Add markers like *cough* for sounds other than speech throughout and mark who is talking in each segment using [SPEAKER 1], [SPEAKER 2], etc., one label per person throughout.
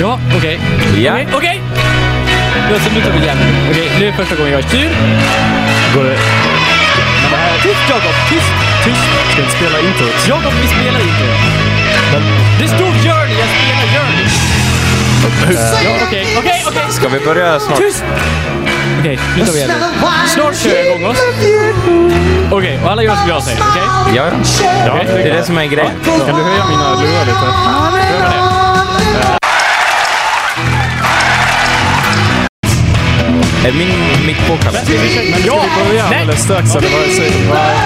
[SPEAKER 1] Ja, okej.
[SPEAKER 2] Ja.
[SPEAKER 1] Okej, okej! Ja, så nu tar vi igen. Okej, nu är det första gången jag styr.
[SPEAKER 3] Går det...
[SPEAKER 1] Men det här- Tyst Jakob! Tyst! Tyst!
[SPEAKER 3] Ska inte spela introt?
[SPEAKER 1] Jakob, vi spelar inte.
[SPEAKER 3] Men-
[SPEAKER 1] Det stod Journey, jag spelar Journey. Ja, okej, okej, okej!
[SPEAKER 2] Ska vi börja snart?
[SPEAKER 1] Tyst! Okej, nu tar vi igen. Snart kör jag igång oss. Okej, och alla gör som jag säger, okej?
[SPEAKER 2] Ja, ja.
[SPEAKER 3] Ja,
[SPEAKER 2] Det är det som är grejen.
[SPEAKER 3] Kan du höja mina lurar lite?
[SPEAKER 2] Är min mick påkopplad?
[SPEAKER 1] Ja!
[SPEAKER 3] Börja
[SPEAKER 1] Nej!
[SPEAKER 3] alldeles strax eller vad säger du? Nej.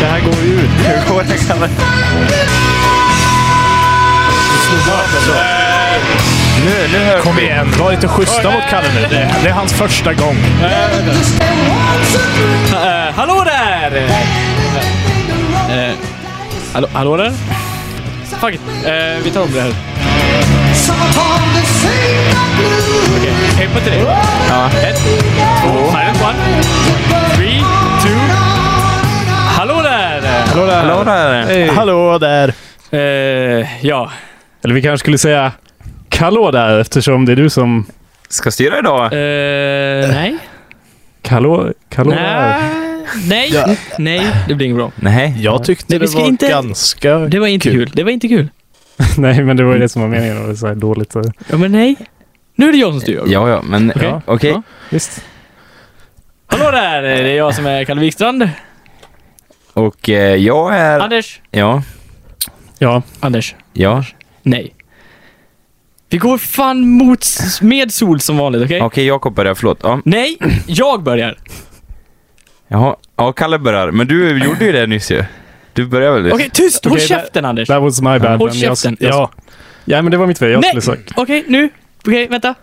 [SPEAKER 3] Det här går ju ut. Hur går det?
[SPEAKER 2] Nu, nu hör
[SPEAKER 3] Kom igen, var lite schyssta mot Kalle nu. Det, det är hans första gång.
[SPEAKER 1] Eh, hallå där! Eh, hallå, hallå där? Fuck it. Eh, vi tar om det här. Okej, okay. på till det.
[SPEAKER 2] Ja.
[SPEAKER 1] Ett, två, silent one, three, two. Hallå där!
[SPEAKER 3] Hallå där.
[SPEAKER 2] Hallå där!
[SPEAKER 3] Hallå där.
[SPEAKER 1] Eh, ja,
[SPEAKER 3] Eller vi kanske skulle säga Kallå där eftersom det är du som...
[SPEAKER 2] Ska styra idag?
[SPEAKER 1] eh, nej.
[SPEAKER 3] Kallå, kallå där.
[SPEAKER 1] Nej, nej, nej, det blir inget bra.
[SPEAKER 2] Nej.
[SPEAKER 4] Jag tyckte
[SPEAKER 1] Nej, vi
[SPEAKER 4] det
[SPEAKER 1] ska
[SPEAKER 4] var
[SPEAKER 1] inte-
[SPEAKER 4] ganska...
[SPEAKER 1] Det var inte kul. Det var inte kul.
[SPEAKER 3] *laughs* Nej, men det var ju det som var meningen. Det var så här dåligt. så-
[SPEAKER 1] Ja, men nej. Nu är det jag som styr.
[SPEAKER 2] Ja, ja, men
[SPEAKER 1] Okej.
[SPEAKER 2] okej. Okay.
[SPEAKER 1] Ja.
[SPEAKER 3] Visst.
[SPEAKER 1] Hallå där! Det är jag som är Kalle Wikstrand.
[SPEAKER 2] Och eh, jag är...
[SPEAKER 1] Anders.
[SPEAKER 2] Ja,
[SPEAKER 3] Ja,
[SPEAKER 1] Anders.
[SPEAKER 2] ja.
[SPEAKER 1] Nej. Vi går fan mot s- med sol som vanligt, okej?
[SPEAKER 2] Okej, Jakob börjar. Förlåt. Ja.
[SPEAKER 1] Nej, jag börjar.
[SPEAKER 2] Jaha. Ja, Kalle börjar. Men du gjorde ju det nyss ju. Du började väl nyss?
[SPEAKER 1] Okej, tyst! Håll
[SPEAKER 3] Okej, där-
[SPEAKER 1] käften Anders!
[SPEAKER 3] that was my bad.
[SPEAKER 1] Håll
[SPEAKER 3] men jag-
[SPEAKER 1] käften.
[SPEAKER 3] Ja. ja, men det var mitt fel. Jag
[SPEAKER 1] Nej!
[SPEAKER 3] skulle sagt.
[SPEAKER 1] Okej, nu. Okej, vänta.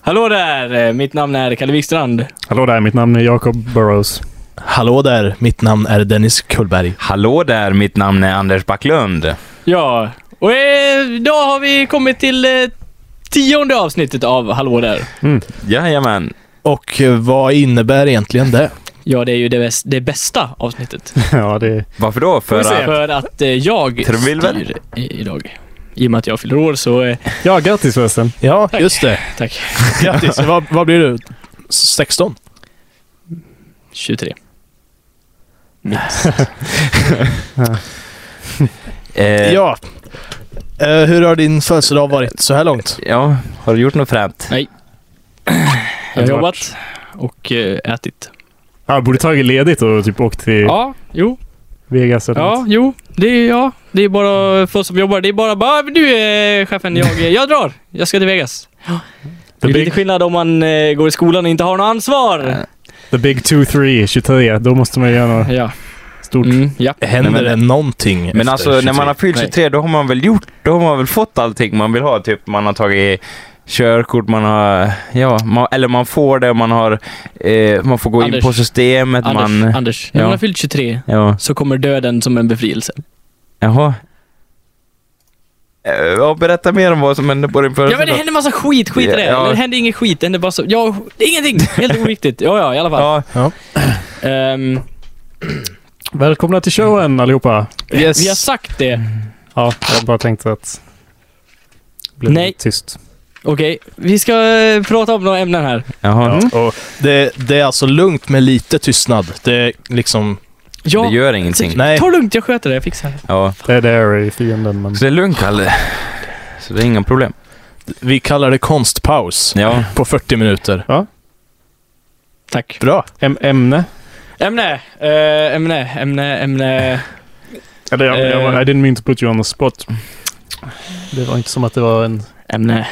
[SPEAKER 1] Hallå där! eh, Mitt namn är Kalle Wikstrand.
[SPEAKER 3] Hallå där, mitt namn är Jacob Burrows.
[SPEAKER 4] Hallå där, mitt namn är Dennis Kullberg.
[SPEAKER 2] Hallå där, mitt namn är Anders Backlund.
[SPEAKER 1] Ja, och eh, idag har vi kommit till eh, tionde avsnittet av Hallå där.
[SPEAKER 2] Jajamän.
[SPEAKER 4] Och eh, vad innebär egentligen det?
[SPEAKER 1] Ja, det är ju det, bäst, det bästa avsnittet.
[SPEAKER 3] *laughs* ja, det...
[SPEAKER 2] Varför då? För
[SPEAKER 1] För,
[SPEAKER 2] att...
[SPEAKER 1] att eh, jag
[SPEAKER 2] Trumvirvel.
[SPEAKER 1] styr i, idag. I och med att jag fyller år så, eh,
[SPEAKER 3] Ja, grattis förresten.
[SPEAKER 4] Ja, just det.
[SPEAKER 1] tack,
[SPEAKER 3] *laughs*
[SPEAKER 4] Grattis. vad, vad blir du? 16?
[SPEAKER 1] 23.
[SPEAKER 2] Eh, ja.
[SPEAKER 4] Ja. Eh, hur har din födelsedag varit så här långt?
[SPEAKER 2] Har du gjort något fränt?
[SPEAKER 1] Jag
[SPEAKER 3] Underbart.
[SPEAKER 1] har jobbat och eh, ätit.
[SPEAKER 3] Ja, borde tagit ledigt och typ åkt till
[SPEAKER 1] Ja, jo,
[SPEAKER 3] Vegas eller
[SPEAKER 1] ja,
[SPEAKER 3] något.
[SPEAKER 1] jo, det är, ja, det är bara för oss som jobbar. Det är bara, bara du eh, chefen, jag, eh, jag drar. Jag ska till Vegas. Det är
[SPEAKER 3] The
[SPEAKER 1] lite
[SPEAKER 3] big,
[SPEAKER 1] skillnad om man eh, går i skolan och inte har något ansvar.
[SPEAKER 3] the big 2-3, 23. Då måste man göra något
[SPEAKER 1] Ja,
[SPEAKER 3] stort.
[SPEAKER 1] mm, ja.
[SPEAKER 4] Händer
[SPEAKER 2] Nej, men-
[SPEAKER 4] det någonting
[SPEAKER 2] Men
[SPEAKER 4] efter
[SPEAKER 2] alltså när
[SPEAKER 4] 23?
[SPEAKER 2] man har fyllt
[SPEAKER 1] Nej.
[SPEAKER 2] 23 då har man väl gjort, då har man väl fått allting man vill ha. Typ man har tagit körkort, man har, ja, man, eller man får det, man har, eh, man får gå in
[SPEAKER 1] Anders.
[SPEAKER 2] på systemet,
[SPEAKER 1] Anders,
[SPEAKER 2] man,
[SPEAKER 1] Anders, när
[SPEAKER 2] Ja.
[SPEAKER 1] man har fyllt 23
[SPEAKER 2] ja,
[SPEAKER 1] så kommer döden som en befrielse.
[SPEAKER 2] jaha. Eh, Ja, berätta mer om vad som hände på din
[SPEAKER 1] Ja men det
[SPEAKER 2] födelsedag.
[SPEAKER 1] hände massa skit, skit i det.
[SPEAKER 2] Ja.
[SPEAKER 1] Eller Det hände inget skit, det hände bara så... Ja, det är ingenting! Helt oviktigt. Ja, ja, i alla fall.
[SPEAKER 2] Ja,
[SPEAKER 1] Ehm,
[SPEAKER 3] Välkomna till showen allihopa.
[SPEAKER 4] Yes.
[SPEAKER 1] vi har sagt det.
[SPEAKER 3] Ja, jag har bara tänkt att... Blir
[SPEAKER 1] Nej.
[SPEAKER 3] tyst.
[SPEAKER 1] Okej, vi ska eh, prata om några ämnen här.
[SPEAKER 2] jaha.
[SPEAKER 3] Ja, och
[SPEAKER 4] det, det är alltså lugnt med lite tystnad. Det är liksom...
[SPEAKER 1] Ja,
[SPEAKER 2] Det gör ingenting.
[SPEAKER 4] Nej.
[SPEAKER 1] ta lugnt, jag sköter det. Jag fixar det.
[SPEAKER 2] Ja.
[SPEAKER 3] det där är fienden, men...
[SPEAKER 2] Så det är lugnt Kalle. Så det är inga problem.
[SPEAKER 4] Vi kallar det konstpaus.
[SPEAKER 2] Ja.
[SPEAKER 4] På 40 minuter.
[SPEAKER 1] Tack.
[SPEAKER 4] Bra.
[SPEAKER 3] Äm- ämne?
[SPEAKER 1] Ämne, eh, ämne, ämne, ämne.
[SPEAKER 3] Eller jag, jag,
[SPEAKER 1] Eh.
[SPEAKER 3] I didn't mean to put you on the spot. Det var inte som att det var en
[SPEAKER 1] Ämne.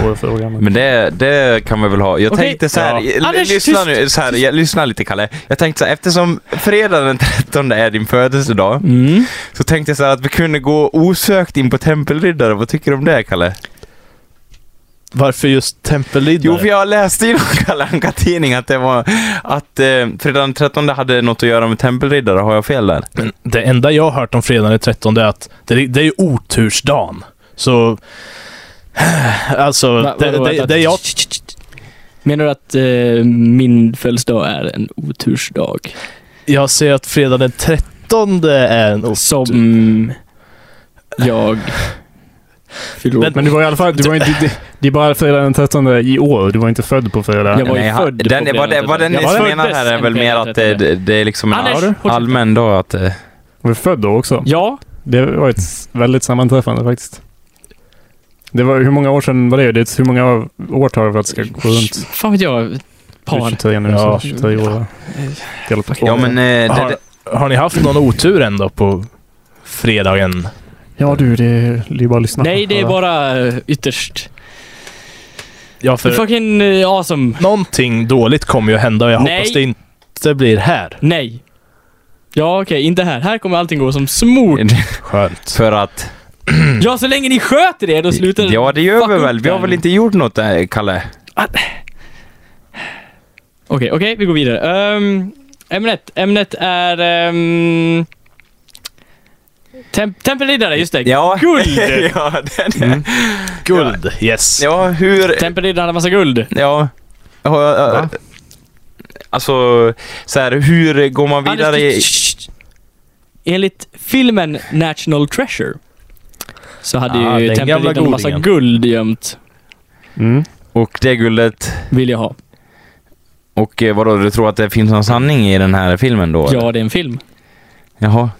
[SPEAKER 3] svår fråga. Men...
[SPEAKER 2] Men det, det kan vi väl ha. Jag
[SPEAKER 1] Okej.
[SPEAKER 2] tänkte så här,
[SPEAKER 3] Ja.
[SPEAKER 2] l-
[SPEAKER 1] Anders,
[SPEAKER 2] lyssna
[SPEAKER 1] tyst,
[SPEAKER 2] nu, så här, jag, lyssna lite Kalle. Jag tänkte så här, eftersom fredag den 13 är din födelsedag,
[SPEAKER 1] Mm.
[SPEAKER 2] så tänkte jag så här att vi kunde gå osökt in på tempelriddare. Vad tycker du om det Kalle?
[SPEAKER 4] Varför just tempelriddare?
[SPEAKER 2] Jo, för jag läste i någon *laughs* Kalle Anka-tidning att det var, att eh, fredag den 13 hade något att göra med tempelriddare. Har jag fel där?
[SPEAKER 4] Men det enda jag har hört om fredagen den 13 är att det, det är ju otursdagen. Så... *sighs* Alltså,
[SPEAKER 1] Va-
[SPEAKER 4] det,
[SPEAKER 1] vadå,
[SPEAKER 4] det,
[SPEAKER 1] vänta.
[SPEAKER 4] det jag...
[SPEAKER 1] Menar du att eh, min födelsedag är en otursdag?
[SPEAKER 4] Jag ser att fredag den 13 är en otur.
[SPEAKER 5] Som jag fyller år.
[SPEAKER 4] Men-
[SPEAKER 3] Men du var i alla fall, du var inte, det, det är bara fredag den 13 i år. Du var inte född på fredag.
[SPEAKER 5] Jag var ju
[SPEAKER 2] Nej,
[SPEAKER 5] född på
[SPEAKER 2] den, vad, det,
[SPEAKER 5] fredag
[SPEAKER 2] vad den
[SPEAKER 5] den
[SPEAKER 2] ni
[SPEAKER 5] trettonde.
[SPEAKER 2] menar här är väl mer att det, det, det är liksom en
[SPEAKER 1] Anders,
[SPEAKER 2] all,
[SPEAKER 1] fortsätt.
[SPEAKER 2] allmän dag att... eh,
[SPEAKER 3] Var du född då också?
[SPEAKER 1] Ja,
[SPEAKER 3] Det var ett s- väldigt sammanträffande faktiskt. Det var, hur många år sedan var det? det är, hur många år tar det för att det ska gå runt?
[SPEAKER 1] fan vet jag.
[SPEAKER 3] Du är
[SPEAKER 1] Par.
[SPEAKER 3] 23 nu,
[SPEAKER 4] Ja.
[SPEAKER 3] så 23 år. va? Delat på två.
[SPEAKER 2] Ja men... eh, Det,
[SPEAKER 4] Har,
[SPEAKER 2] det,
[SPEAKER 4] har ni haft någon otur ändå på fredagen?
[SPEAKER 3] Ja du, det är, det är bara att lyssna.
[SPEAKER 1] Nej, det är
[SPEAKER 3] Ja.
[SPEAKER 1] bara eh, ytterst.
[SPEAKER 4] Ja, för
[SPEAKER 1] Fucking eh, awesome.
[SPEAKER 4] någonting dåligt kommer ju att hända och jag
[SPEAKER 1] Nej.
[SPEAKER 4] hoppas det inte blir här.
[SPEAKER 1] Nej. Ja, okej, inte här. Här kommer allting gå som smort.
[SPEAKER 4] Skönt.
[SPEAKER 2] för att...
[SPEAKER 1] Ja, så länge ni sköter er, då slutar
[SPEAKER 2] Ja det gör
[SPEAKER 1] Fuck
[SPEAKER 2] vi
[SPEAKER 1] upp
[SPEAKER 2] väl. Vi har
[SPEAKER 1] den.
[SPEAKER 2] väl inte gjort något där, Kalle?
[SPEAKER 1] Okej, okej, vi går vidare. Ehm, ämnet. Ämnet är... Um, temp tempelriddare, just det. *laughs*
[SPEAKER 2] Ja.
[SPEAKER 1] Guld!
[SPEAKER 2] *laughs* ja, den,
[SPEAKER 1] Mm.
[SPEAKER 4] Guld, yes.
[SPEAKER 2] ja, hur...
[SPEAKER 1] Tempelriddaren hade massa guld.
[SPEAKER 2] Ja. Har jag,
[SPEAKER 3] Va?
[SPEAKER 2] alltså, så här, hur går man vidare i...
[SPEAKER 1] Anders, shh, shh. Enligt filmen National Treasure så hade
[SPEAKER 4] Ah,
[SPEAKER 1] ju
[SPEAKER 4] den gamla
[SPEAKER 1] tempelriddaren massa
[SPEAKER 4] godingen.
[SPEAKER 1] guld gömt.
[SPEAKER 3] Mm.
[SPEAKER 2] Och det guldet.
[SPEAKER 1] Vill jag ha.
[SPEAKER 2] Och eh, vadå, du tror att det finns någon sanning i den här filmen då? eller?
[SPEAKER 1] Ja, det är en film.
[SPEAKER 2] Jaha.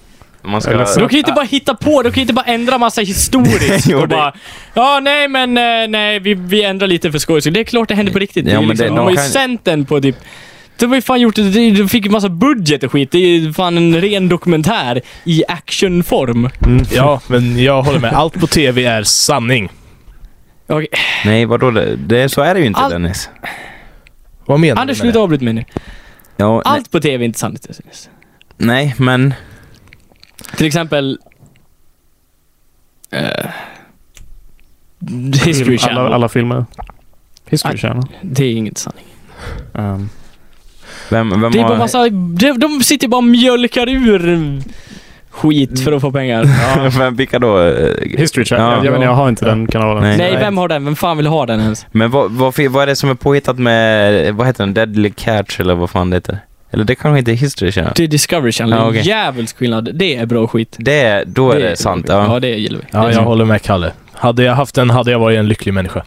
[SPEAKER 2] Man ska...
[SPEAKER 3] Eller så-
[SPEAKER 1] Då kan ju inte bara hitta på, då kan ju inte bara ändra massa historiskt
[SPEAKER 2] *laughs* Jo,
[SPEAKER 1] och
[SPEAKER 2] det-
[SPEAKER 1] bara Ja, nej men eh, nej, vi, vi ändrar lite för skojs skull." Det är klart det händer på riktigt.
[SPEAKER 2] Ja,
[SPEAKER 1] det, är
[SPEAKER 2] men det-
[SPEAKER 1] liksom, de
[SPEAKER 2] de
[SPEAKER 1] har ju
[SPEAKER 2] kan-
[SPEAKER 1] sänt den på typ de har ju fan gjort, det- de fick ju massa budget och skit. Det är ju fan en ren dokumentär i actionform.
[SPEAKER 4] Ja, men jag håller med. Allt på TV är sanning.
[SPEAKER 1] Okej,
[SPEAKER 2] Nej, vadå? Det, det, så är det ju inte
[SPEAKER 1] All-
[SPEAKER 2] Dennis.
[SPEAKER 4] Vad menar
[SPEAKER 1] Anders,
[SPEAKER 4] du med
[SPEAKER 1] sluta
[SPEAKER 4] det?
[SPEAKER 1] avbryta mig nu.
[SPEAKER 2] Ja,
[SPEAKER 1] Allt på TV är inte sant. det syns.
[SPEAKER 2] ne- nej, men...
[SPEAKER 1] Till exempel... eh, History Channel.
[SPEAKER 3] alla, alla filmer. History
[SPEAKER 1] Ah.
[SPEAKER 3] Channel.
[SPEAKER 1] Det är inget sant.
[SPEAKER 3] Ehm,
[SPEAKER 2] Vem, vem
[SPEAKER 1] Det är
[SPEAKER 2] har...
[SPEAKER 1] bara massa, de, de sitter bara och mjölkar ur skit för att få pengar.
[SPEAKER 2] *laughs* vem, vilka då? Eh,
[SPEAKER 3] History Channel.
[SPEAKER 2] Ja.
[SPEAKER 3] jag, jag, menar, jag har inte den kanalen.
[SPEAKER 2] Nej.
[SPEAKER 1] Nej, vem har den? Vem fan vill ha den ens?
[SPEAKER 2] Men vad, vad, fi- vad är det som är påhittat med... Vad heter den? Deadly Catch eller vad fan det heter? Eller det kanske inte är History Channel?
[SPEAKER 1] Det är Discovery Channel.
[SPEAKER 2] Ja, okej.
[SPEAKER 1] Jävligt skillnad. Det är bra skit.
[SPEAKER 2] Det, då är det, sant. Ja.
[SPEAKER 1] Ja, det gillar vi.
[SPEAKER 4] Ja, jag håller med Kalle. Hade jag haft den hade jag varit en lycklig människa.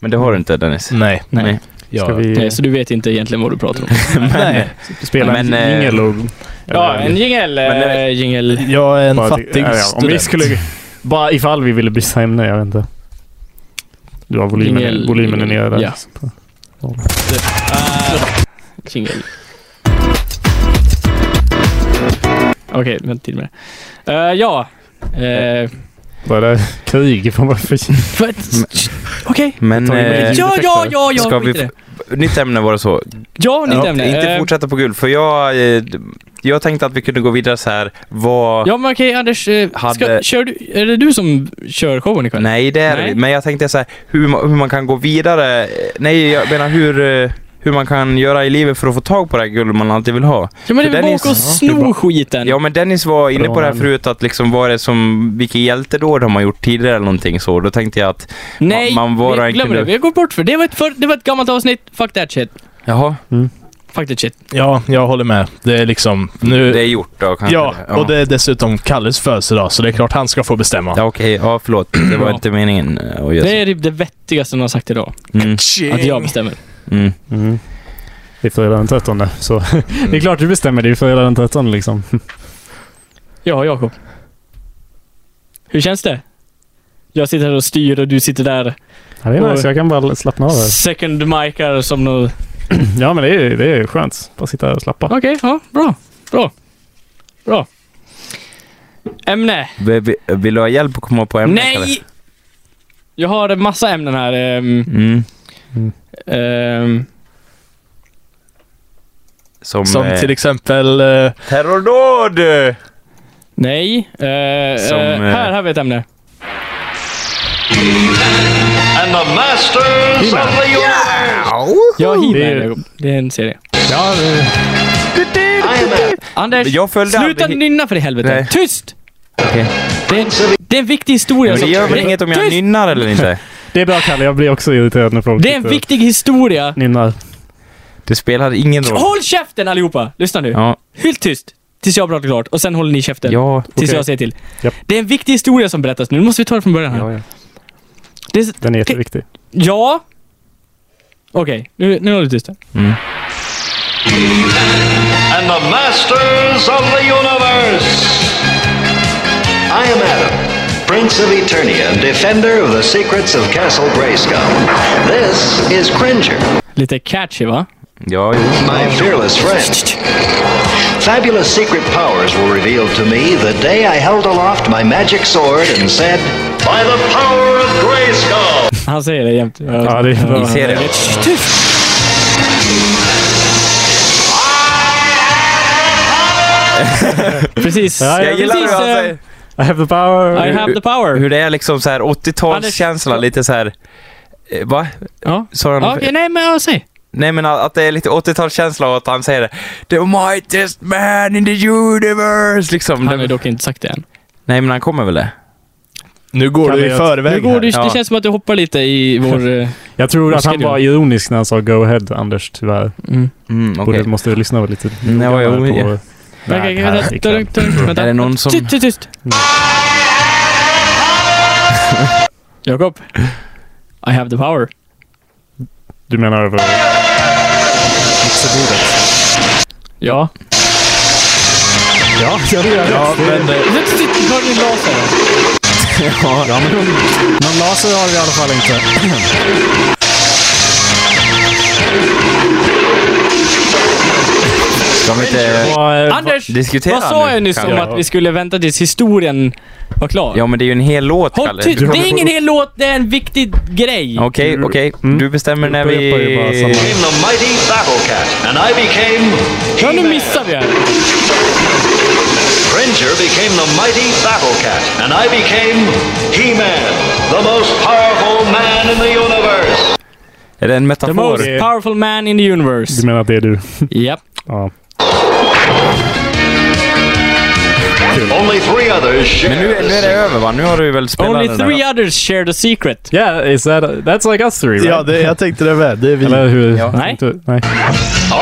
[SPEAKER 2] Men det har du inte Dennis.
[SPEAKER 4] Nej.
[SPEAKER 1] Mm, Nej.
[SPEAKER 2] Nej. *laughs*
[SPEAKER 4] Jag...
[SPEAKER 3] Ska vi
[SPEAKER 1] Nej, så du vet inte egentligen vad du pratar om.
[SPEAKER 4] Nej.
[SPEAKER 3] spela en
[SPEAKER 2] Men, eh,
[SPEAKER 3] jingel? och-
[SPEAKER 1] ja,
[SPEAKER 3] eller-
[SPEAKER 1] en jingel.
[SPEAKER 2] Men, eh,
[SPEAKER 1] eh, Jingel.
[SPEAKER 4] Jag är en
[SPEAKER 3] Bara till-
[SPEAKER 4] fattig
[SPEAKER 3] ja, ja, Om vi
[SPEAKER 4] student.
[SPEAKER 3] skulle... Bara ifall vi ville byta ämne, jag vet inte. Du har volymen,
[SPEAKER 1] Jingel-
[SPEAKER 3] volymen är nere där.
[SPEAKER 1] ja. *laughs* Jingel. Okej, vänta till med det. Eh, ja.
[SPEAKER 2] *laughs*
[SPEAKER 1] Uh,
[SPEAKER 3] Var det krig? Fan, vad för-
[SPEAKER 1] Okej.
[SPEAKER 2] Men...
[SPEAKER 3] tar vi med
[SPEAKER 2] eh,
[SPEAKER 3] ljud.
[SPEAKER 1] Ja, ja, ja, ja.
[SPEAKER 2] Ska vi-
[SPEAKER 1] skit i det.
[SPEAKER 2] Nytt ämne var det så.
[SPEAKER 1] Ja, nytt
[SPEAKER 2] Ja,
[SPEAKER 1] ämne.
[SPEAKER 2] Inte
[SPEAKER 1] Eh,
[SPEAKER 2] fortsätta på guld, för jag, eh, jag tänkte att vi kunde gå vidare så här. Vad...
[SPEAKER 1] Ja men okej Anders, eh, ska,
[SPEAKER 2] Hade-
[SPEAKER 1] kör du, är det du som kör showen ikväll?
[SPEAKER 2] Nej, det är det
[SPEAKER 1] Nej.
[SPEAKER 2] Men jag tänkte så här, hur, ma- hur man kan gå vidare. Eh, Nej, jag menar hur, eh, hur man kan göra i livet för att få tag på det här guld man alltid vill ha.
[SPEAKER 1] Ja men det är väl bara
[SPEAKER 2] Dennis-
[SPEAKER 1] åka och
[SPEAKER 3] det är
[SPEAKER 1] sno
[SPEAKER 3] bra.
[SPEAKER 1] skiten.
[SPEAKER 2] Ja, men Dennis var inne
[SPEAKER 3] Bra,
[SPEAKER 2] på det här
[SPEAKER 3] men-
[SPEAKER 2] förut, att liksom vad är det som, vilka hjältedåd har man gjort tidigare eller någonting så. Då tänkte jag att,
[SPEAKER 1] Nej,
[SPEAKER 2] man- man var och en
[SPEAKER 1] vi glömmer
[SPEAKER 2] kunde-
[SPEAKER 1] det. Vi går bort för det. Det var, ett för, det var ett gammalt avsnitt. Fuck that shit.
[SPEAKER 2] jaha,
[SPEAKER 1] Fuck that shit.
[SPEAKER 4] Ja, jag håller med. Det är liksom... Nu...
[SPEAKER 2] det är gjort då kanske.
[SPEAKER 4] ja, och det är dessutom Kalles födelsedag, så det är klart han ska få bestämma.
[SPEAKER 2] Ja, okej, ja förlåt. Det var
[SPEAKER 1] Ja.
[SPEAKER 2] inte meningen eh, att göra
[SPEAKER 1] Det
[SPEAKER 2] så.
[SPEAKER 1] är typ det vettigaste någon har sagt idag.
[SPEAKER 2] Mm,
[SPEAKER 1] Att jag bestämmer.
[SPEAKER 2] mm.
[SPEAKER 3] Mm. Det är fredag den 13 så det är klart du bestämmer. Det är ju fredag den 13 liksom.
[SPEAKER 1] Ja, Jakob. Hur känns det? Jag sitter här och styr och du sitter där
[SPEAKER 3] Ja, det är
[SPEAKER 1] Och-
[SPEAKER 3] nice. Jag kan bara slappna av här.
[SPEAKER 1] second micar som någon...
[SPEAKER 3] Ja, men det är ju det är ju skönt. Bara sitta här och slappa.
[SPEAKER 1] Okej, ja, bra. Bra. Bra. Ämne.
[SPEAKER 2] Vi- vi- Vill du ha hjälp att komma på ämnen? Kalle?
[SPEAKER 1] Nej! Jag har en massa ämnen här. ehm,
[SPEAKER 2] Mm.
[SPEAKER 1] ehm,
[SPEAKER 2] Som,
[SPEAKER 4] Som
[SPEAKER 2] eh,
[SPEAKER 4] till exempel... eh,
[SPEAKER 2] Terrordåd!
[SPEAKER 1] nej. eh,
[SPEAKER 2] Som,
[SPEAKER 1] eh,
[SPEAKER 2] eh,
[SPEAKER 1] här, här har vi ett ämne.
[SPEAKER 6] and the masters of the universe.
[SPEAKER 1] Jag har
[SPEAKER 3] Det är-
[SPEAKER 1] He-Man. Jakob. Det är en serie.
[SPEAKER 3] Ja, det,
[SPEAKER 6] I am a
[SPEAKER 1] Anders,
[SPEAKER 2] Jag följde
[SPEAKER 1] sluta
[SPEAKER 2] aldrig-
[SPEAKER 1] nynna för i helvete.
[SPEAKER 2] Nej.
[SPEAKER 1] Tyst!
[SPEAKER 2] Okej.
[SPEAKER 1] Det, är- det är en viktig historia.
[SPEAKER 2] Men det
[SPEAKER 1] som-
[SPEAKER 2] gör väl inget om jag
[SPEAKER 1] tyst!
[SPEAKER 2] nynnar eller inte?
[SPEAKER 3] det är bra Kalle. Jag blir också irriterad när folk
[SPEAKER 1] Det är en
[SPEAKER 3] sitter och
[SPEAKER 1] viktig historia.
[SPEAKER 3] nynnar.
[SPEAKER 2] Det spelar ingen roll.
[SPEAKER 1] Håll käften allihopa! Lyssna nu.
[SPEAKER 2] Ja,
[SPEAKER 1] Helt tyst. Tills jag har pratat klart och sen håller ni käften.
[SPEAKER 2] ja.
[SPEAKER 1] Tills
[SPEAKER 3] Okej.
[SPEAKER 1] jag säger till.
[SPEAKER 3] Japp.
[SPEAKER 1] Det är en viktig historia som berättas nu. Nu måste vi ta det från början här. Ja.
[SPEAKER 2] ja, ja.
[SPEAKER 1] Det är, s-
[SPEAKER 3] Den är jätteviktig.
[SPEAKER 1] ja. Okej, nu, nu håller du tyst.
[SPEAKER 2] Mm.
[SPEAKER 7] and the masters of the universe. I am Adam, Prince of Eternia and defender of the secrets of Castle Grayskull. This is Cringer,
[SPEAKER 1] Lite catchy va?
[SPEAKER 2] ja jo.
[SPEAKER 7] my fearless friend. Fabulous secret powers were revealed to me the day I held aloft my magic sword and said, By the power of Grayskull!
[SPEAKER 1] Han säger det jämt.
[SPEAKER 3] Ja, det är
[SPEAKER 2] Ni
[SPEAKER 3] bra.
[SPEAKER 2] ser det.
[SPEAKER 1] *laughs* Precis.
[SPEAKER 2] Jag gillar hur
[SPEAKER 1] Precis,
[SPEAKER 2] han
[SPEAKER 1] eh,
[SPEAKER 2] säger.
[SPEAKER 3] I have the power.
[SPEAKER 1] I have the power.
[SPEAKER 2] Hur det är liksom så här
[SPEAKER 1] Anders-
[SPEAKER 2] 80-talskänsla, lite så här. eh, Va?
[SPEAKER 1] Ja.
[SPEAKER 2] Sa jag
[SPEAKER 1] Ja,
[SPEAKER 2] något
[SPEAKER 1] Okej, nej men ja, säg.
[SPEAKER 2] Nej men att det är lite 80-talskänsla och att han säger det. The mightiest man in the universe! Liksom.
[SPEAKER 1] Han har ju
[SPEAKER 2] Det,
[SPEAKER 1] dock inte sagt det än.
[SPEAKER 2] nej men han kommer väl det?
[SPEAKER 4] Nu går
[SPEAKER 3] Kan
[SPEAKER 4] du
[SPEAKER 3] vi-
[SPEAKER 4] i förväg
[SPEAKER 1] Nu går
[SPEAKER 4] här.
[SPEAKER 1] du,
[SPEAKER 2] ja.
[SPEAKER 1] det känns som att du hoppar lite i
[SPEAKER 2] *laughs*
[SPEAKER 1] vår... eh,
[SPEAKER 3] Jag tror
[SPEAKER 1] Vad
[SPEAKER 3] att
[SPEAKER 1] ska
[SPEAKER 3] han
[SPEAKER 1] du
[SPEAKER 3] var ironisk när han sa go ahead, Anders, tyvärr.
[SPEAKER 1] mm.
[SPEAKER 2] Mm, okej.
[SPEAKER 3] Borde, måste lyssna lite
[SPEAKER 2] Nej, jag
[SPEAKER 3] noggrannare
[SPEAKER 2] gjorde
[SPEAKER 3] på...
[SPEAKER 1] Okej,
[SPEAKER 3] Nej,
[SPEAKER 1] okej,
[SPEAKER 3] det här
[SPEAKER 1] vänta,
[SPEAKER 3] gick
[SPEAKER 1] ta det lugnt, ta det lugnt, vänta.
[SPEAKER 2] Är det någon som-
[SPEAKER 1] Tyst, tyst,
[SPEAKER 2] *laughs*
[SPEAKER 1] tyst! Jakob. I have the power.
[SPEAKER 3] Du menar över... Mixerbordet?
[SPEAKER 1] Ja.
[SPEAKER 3] Ja, jag gör det. Ja, men,
[SPEAKER 1] Tyst, tyst, Har du din laser?
[SPEAKER 3] ja, men någon, någon laser har vi i alla fall inte.
[SPEAKER 2] Ska vi inte
[SPEAKER 3] Och, eh,
[SPEAKER 1] Anders!
[SPEAKER 2] diskutera
[SPEAKER 1] Vad sa
[SPEAKER 2] nu,
[SPEAKER 1] jag nyss om
[SPEAKER 2] kanske?
[SPEAKER 1] att vi skulle vänta tills historien var klar?
[SPEAKER 2] Ja men det är ju en hel låt,
[SPEAKER 1] Håll
[SPEAKER 2] Kalle.
[SPEAKER 1] tyst!
[SPEAKER 2] Du-
[SPEAKER 1] Det är ingen hel låt, det är en viktig grej!
[SPEAKER 2] Okej, okej.
[SPEAKER 3] Mm.
[SPEAKER 2] Du bestämmer när
[SPEAKER 3] Jag upprepar ju bara
[SPEAKER 2] vi...
[SPEAKER 3] samma-
[SPEAKER 7] became the mighty Battle Cat, and I became.
[SPEAKER 1] Ja, nu
[SPEAKER 7] He-Man.
[SPEAKER 1] missar vi här.
[SPEAKER 7] Cringer became the mighty Battle Cat, and I became He-Man, the most powerful man in the universe.
[SPEAKER 2] Är det en
[SPEAKER 1] The
[SPEAKER 2] metafor?
[SPEAKER 1] most powerful man in the universe.
[SPEAKER 3] Du menar att det är du?
[SPEAKER 1] Japp.
[SPEAKER 3] Ja.
[SPEAKER 7] Only three others share.
[SPEAKER 2] Men nu, är- nu är det över va? Nu har du väl spelat
[SPEAKER 1] Only
[SPEAKER 2] den
[SPEAKER 1] three
[SPEAKER 2] här?
[SPEAKER 1] others share the secret.
[SPEAKER 3] Yeah, is that, that's like us three, right?
[SPEAKER 4] Ja, det, jag tänkte det med. Det är vi.
[SPEAKER 3] Eller hur?
[SPEAKER 2] Ja.
[SPEAKER 1] Nej.
[SPEAKER 3] Inte- Nej.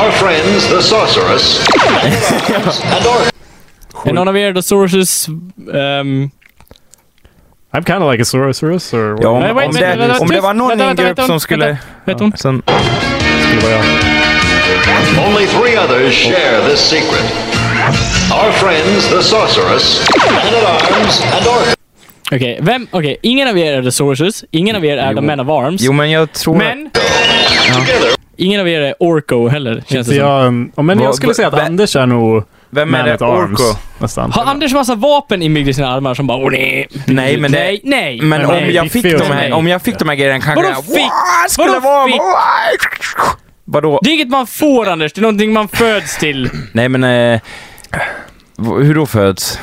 [SPEAKER 7] Our friends, the sorceress, and our
[SPEAKER 1] Är någon av er the sources... ehm,
[SPEAKER 3] I'm kind of like a Sorosaurus, or what?
[SPEAKER 2] Ja,
[SPEAKER 1] Nej,
[SPEAKER 2] om,
[SPEAKER 1] wait, wait, wait,
[SPEAKER 2] om, det,
[SPEAKER 1] wait,
[SPEAKER 2] om det
[SPEAKER 1] tyst.
[SPEAKER 2] var någon i
[SPEAKER 1] Vänta,
[SPEAKER 2] en
[SPEAKER 1] vänta,
[SPEAKER 2] grupp
[SPEAKER 1] vänta,
[SPEAKER 2] som skulle...
[SPEAKER 1] vänta. Vet hon?
[SPEAKER 2] Sen,
[SPEAKER 3] skulle vara jag.
[SPEAKER 7] only three others share this secret. Our friends, the sorceress, and at arms, and our
[SPEAKER 1] Okej, vem... Okej, ingen av er är the sources. Ingen av er är the
[SPEAKER 2] Jo.
[SPEAKER 1] men of arms.
[SPEAKER 2] jo men jag tror...
[SPEAKER 1] Men
[SPEAKER 7] together.
[SPEAKER 1] ingen av er är Orko heller, känns
[SPEAKER 3] Inte
[SPEAKER 1] det som.
[SPEAKER 3] jag, um, ja, men
[SPEAKER 2] Vad-
[SPEAKER 3] jag skulle säga att
[SPEAKER 2] vad-
[SPEAKER 3] Anders är nog
[SPEAKER 2] Vem är
[SPEAKER 3] man
[SPEAKER 2] det?
[SPEAKER 3] at arms.
[SPEAKER 2] Orko?
[SPEAKER 3] Nästan.
[SPEAKER 1] Har Anders massa vapen inbyggda i sina armar som bara... Nej,
[SPEAKER 2] Nej men det...
[SPEAKER 1] nej, nej.
[SPEAKER 2] Men
[SPEAKER 3] Men
[SPEAKER 2] om
[SPEAKER 3] nej,
[SPEAKER 2] jag
[SPEAKER 3] fick
[SPEAKER 2] fick
[SPEAKER 3] vi
[SPEAKER 2] de
[SPEAKER 3] oss
[SPEAKER 2] här,
[SPEAKER 1] nej.
[SPEAKER 2] om jag fick de här grejerna kanske
[SPEAKER 1] Vadå
[SPEAKER 2] jag
[SPEAKER 1] fick?
[SPEAKER 2] "Wow, skulle
[SPEAKER 1] Vadå
[SPEAKER 2] vara...
[SPEAKER 1] fick?"
[SPEAKER 2] Vadå?
[SPEAKER 1] Det är inget man får, Anders. Det är någonting man föds till.
[SPEAKER 2] Nej men... Eh, v- hur då föds?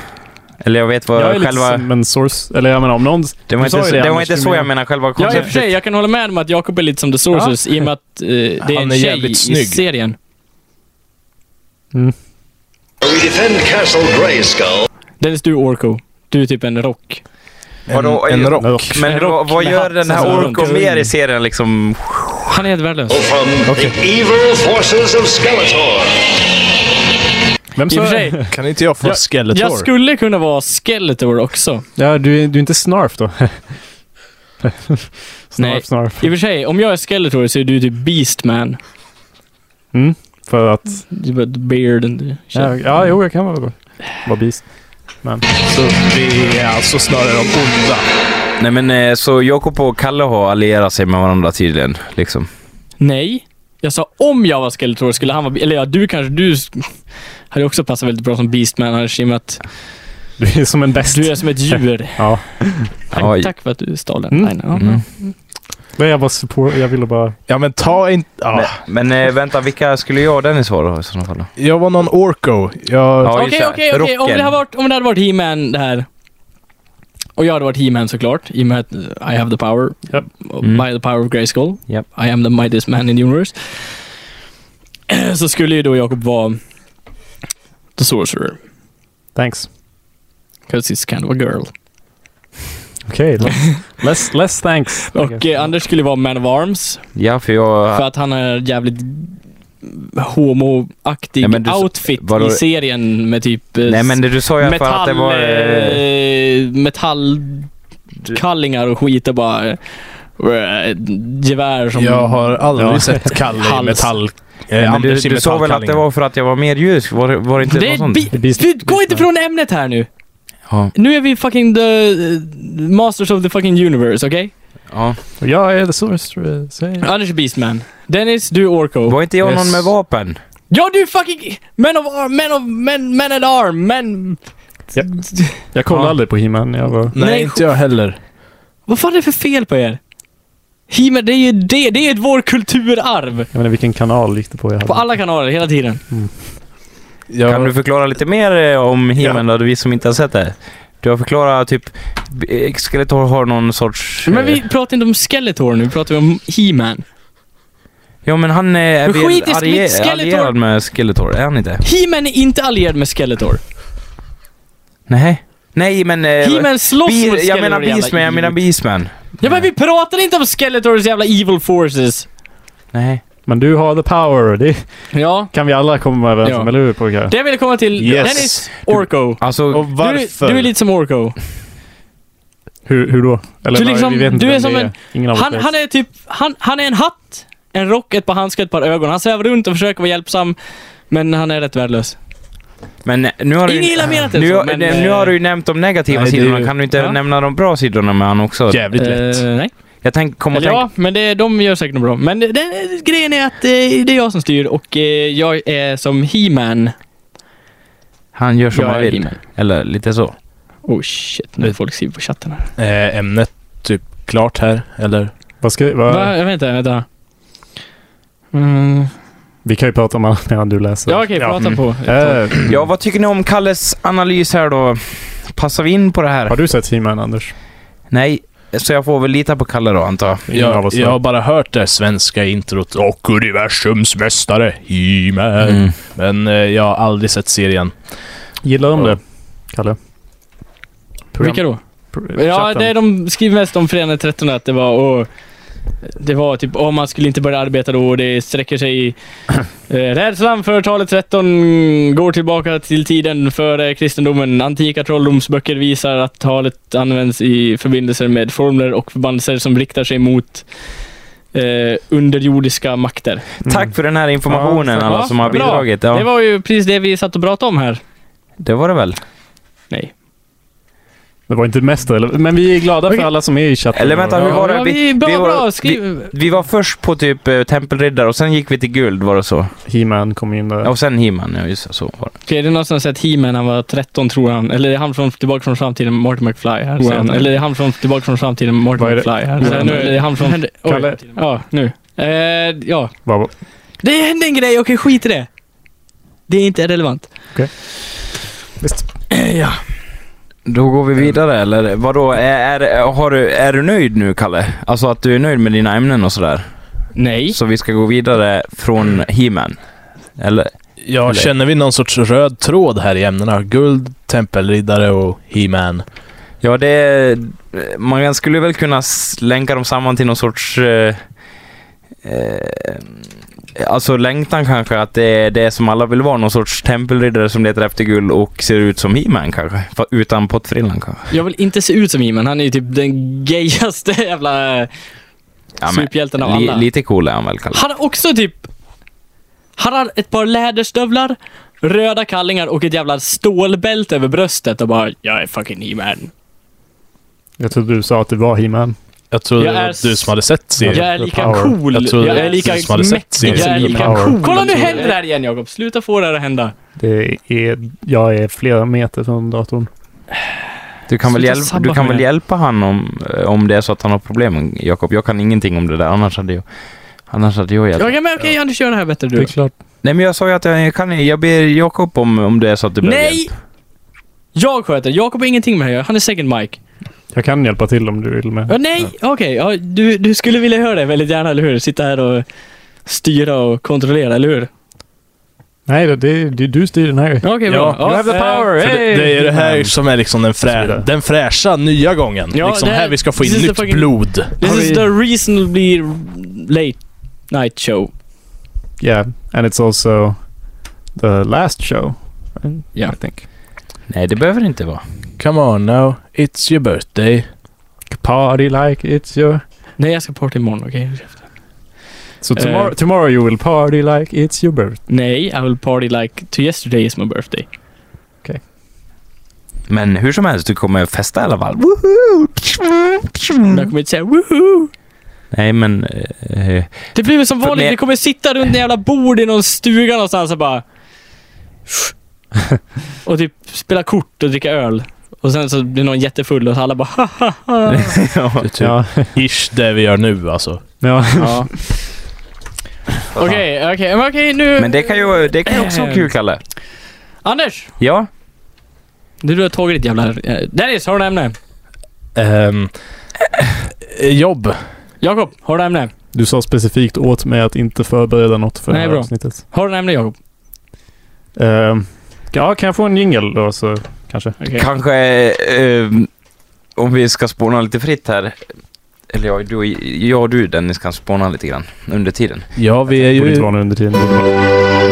[SPEAKER 2] Eller jag vet vad
[SPEAKER 3] jag är lite
[SPEAKER 2] själva...
[SPEAKER 3] som en source, eller jag menar om någon...
[SPEAKER 2] Det var
[SPEAKER 3] du sa
[SPEAKER 2] inte,
[SPEAKER 3] ju
[SPEAKER 2] så, det var
[SPEAKER 3] Anders,
[SPEAKER 2] inte
[SPEAKER 3] du
[SPEAKER 2] så jag
[SPEAKER 3] menar-
[SPEAKER 2] menar själva
[SPEAKER 1] Ja, i och för
[SPEAKER 2] konceptet.
[SPEAKER 1] sig. Jag kan hålla med om att Jakob är lite som the sources i och med att eh, det är
[SPEAKER 4] Han
[SPEAKER 1] en
[SPEAKER 4] är
[SPEAKER 1] tjej
[SPEAKER 4] jävligt
[SPEAKER 1] i
[SPEAKER 4] snygg.
[SPEAKER 1] serien.
[SPEAKER 7] We defend Castle Grayskull.
[SPEAKER 1] Dennis, du är Orko. Du är typ en rock.
[SPEAKER 2] Vadå?
[SPEAKER 4] En, en rock.
[SPEAKER 2] Men
[SPEAKER 1] En
[SPEAKER 2] vad,
[SPEAKER 1] rock
[SPEAKER 2] vad
[SPEAKER 1] med
[SPEAKER 2] gör
[SPEAKER 1] hatt
[SPEAKER 2] den här
[SPEAKER 1] som
[SPEAKER 2] Orko
[SPEAKER 1] runt.
[SPEAKER 2] mer i serien liksom?
[SPEAKER 1] Han är helt värdelös.
[SPEAKER 7] from the evil forces of Skeletor.
[SPEAKER 3] Vem
[SPEAKER 1] I och
[SPEAKER 3] sa...
[SPEAKER 1] för sig,
[SPEAKER 4] Kan inte jag få
[SPEAKER 1] Jag-
[SPEAKER 4] Skeletor?
[SPEAKER 1] jag skulle kunna vara Skeletor också.
[SPEAKER 3] Ja, du, är- du är inte Snarf då?
[SPEAKER 1] Nej.
[SPEAKER 3] snarf, Snarf.
[SPEAKER 1] I och för sig, om jag är Skeletor så är du typ Beastman.
[SPEAKER 3] Mm, för att...
[SPEAKER 1] Du är bara the beard and the shit.
[SPEAKER 3] Ja, ja, jo, jag kan vara Vara beast. Men...
[SPEAKER 4] Så vi är alltså snarare de onda.
[SPEAKER 2] Nej men eh, så Jakob och Kalle har allierat sig med varandra tydligen. Liksom.
[SPEAKER 1] Nej. Jag sa om jag var Skeletor skulle han vara... Eller ja, du kanske... Du s- hade också passat väldigt bra som Beastman annars i och med att
[SPEAKER 3] Du är som en bäst.
[SPEAKER 1] du är som ett djur.
[SPEAKER 3] *laughs* Ja.
[SPEAKER 1] Tack,
[SPEAKER 2] Oj.
[SPEAKER 1] tack för att du stal den
[SPEAKER 3] Mm.
[SPEAKER 1] linen. Ja.
[SPEAKER 2] Mm.
[SPEAKER 3] Nej, jag bara support. Jag ville bara...
[SPEAKER 4] Ja men ta inte... Ja.
[SPEAKER 2] Men, men eh, vänta, vilka skulle jag och Dennis vara då i sådana fall? Då?
[SPEAKER 4] Jag var någon Orko. Jag...
[SPEAKER 2] Ja, just
[SPEAKER 1] Okej,
[SPEAKER 2] det.
[SPEAKER 1] okej, okej. Om
[SPEAKER 2] Rocken.
[SPEAKER 1] det hade varit, om det hade varit He-Man det här. Och jag hade varit He-Man såklart, i och med att eh, I have the power.
[SPEAKER 3] Japp.
[SPEAKER 2] Mm.
[SPEAKER 1] By the power of Grayskull.
[SPEAKER 2] Japp.
[SPEAKER 1] I am the mightiest man in the universe. *clears throat* Så skulle ju då Jakob vara the sorcerer.
[SPEAKER 3] Thanks.
[SPEAKER 1] Because he's kind of a girl.
[SPEAKER 3] Okej. less- less,
[SPEAKER 2] *laughs*
[SPEAKER 3] less thanks.
[SPEAKER 1] eh, Och eh, Anders skulle vara man of arms.
[SPEAKER 2] Ja, för jag...
[SPEAKER 1] För att han är jävligt homoaktig
[SPEAKER 2] Ja, men du-
[SPEAKER 1] outfit
[SPEAKER 2] vadå?
[SPEAKER 1] i serien med typ eh,
[SPEAKER 2] Nej men det du sa ju i alla fall att
[SPEAKER 1] metall,
[SPEAKER 2] det var... Eh,
[SPEAKER 1] eh, metallkallingar och skit och bara eh, gevär som...
[SPEAKER 4] Jag har aldrig
[SPEAKER 1] Ja.
[SPEAKER 4] sett Kalle i
[SPEAKER 1] Hals.
[SPEAKER 4] metall...
[SPEAKER 2] men
[SPEAKER 4] Eh,
[SPEAKER 2] du
[SPEAKER 4] Anders i
[SPEAKER 2] du sa väl att det
[SPEAKER 4] metallkallingar.
[SPEAKER 2] var för att jag var medjudisk? Var, det- var det inte
[SPEAKER 1] Det
[SPEAKER 2] något
[SPEAKER 1] är
[SPEAKER 2] sånt?
[SPEAKER 1] bi- du, gå inte från ämnet här nu!
[SPEAKER 2] liksom. Ja.
[SPEAKER 1] Nu är vi fucking the eh, masters of the fucking universe, okej?
[SPEAKER 2] Ja.
[SPEAKER 3] Jag är the sorcerer. Say.
[SPEAKER 1] Anders är Beastman. Dennis, du är Orko.
[SPEAKER 2] Var inte jag någon
[SPEAKER 4] Yes.
[SPEAKER 2] med vapen?
[SPEAKER 1] Ja, du är fucking... Men of arm, men of... Men, men at arm, men...
[SPEAKER 3] Ja. Jag kollade
[SPEAKER 4] Ja.
[SPEAKER 3] aldrig på He-Man. Jag var...
[SPEAKER 4] Nej,
[SPEAKER 1] Nej,
[SPEAKER 4] inte jag heller.
[SPEAKER 1] Vad fan är det för fel på er? He-Man, det är ju det. Det är ju vår kulturarv.
[SPEAKER 3] Jag vet inte vilken kanal gick det på jag hade.
[SPEAKER 1] På alla kanaler, hela tiden.
[SPEAKER 4] Jag,
[SPEAKER 2] Kan du förklara lite mer eh, om He-Man då, vi som inte har sett det? Du har förklarat typ... eh, Skeletor har någon sorts...
[SPEAKER 1] Men
[SPEAKER 2] eh,
[SPEAKER 1] vi pratar inte om Skeletor nu, vi pratar om He-Man.
[SPEAKER 2] Ja men han eh, är
[SPEAKER 1] Men
[SPEAKER 2] väl
[SPEAKER 1] skit i
[SPEAKER 2] allie-
[SPEAKER 1] Skeletor.
[SPEAKER 2] allierad med Skeletor, är han inte?
[SPEAKER 1] He-Man är inte allierad med Skeletor.
[SPEAKER 2] Nej. Nej men... eh,
[SPEAKER 1] He-Man slåss mot
[SPEAKER 2] Be-
[SPEAKER 1] Skeletor.
[SPEAKER 2] jag menar
[SPEAKER 1] jävla
[SPEAKER 2] Beastman, jag menar
[SPEAKER 1] idiot.
[SPEAKER 2] Beastman.
[SPEAKER 1] Ja men vi pratar inte om Skeletors jävla evil forces.
[SPEAKER 2] Nej.
[SPEAKER 3] Men du har the power. Det
[SPEAKER 1] Ja.
[SPEAKER 3] kan vi alla komma överens
[SPEAKER 1] Ja.
[SPEAKER 3] om, eller hur pojkar?
[SPEAKER 1] Det jag ville komma till,
[SPEAKER 4] Yes.
[SPEAKER 1] Dennis, Orko.
[SPEAKER 2] Alltså,
[SPEAKER 4] och varför?
[SPEAKER 1] Du, du är lite som Orko.
[SPEAKER 3] Hur, hur då? Eller
[SPEAKER 1] Du
[SPEAKER 3] vad-
[SPEAKER 1] liksom-
[SPEAKER 3] vi vet inte
[SPEAKER 1] du är
[SPEAKER 3] vem
[SPEAKER 1] som
[SPEAKER 3] det
[SPEAKER 1] en-
[SPEAKER 3] Ingen av oss
[SPEAKER 1] Han,
[SPEAKER 3] vet.
[SPEAKER 1] han är typ, han, han är en hatt, en rock, ett par handskar, ett par ögon. Han svävar runt och försöker vara hjälpsam. Men han är rätt värdelös.
[SPEAKER 2] men nu har
[SPEAKER 1] Ingen
[SPEAKER 2] du
[SPEAKER 1] illa menat det
[SPEAKER 2] nu,
[SPEAKER 1] så,
[SPEAKER 2] har-
[SPEAKER 1] men,
[SPEAKER 2] nu,
[SPEAKER 1] eh,
[SPEAKER 2] har du ju nämnt de negativa
[SPEAKER 4] nej, det är
[SPEAKER 2] sidorna,
[SPEAKER 4] ju-
[SPEAKER 2] kan du inte
[SPEAKER 1] Ja.
[SPEAKER 2] nämna de bra sidorna med han också?
[SPEAKER 4] Jävligt lätt.
[SPEAKER 1] Eh, nej.
[SPEAKER 2] Jag tänk, kom och
[SPEAKER 1] Eller
[SPEAKER 2] tänk...
[SPEAKER 1] ja, men det, de gör säkert något bra. Men det, det, grejen är att eh, det är jag som styr och eh, jag är som He-Man.
[SPEAKER 2] Han gör som
[SPEAKER 1] Jag
[SPEAKER 2] han
[SPEAKER 1] är
[SPEAKER 2] vill.
[SPEAKER 1] He-Man.
[SPEAKER 2] Eller lite så.
[SPEAKER 1] Oh shit, nu är folk skriver på chatten här.
[SPEAKER 4] Eh, ämnet typ klart här, eller?
[SPEAKER 3] Vad ska vi,
[SPEAKER 2] Äh.
[SPEAKER 3] vad,
[SPEAKER 1] Va? Jag vet inte, vänta. Mm.
[SPEAKER 3] vi kan ju prata om annat *laughs* medan du läser.
[SPEAKER 1] Ja okej, prata
[SPEAKER 2] mm.
[SPEAKER 1] på.
[SPEAKER 3] Eh,
[SPEAKER 2] Ja, vad tycker ni om Kalles analys här då? Passar vi in på det här?
[SPEAKER 3] har du sett He-Man, Anders?
[SPEAKER 2] Nej, så jag får väl lita på Kalle då antar jag.
[SPEAKER 3] Ingen av
[SPEAKER 4] Jag,
[SPEAKER 3] oss
[SPEAKER 4] jag
[SPEAKER 3] har.
[SPEAKER 4] har bara hört det här svenska introt och universums mästare, He-Man.
[SPEAKER 2] Mm.
[SPEAKER 4] Men eh, jag har aldrig sett serien.
[SPEAKER 3] Gillar
[SPEAKER 4] Ja.
[SPEAKER 3] de det, Kalle? Program-
[SPEAKER 1] Vilka då?
[SPEAKER 3] pr-
[SPEAKER 1] Ja,
[SPEAKER 3] chatten.
[SPEAKER 1] det de skriver mest om Förenade 13 att det var och, Det var typ om man skulle inte börja arbeta då och det sträcker sig i eh, Rädslan för talet 13 går tillbaka till tiden före kristendomen. Antika trolldomsböcker visar att talet används i förbindelser med formler och förbandelser som riktar sig mot eh, underjordiska makter.
[SPEAKER 3] Mm.
[SPEAKER 2] Tack för den här informationen
[SPEAKER 3] Ja,
[SPEAKER 2] alla
[SPEAKER 1] ja,
[SPEAKER 2] som har
[SPEAKER 1] bra.
[SPEAKER 2] bidragit. Ja,
[SPEAKER 1] Det var ju precis det vi satt och pratade om här.
[SPEAKER 2] det var det väl?
[SPEAKER 1] Nej.
[SPEAKER 3] Det var inte mest eller? Men vi är glada för
[SPEAKER 2] Okej.
[SPEAKER 3] alla som är i chatten.
[SPEAKER 2] Eller vänta, hur var det?
[SPEAKER 1] Ja, vi, bra,
[SPEAKER 2] var,
[SPEAKER 1] bra, skriv.
[SPEAKER 2] Vi, vi var först på typ eh, Tempelriddare och sen gick vi till guld, var det så?
[SPEAKER 3] He-Man kom in där.
[SPEAKER 2] Ja, och sen He-Man, ja just det, så var det.
[SPEAKER 1] Okej, det är någon som har sett He-Man han var 13 tror han. Eller det är han från Tillbaka från framtiden, Martin McFly här.
[SPEAKER 3] Wow.
[SPEAKER 1] Sen. Eller det är han från Tillbaka från framtiden, Martin
[SPEAKER 3] Vad är det?
[SPEAKER 1] McFly här.
[SPEAKER 3] Wow.
[SPEAKER 1] Sen. Eller det är han från... oj.
[SPEAKER 3] Kalle?
[SPEAKER 1] Ja, nu. Eh, ja.
[SPEAKER 3] Vad-
[SPEAKER 1] Det hände en grej, okej skit i det. Det är inte relevant.
[SPEAKER 3] Visst.
[SPEAKER 1] Eh, Ja.
[SPEAKER 2] Då går vi vidare, eller vadå? Är, är, har du, är du nöjd nu, Kalle? Alltså att du är nöjd med dina ämnen och sådär?
[SPEAKER 1] Nej.
[SPEAKER 2] Så vi ska gå vidare från He-Man? Eller?
[SPEAKER 4] Ja,
[SPEAKER 2] Eller-
[SPEAKER 4] känner vi någon sorts röd tråd här i ämnena? Guld, tempelriddare och He-Man.
[SPEAKER 2] Ja, det... Man skulle väl kunna s- länka dem samman till någon sorts... Eh, eh, alltså längtan kanske, att det är det som alla vill vara. Någon sorts tempelriddare som letar efter guld och ser ut som He-Man kanske. Fa- Utan pottfrillan kanske.
[SPEAKER 1] Jag vill inte se ut som He-Man. Han är ju typ den gayaste jävla eh,
[SPEAKER 2] Ja, men,
[SPEAKER 1] superhjälten av
[SPEAKER 2] li,
[SPEAKER 1] alla.
[SPEAKER 2] lite cool är han väl, Kalle?
[SPEAKER 1] Han har också typ... Han har ett par läderstövlar, röda kallingar och ett jävla stålbälte över bröstet och bara “Jag är fucking He-Man”.
[SPEAKER 3] Jag trodde du sa att det var He-Man.
[SPEAKER 4] Jag trodde
[SPEAKER 1] Jag
[SPEAKER 4] det
[SPEAKER 1] är
[SPEAKER 4] var
[SPEAKER 1] s-
[SPEAKER 4] du som hade sett serien.
[SPEAKER 1] Jag är
[SPEAKER 3] The
[SPEAKER 1] lika
[SPEAKER 3] power.
[SPEAKER 1] cool.
[SPEAKER 4] Jag
[SPEAKER 1] Jag,
[SPEAKER 4] tror
[SPEAKER 1] är lika
[SPEAKER 4] precis som hade sett
[SPEAKER 1] mäktig. Jag
[SPEAKER 4] serien.
[SPEAKER 1] är
[SPEAKER 3] The
[SPEAKER 1] lika
[SPEAKER 3] power.
[SPEAKER 1] cool. Kolla nu
[SPEAKER 3] Jag tror
[SPEAKER 1] händer det här igen Jakob. Sluta få det här att hända.
[SPEAKER 3] Det är, jag är flera meter från datorn.
[SPEAKER 2] Du kan, väl
[SPEAKER 1] Sluta
[SPEAKER 2] hjälpa,
[SPEAKER 1] sabba
[SPEAKER 2] du kan
[SPEAKER 1] för
[SPEAKER 2] väl
[SPEAKER 1] det.
[SPEAKER 2] hjälpa han om, eh, om det är så att han har problem, Jakob? Jag kan ingenting om det där, annars hade jag... Annars hade jag hjälpt.
[SPEAKER 1] Okej, men okej Anders, gör det här bättre du.
[SPEAKER 3] klart.
[SPEAKER 2] Nej men jag sa ju att jag kan Jag ber Jakob om, om det är så att du behöver
[SPEAKER 1] Nej!
[SPEAKER 2] hjälp.
[SPEAKER 1] Jag sköter Jakob har ingenting med det att göra. Han är second mic.
[SPEAKER 3] Jag kan hjälpa till om du vill
[SPEAKER 1] Ja,
[SPEAKER 3] med.
[SPEAKER 1] nej, okej. Ja, du, du skulle vilja höra det väldigt gärna, eller hur? Sitta här och styra och kontrollera, eller hur?
[SPEAKER 3] Nej, det, det, det, du styr den här.
[SPEAKER 1] Okej, bra.
[SPEAKER 4] Ja,
[SPEAKER 1] Ja,
[SPEAKER 3] you have the
[SPEAKER 1] eh,
[SPEAKER 3] power!
[SPEAKER 4] För det, det är ju det här
[SPEAKER 3] He-Man.
[SPEAKER 4] som är liksom den,
[SPEAKER 3] Så
[SPEAKER 4] frä,
[SPEAKER 3] vidare.
[SPEAKER 4] den fräscha nya gången.
[SPEAKER 1] Ja,
[SPEAKER 4] liksom
[SPEAKER 1] det här-
[SPEAKER 4] här vi ska få in
[SPEAKER 1] this is the
[SPEAKER 4] nytt
[SPEAKER 1] fucking-
[SPEAKER 4] blod.
[SPEAKER 1] eh, This
[SPEAKER 3] Har
[SPEAKER 1] is
[SPEAKER 3] vi-
[SPEAKER 1] the reasonably late night show.
[SPEAKER 3] yeah, and it's also the last show. right?
[SPEAKER 4] Yeah.
[SPEAKER 3] I think.
[SPEAKER 2] Nej, det behöver det inte vara.
[SPEAKER 4] Come on now, it's your birthday.
[SPEAKER 3] Party like it's your.
[SPEAKER 1] Nej, jag ska party imorgon, okej?
[SPEAKER 3] So
[SPEAKER 1] Eh.
[SPEAKER 3] tomorrow, tomorrow you will party like it's your birthday.
[SPEAKER 1] Nej, I will party like to yesterday is my birthday.
[SPEAKER 2] Men hur som helst, du kommer festa i alla fall. Mm.
[SPEAKER 1] Men jag kommer inte säga woohoo!
[SPEAKER 2] Nej, men... Eh,
[SPEAKER 1] Det blir väl som
[SPEAKER 2] För-
[SPEAKER 1] vanligt,
[SPEAKER 2] men-
[SPEAKER 1] vi kommer sitta runt en jävla bord i någon stuga någonstans och
[SPEAKER 2] *laughs*
[SPEAKER 1] bara... Och typ spela kort och dricka öl. Och sen så blir någon jättefull och så alla bara ha, ha, ha.
[SPEAKER 4] Det är typ
[SPEAKER 3] Ja.
[SPEAKER 4] ish det vi gör nu alltså.
[SPEAKER 3] *laughs* ja.
[SPEAKER 1] Ja. Okej, okej, men okej nu.
[SPEAKER 2] men det kan ju, det kan ju också
[SPEAKER 1] Ehm.
[SPEAKER 2] vara kul, Kalle.
[SPEAKER 1] Anders!
[SPEAKER 2] Ja?
[SPEAKER 1] Du, du har tagit ditt jävla... eh, Dennis, har du ämne?
[SPEAKER 4] Ehm, eh, jobb.
[SPEAKER 1] Jakob, har du ämne?
[SPEAKER 3] Du sa specifikt åt mig att inte förbereda något för
[SPEAKER 1] Nej,
[SPEAKER 3] det här
[SPEAKER 1] bra.
[SPEAKER 3] avsnittet.
[SPEAKER 1] Har du ämne Jakob?
[SPEAKER 3] Ehm, ja, kan jag få en jingle då så kanske?
[SPEAKER 1] Okej.
[SPEAKER 2] Kanske... Eh, om vi ska spåna lite fritt här. Eller ja, du, jag och du Dennis kan spåna lite grann under tiden.
[SPEAKER 4] Ja, vi är
[SPEAKER 3] Borde inte
[SPEAKER 4] ju...
[SPEAKER 3] vara nu under tiden.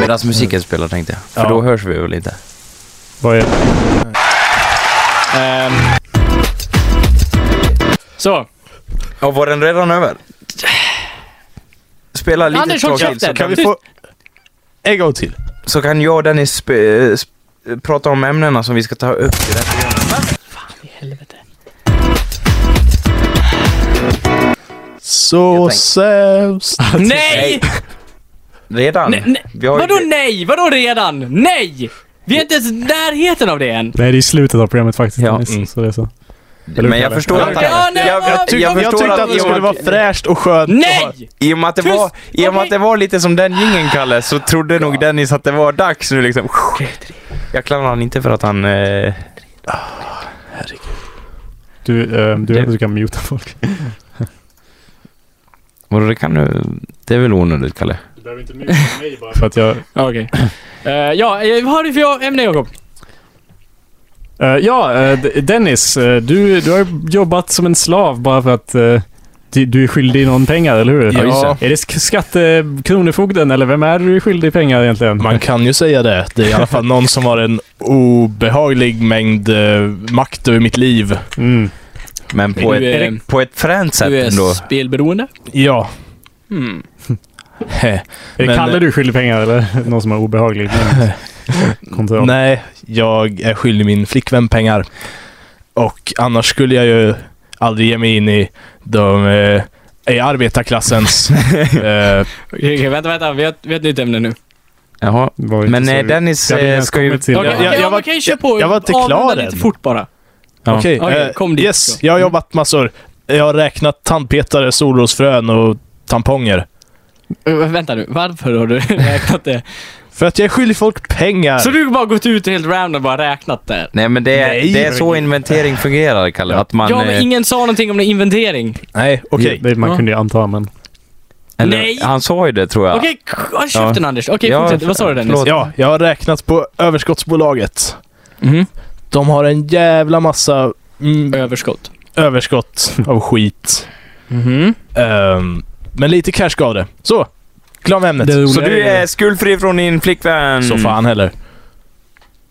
[SPEAKER 2] Medan musiken spelar tänkte jag. För
[SPEAKER 4] Ja.
[SPEAKER 2] då hörs vi väl inte.
[SPEAKER 3] Vad är
[SPEAKER 1] Ehm. Så.
[SPEAKER 2] Och var den redan över? Spela lite
[SPEAKER 1] Anders, håll
[SPEAKER 2] tråkigt så
[SPEAKER 1] käften!
[SPEAKER 2] kan,
[SPEAKER 4] Kan vi få... En gång till.
[SPEAKER 2] så kan jag och Dennis sp- eh, sp- prata om ämnena som vi ska ta upp.
[SPEAKER 4] Så
[SPEAKER 2] tänkte-
[SPEAKER 4] sämst.
[SPEAKER 1] Nej!
[SPEAKER 2] Redan?
[SPEAKER 1] Nej, nej.
[SPEAKER 2] Vi har ju-
[SPEAKER 1] Vadå nej? Vadå redan? Nej! Vi är inte ens i närheten av det än.
[SPEAKER 3] Nej, det är slutet av programmet faktiskt.
[SPEAKER 2] Ja.
[SPEAKER 3] Dennis,
[SPEAKER 4] Mm.
[SPEAKER 3] Så det är så.
[SPEAKER 2] Men jag förstår
[SPEAKER 1] Ja,
[SPEAKER 2] inte.
[SPEAKER 1] ja, nej,
[SPEAKER 2] Jag,
[SPEAKER 1] vad-
[SPEAKER 2] jag, jag
[SPEAKER 4] Tyck, jag,
[SPEAKER 2] förstår
[SPEAKER 4] tyckte att det skulle vara fräscht och skönt. att
[SPEAKER 1] Nej!
[SPEAKER 2] I och med att det
[SPEAKER 1] Tyst!
[SPEAKER 2] var, i och med att det
[SPEAKER 1] Okej.
[SPEAKER 2] var lite som den gingen Kalle, så trodde nog Dennis att det var dags nu liksom. Jag klandrar han inte för att han... Eh,
[SPEAKER 3] Du, ehm, du
[SPEAKER 2] Det-
[SPEAKER 3] vet att du kan muta folk.
[SPEAKER 2] vadå, det kan du... Det är väl onödigt Kalle?
[SPEAKER 3] Du behöver inte muta mig bara för att jag...
[SPEAKER 1] Ja, Okej. Eh, ja, eh, vad har du för jag- ämne Jakob?
[SPEAKER 3] Eh, ja, eh, D- Dennis, eh, du, du har jobbat som en slav bara för att eh, du, du är skyldig någon pengar, eller hur?
[SPEAKER 4] Ja, just det.
[SPEAKER 3] Är det sk- skattekronofogden, eller vem är du skyldig pengar egentligen?
[SPEAKER 4] Man kan ju säga det. Det är i alla fall någon som har en obehaglig mängd eh, makt över mitt liv.
[SPEAKER 3] Mm.
[SPEAKER 2] Men på
[SPEAKER 1] Du är-
[SPEAKER 2] ett, på ett fränt sätt
[SPEAKER 1] Du är
[SPEAKER 2] ändå.
[SPEAKER 1] spelberoende.
[SPEAKER 4] Ja.
[SPEAKER 1] Mm.
[SPEAKER 4] Heh.
[SPEAKER 3] Är det
[SPEAKER 4] Men-
[SPEAKER 3] Kalle du skyldig pengar, eller *laughs* någon som har obehaglig mängd kontroll?
[SPEAKER 4] Nej, jag är skyldig min flickvän pengar. Och annars skulle jag ju aldrig ge mig in i de... Eh, i arbetarklassens... eh,
[SPEAKER 1] Okej, okej, vänta, vänta. Vi har, vi har ett nytt ämne nu.
[SPEAKER 2] Jaha.
[SPEAKER 3] Det var ju inte
[SPEAKER 2] Men
[SPEAKER 3] så-
[SPEAKER 2] eh, Dennis
[SPEAKER 3] Jag hade inte
[SPEAKER 2] eh,
[SPEAKER 3] ens
[SPEAKER 2] ska ju...
[SPEAKER 3] kommit till-
[SPEAKER 1] Okej,
[SPEAKER 4] jag-
[SPEAKER 1] ja,
[SPEAKER 4] jag var-
[SPEAKER 1] men kan ju köra på.
[SPEAKER 4] jag var inte
[SPEAKER 1] Avrunda
[SPEAKER 4] klar
[SPEAKER 1] lite
[SPEAKER 4] än.
[SPEAKER 1] fort bara.
[SPEAKER 2] Ja.
[SPEAKER 4] Okej,
[SPEAKER 1] Okej,
[SPEAKER 4] eh,
[SPEAKER 1] kom dit
[SPEAKER 4] yes.
[SPEAKER 1] då.
[SPEAKER 4] Jag har jobbat massor. Jag har räknat tandpetare, solrosfrön och tamponger.
[SPEAKER 1] Eh, vänta nu, varför har du *laughs* räknat det?
[SPEAKER 4] För att jag är skyldig folk pengar.
[SPEAKER 1] Så du har bara gått ut helt random och bara räknat det?
[SPEAKER 2] Nej men det är,
[SPEAKER 4] Nej.
[SPEAKER 2] det är så inventering fungerar Kalle. Att man...
[SPEAKER 1] ja, men
[SPEAKER 2] eh,
[SPEAKER 1] ingen sa någonting om någon inventering.
[SPEAKER 4] Nej, okej.
[SPEAKER 3] Det, man
[SPEAKER 1] Ja.
[SPEAKER 3] kunde ju anta, men...
[SPEAKER 2] eller,
[SPEAKER 1] Nej!
[SPEAKER 2] Han sa ju det tror jag.
[SPEAKER 1] Okej, k- håll käften Anders. Okej,
[SPEAKER 2] Ja,
[SPEAKER 1] fortsätt. Vad sa du Dennis?
[SPEAKER 2] förlåt.
[SPEAKER 4] Ja, jag har räknat på överskottsbolaget.
[SPEAKER 1] Mhm.
[SPEAKER 4] De har en jävla massa mm,
[SPEAKER 1] Överskott.
[SPEAKER 4] överskott av skit.
[SPEAKER 1] Mhm.
[SPEAKER 4] Ehm, men lite cash gav det. Så, glöm ämnet.
[SPEAKER 3] Det
[SPEAKER 2] Så du är skuldfri från din flickvän?
[SPEAKER 4] Så fan heller.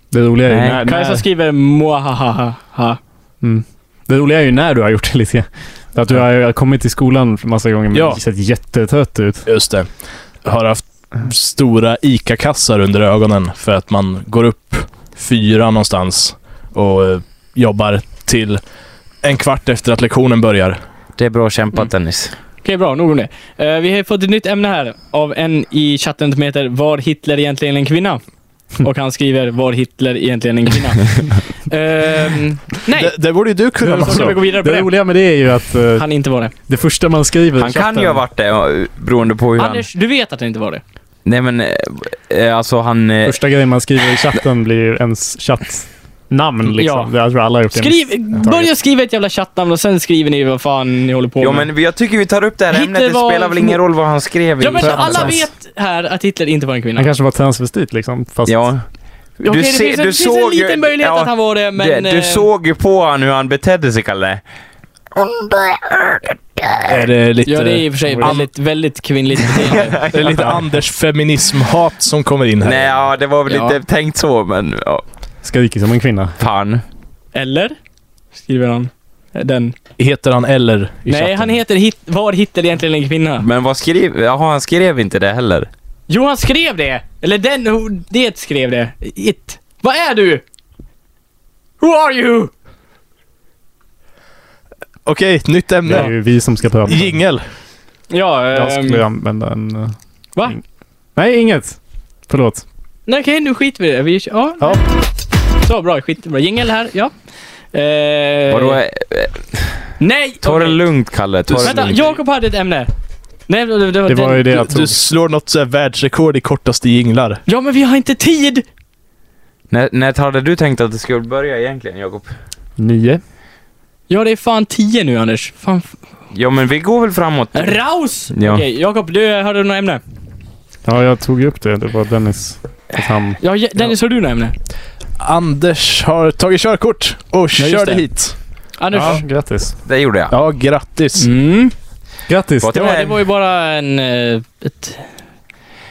[SPEAKER 3] Det roliga är ju
[SPEAKER 2] Nej,
[SPEAKER 3] när,
[SPEAKER 1] Kajsa
[SPEAKER 3] när,
[SPEAKER 1] skriver mwahaha.
[SPEAKER 3] det roliga är ju när du har gjort det lite. Att du har ju kommit till skolan massa gånger men
[SPEAKER 4] Ja.
[SPEAKER 3] sett jättetrött ut.
[SPEAKER 4] Just det. Har haft stora ICA-kassar under ögonen för att man går upp fyra någonstans och eh, jobbar till en kvart efter att lektionen börjar.
[SPEAKER 2] Det är bra kämpat Dennis.
[SPEAKER 1] Okej, bra. Nog om det. Eh, vi har fått ett nytt ämne här av en i chatten som heter Var Hitler egentligen en kvinna? Och han skriver Var Hitler egentligen en kvinna? Ehm, nej,
[SPEAKER 4] Det, det borde ju du kunna
[SPEAKER 1] så ska vi gå vidare på
[SPEAKER 3] Det
[SPEAKER 1] det.
[SPEAKER 3] roliga med det är ju att eh,
[SPEAKER 1] Han inte var det.
[SPEAKER 3] det första man skriver i
[SPEAKER 2] Han kan
[SPEAKER 3] chatten-
[SPEAKER 2] ju ha varit det ja, beroende på hur han...
[SPEAKER 1] Anders, du vet att han inte var det?
[SPEAKER 2] Nej men eh, eh, alltså han... eh,
[SPEAKER 3] Första grejen man skriver i chatten blir ju ens chattnamn liksom. Jag tror alla har gjort det.
[SPEAKER 1] Skriv, börja skriva ett jävla chattnamn och sen skriver ni vad fan ni håller på
[SPEAKER 2] Ja
[SPEAKER 1] med.
[SPEAKER 2] men jag tycker vi tar upp det här
[SPEAKER 1] Hitler
[SPEAKER 2] ämnet. Det
[SPEAKER 1] var-
[SPEAKER 2] spelar väl ingen roll vad han skrev i
[SPEAKER 1] ja, men
[SPEAKER 2] chatten.
[SPEAKER 1] alla vet här att Hitler inte var en kvinna.
[SPEAKER 3] Han kanske var transvestit liksom. Fast
[SPEAKER 2] Ja.
[SPEAKER 1] Okej, det finns, en, det finns en liten möjlighet att han var det, men...
[SPEAKER 2] det, du
[SPEAKER 1] eh,
[SPEAKER 2] såg ju på han hur han betedde sig Kalle.
[SPEAKER 4] Är det lite,
[SPEAKER 1] Ja, det är i och för sig väldigt, väldigt kvinnligt beteende. *laughs*
[SPEAKER 4] det är lite Anders feminismhat som kommer in här.
[SPEAKER 2] Nej, ja, det var väl
[SPEAKER 1] Ja.
[SPEAKER 2] inte tänkt så, men ja,
[SPEAKER 3] Skriker som en kvinna.
[SPEAKER 2] fan.
[SPEAKER 1] Eller? Skriver han. Eh, Den.
[SPEAKER 4] Heter han eller i
[SPEAKER 1] Nej,
[SPEAKER 4] chatten?
[SPEAKER 1] han heter hit, Var hittar egentligen en kvinna?
[SPEAKER 2] Men vad skrev... Jaha, han skrev inte det heller.
[SPEAKER 1] Jo, han skrev det! Eller den, ho- det skrev det. It. Vad är du? Who are you?
[SPEAKER 4] Okej, nytt
[SPEAKER 3] Det är
[SPEAKER 4] ämne.
[SPEAKER 3] ju vi som ska pröva.
[SPEAKER 4] Jingel.
[SPEAKER 1] Ja,
[SPEAKER 3] Jag
[SPEAKER 1] ehm,
[SPEAKER 3] skulle använda en... eh,
[SPEAKER 1] va?
[SPEAKER 3] Nej, inget. Förlåt.
[SPEAKER 1] Nej, okej, nu skiter vi i det. Vi, ja.
[SPEAKER 3] Ja.
[SPEAKER 1] Så, bra. Skitbra. Jingel här, ja. Eh,
[SPEAKER 2] Vadå? eh,
[SPEAKER 1] Nej!
[SPEAKER 2] Ta det
[SPEAKER 1] okej.
[SPEAKER 2] lugnt, Kalle. Ta det
[SPEAKER 1] Vänta,
[SPEAKER 2] lugnt.
[SPEAKER 1] Jakob hade ett ämne. Nej, det, det,
[SPEAKER 3] Det var ju det
[SPEAKER 4] Du,
[SPEAKER 3] jag
[SPEAKER 4] du
[SPEAKER 3] trodde.
[SPEAKER 4] slår något så här världsrekord i kortaste jinglar.
[SPEAKER 1] Ja, men vi har inte tid!
[SPEAKER 2] När, när hade du tänkt att det skulle börja egentligen, Jakob?
[SPEAKER 3] Nio.
[SPEAKER 1] Ja, det är fan tio nu, Anders. Fan. f-
[SPEAKER 2] Ja, men vi går väl framåt.
[SPEAKER 1] Raus!
[SPEAKER 2] Ja.
[SPEAKER 1] Okej, Jakob, du eh, har du något ämne?
[SPEAKER 3] Ja, jag tog ju upp det. Det var Dennis.
[SPEAKER 2] Eh.
[SPEAKER 3] Att han...
[SPEAKER 1] Ja, Je- Dennis, har du något ämne?
[SPEAKER 4] Anders har tagit körkort och
[SPEAKER 1] just
[SPEAKER 4] körde
[SPEAKER 1] det.
[SPEAKER 4] hit.
[SPEAKER 1] Anders?
[SPEAKER 3] Ja, grattis.
[SPEAKER 2] Det gjorde jag.
[SPEAKER 4] Ja, grattis.
[SPEAKER 1] Mm.
[SPEAKER 3] Grattis.
[SPEAKER 2] Vad-
[SPEAKER 1] Det var, det var ju bara en... eh, Ett,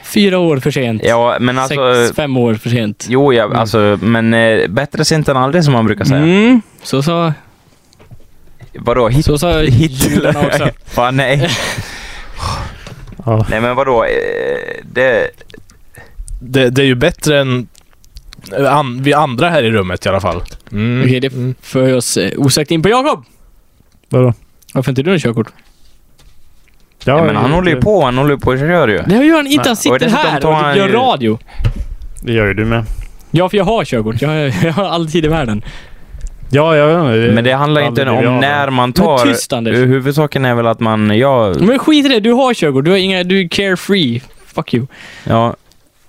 [SPEAKER 1] fyra år för sent.
[SPEAKER 2] Ja, men alltså...
[SPEAKER 1] Sex, fem år för sent.
[SPEAKER 2] Jo, jag, alltså, men eh, bättre sent än aldrig som man brukar säga.
[SPEAKER 1] Mm. Så sa,
[SPEAKER 2] Vadå? Hit,
[SPEAKER 1] så sa judarna också.
[SPEAKER 2] Hitler? Fan, *laughs* nej.
[SPEAKER 3] Ja.
[SPEAKER 2] Nej, men vadå? eh, Det...
[SPEAKER 4] Det, det är ju bättre än eh, an, vi andra här i rummet i alla fall. Mm.
[SPEAKER 1] Okej, det för oss eh, osökt in på Jakob.
[SPEAKER 3] Vadå?
[SPEAKER 1] Varför inte du har körkort?
[SPEAKER 3] Ja,
[SPEAKER 2] nej, men han håller ju på. Han håller ju på och kör ju.
[SPEAKER 1] Det gör han inte. Han
[SPEAKER 2] Och
[SPEAKER 1] sitter
[SPEAKER 2] dessutom
[SPEAKER 1] här
[SPEAKER 2] tar
[SPEAKER 1] och
[SPEAKER 2] han
[SPEAKER 1] typ gör
[SPEAKER 2] ju-
[SPEAKER 1] radio.
[SPEAKER 3] Det gör ju du med.
[SPEAKER 1] Ja, för jag har körkort. Jag, har- jag har all tid i världen.
[SPEAKER 3] Ja, ja, ja.
[SPEAKER 2] Men det handlar inte
[SPEAKER 3] aldrig blir
[SPEAKER 2] om
[SPEAKER 3] av.
[SPEAKER 2] när man
[SPEAKER 1] Men
[SPEAKER 2] tar...
[SPEAKER 1] tyst, Anders.
[SPEAKER 2] Huvudsaken är väl att man... Ja...
[SPEAKER 1] Men skit i det. Du har körkort. Du, har inga, du är carefree. Fuck you.
[SPEAKER 2] Ja.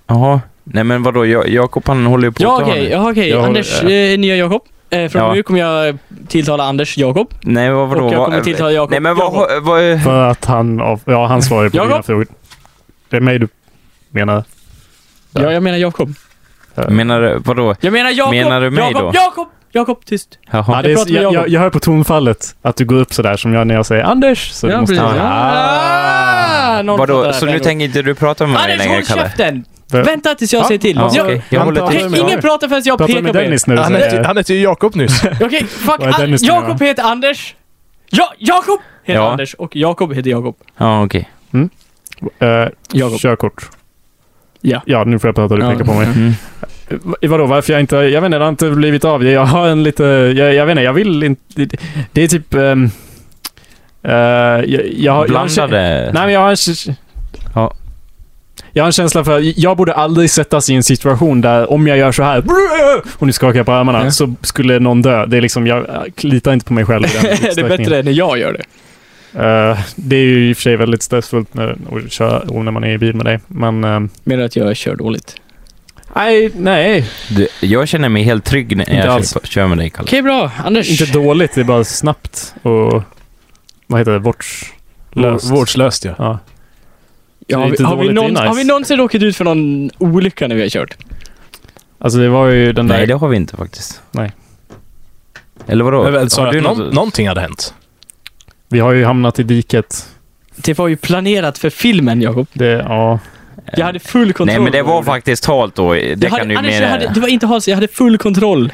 [SPEAKER 2] Jaha. Nej, men vadå? Ja- Jakob, han håller ju på
[SPEAKER 1] Ja,
[SPEAKER 2] att ta
[SPEAKER 1] okej.
[SPEAKER 2] nu.
[SPEAKER 1] Ja, okej.
[SPEAKER 3] Jag håller-
[SPEAKER 1] Anders, eh, nya Jakob. Eh, från
[SPEAKER 2] Ja.
[SPEAKER 1] nu kommer jag tilltala Anders Jakob.
[SPEAKER 2] Nej, vad vadå?
[SPEAKER 1] Och jag
[SPEAKER 2] Vad- eh,
[SPEAKER 1] kommer tilltala Jakob.
[SPEAKER 2] Nej, men vad...
[SPEAKER 1] Jakob.
[SPEAKER 2] vad, vad
[SPEAKER 3] För att han... av- Ja, han svarar ju på
[SPEAKER 1] Jakob?
[SPEAKER 3] dina frågor. Det är mig du menar.
[SPEAKER 1] Ja, jag menar Jakob.
[SPEAKER 2] menar du? Vadå?
[SPEAKER 1] Jag menar Jakob!
[SPEAKER 2] Menar du mig
[SPEAKER 1] Jakob,
[SPEAKER 2] då?
[SPEAKER 1] Jakob! Jakob, tyst.
[SPEAKER 3] Ja,
[SPEAKER 2] Jaha.
[SPEAKER 3] det
[SPEAKER 1] pratar
[SPEAKER 3] är,
[SPEAKER 1] med
[SPEAKER 3] jag,
[SPEAKER 1] Jakob.
[SPEAKER 3] jag, jag hör på tonfallet att du går upp sådär som jag när jag säger Anders. Så du
[SPEAKER 1] Ja,
[SPEAKER 3] måste
[SPEAKER 1] precis.
[SPEAKER 3] ha-
[SPEAKER 1] Ah, någon
[SPEAKER 2] Vadå?
[SPEAKER 1] fattar
[SPEAKER 2] Så
[SPEAKER 1] det här
[SPEAKER 2] nu
[SPEAKER 1] gången.
[SPEAKER 2] tänker inte du prata med mig
[SPEAKER 1] Anders,
[SPEAKER 2] längre,
[SPEAKER 1] håll
[SPEAKER 2] Kalle?
[SPEAKER 1] käften!
[SPEAKER 3] Vä-
[SPEAKER 1] Vänta tills jag
[SPEAKER 3] Ja.
[SPEAKER 1] säger till.
[SPEAKER 2] Ja,
[SPEAKER 1] Jag-
[SPEAKER 2] okej. Jag
[SPEAKER 4] Han
[SPEAKER 2] håller
[SPEAKER 4] tar-
[SPEAKER 2] till.
[SPEAKER 1] Hej, Ingen pratar förrän jag
[SPEAKER 3] Pratar du
[SPEAKER 1] pekar
[SPEAKER 3] med
[SPEAKER 1] på er.
[SPEAKER 3] Dennis nu?
[SPEAKER 4] Han,
[SPEAKER 3] så
[SPEAKER 4] hette,
[SPEAKER 3] är-
[SPEAKER 4] han hette ju Jakob *laughs* nyss.
[SPEAKER 1] Okej, fuck.
[SPEAKER 3] Vad är
[SPEAKER 1] An-
[SPEAKER 3] Dennis nu då?
[SPEAKER 1] Jakob heter Anders. Ja, Jakob heter
[SPEAKER 2] Ja.
[SPEAKER 1] Anders och Jakob heter Jakob.
[SPEAKER 2] Ja, okej.
[SPEAKER 3] Eh,
[SPEAKER 1] Jakob.
[SPEAKER 3] Körkort.
[SPEAKER 1] Ja.
[SPEAKER 3] Ja, nu får jag prata. Du
[SPEAKER 1] Ja.
[SPEAKER 3] pekar på mig. Eh,
[SPEAKER 2] Mm.
[SPEAKER 3] Va- Vadå, varför jag inte... Jag vet inte, det har inte blivit av. Jag har en lite... Jag, jag vet inte, jag vill inte... det- Det är typ... ehm, eh, jag, jag, har- jag har en kä-
[SPEAKER 2] Blandade...
[SPEAKER 3] Nej, men jag har en... kä-
[SPEAKER 2] Ja.
[SPEAKER 3] Jag har en känsla för att jag borde aldrig sättas i en situation där om jag gör så här och nu skakar jag på armarna
[SPEAKER 1] Ja.
[SPEAKER 3] så skulle någon dö. Det är liksom, jag jag litar inte på mig själv i
[SPEAKER 1] *laughs* *laughs*
[SPEAKER 3] den
[SPEAKER 1] det är
[SPEAKER 3] utsträckningen.
[SPEAKER 1] bättre när jag gör det.
[SPEAKER 3] Eh, det är ju i och för sig väldigt stressfullt när, att köra, och när man är i bil med dig, men... ehm,
[SPEAKER 1] Menar att jag kör dåligt.
[SPEAKER 3] nej, nej.
[SPEAKER 2] Du, jag känner mig helt trygg när
[SPEAKER 3] Inte
[SPEAKER 2] jag
[SPEAKER 3] alls.
[SPEAKER 2] kör, kör med dig, Kalle.
[SPEAKER 1] Okej, bra. Anders.
[SPEAKER 3] Inte dåligt, det är bara snabbt och... Vad heter det? Vårdslöst.
[SPEAKER 4] Vårdslöst ja.
[SPEAKER 3] Ja.
[SPEAKER 1] ja,
[SPEAKER 3] det är
[SPEAKER 1] har, vi,
[SPEAKER 3] inte
[SPEAKER 1] har, vi
[SPEAKER 3] dåligt, det är
[SPEAKER 1] någon,
[SPEAKER 3] nice.
[SPEAKER 1] har vi någonsin råkat ut för någon olycka när vi har kört?
[SPEAKER 3] Alltså det var ju den
[SPEAKER 2] Nej,
[SPEAKER 3] där...
[SPEAKER 2] det har vi inte faktiskt.
[SPEAKER 3] Nej.
[SPEAKER 2] Eller vadå?
[SPEAKER 4] Men väl, sa
[SPEAKER 2] har
[SPEAKER 4] jag
[SPEAKER 2] du
[SPEAKER 4] att någon,
[SPEAKER 2] något-
[SPEAKER 4] någonting hade hänt?
[SPEAKER 3] Vi har ju hamnat i diket.
[SPEAKER 1] Det var ju planerat för filmen, Jakob.
[SPEAKER 3] Det, ja.
[SPEAKER 1] Jag hade full kontroll.
[SPEAKER 2] Nej, men det
[SPEAKER 1] över
[SPEAKER 2] var faktiskt halt då. Det
[SPEAKER 1] Jag
[SPEAKER 2] kan
[SPEAKER 1] hade,
[SPEAKER 2] du ju
[SPEAKER 1] Anders,
[SPEAKER 2] mer...
[SPEAKER 1] jag hade, det var inte Hans, jag hade full kontroll.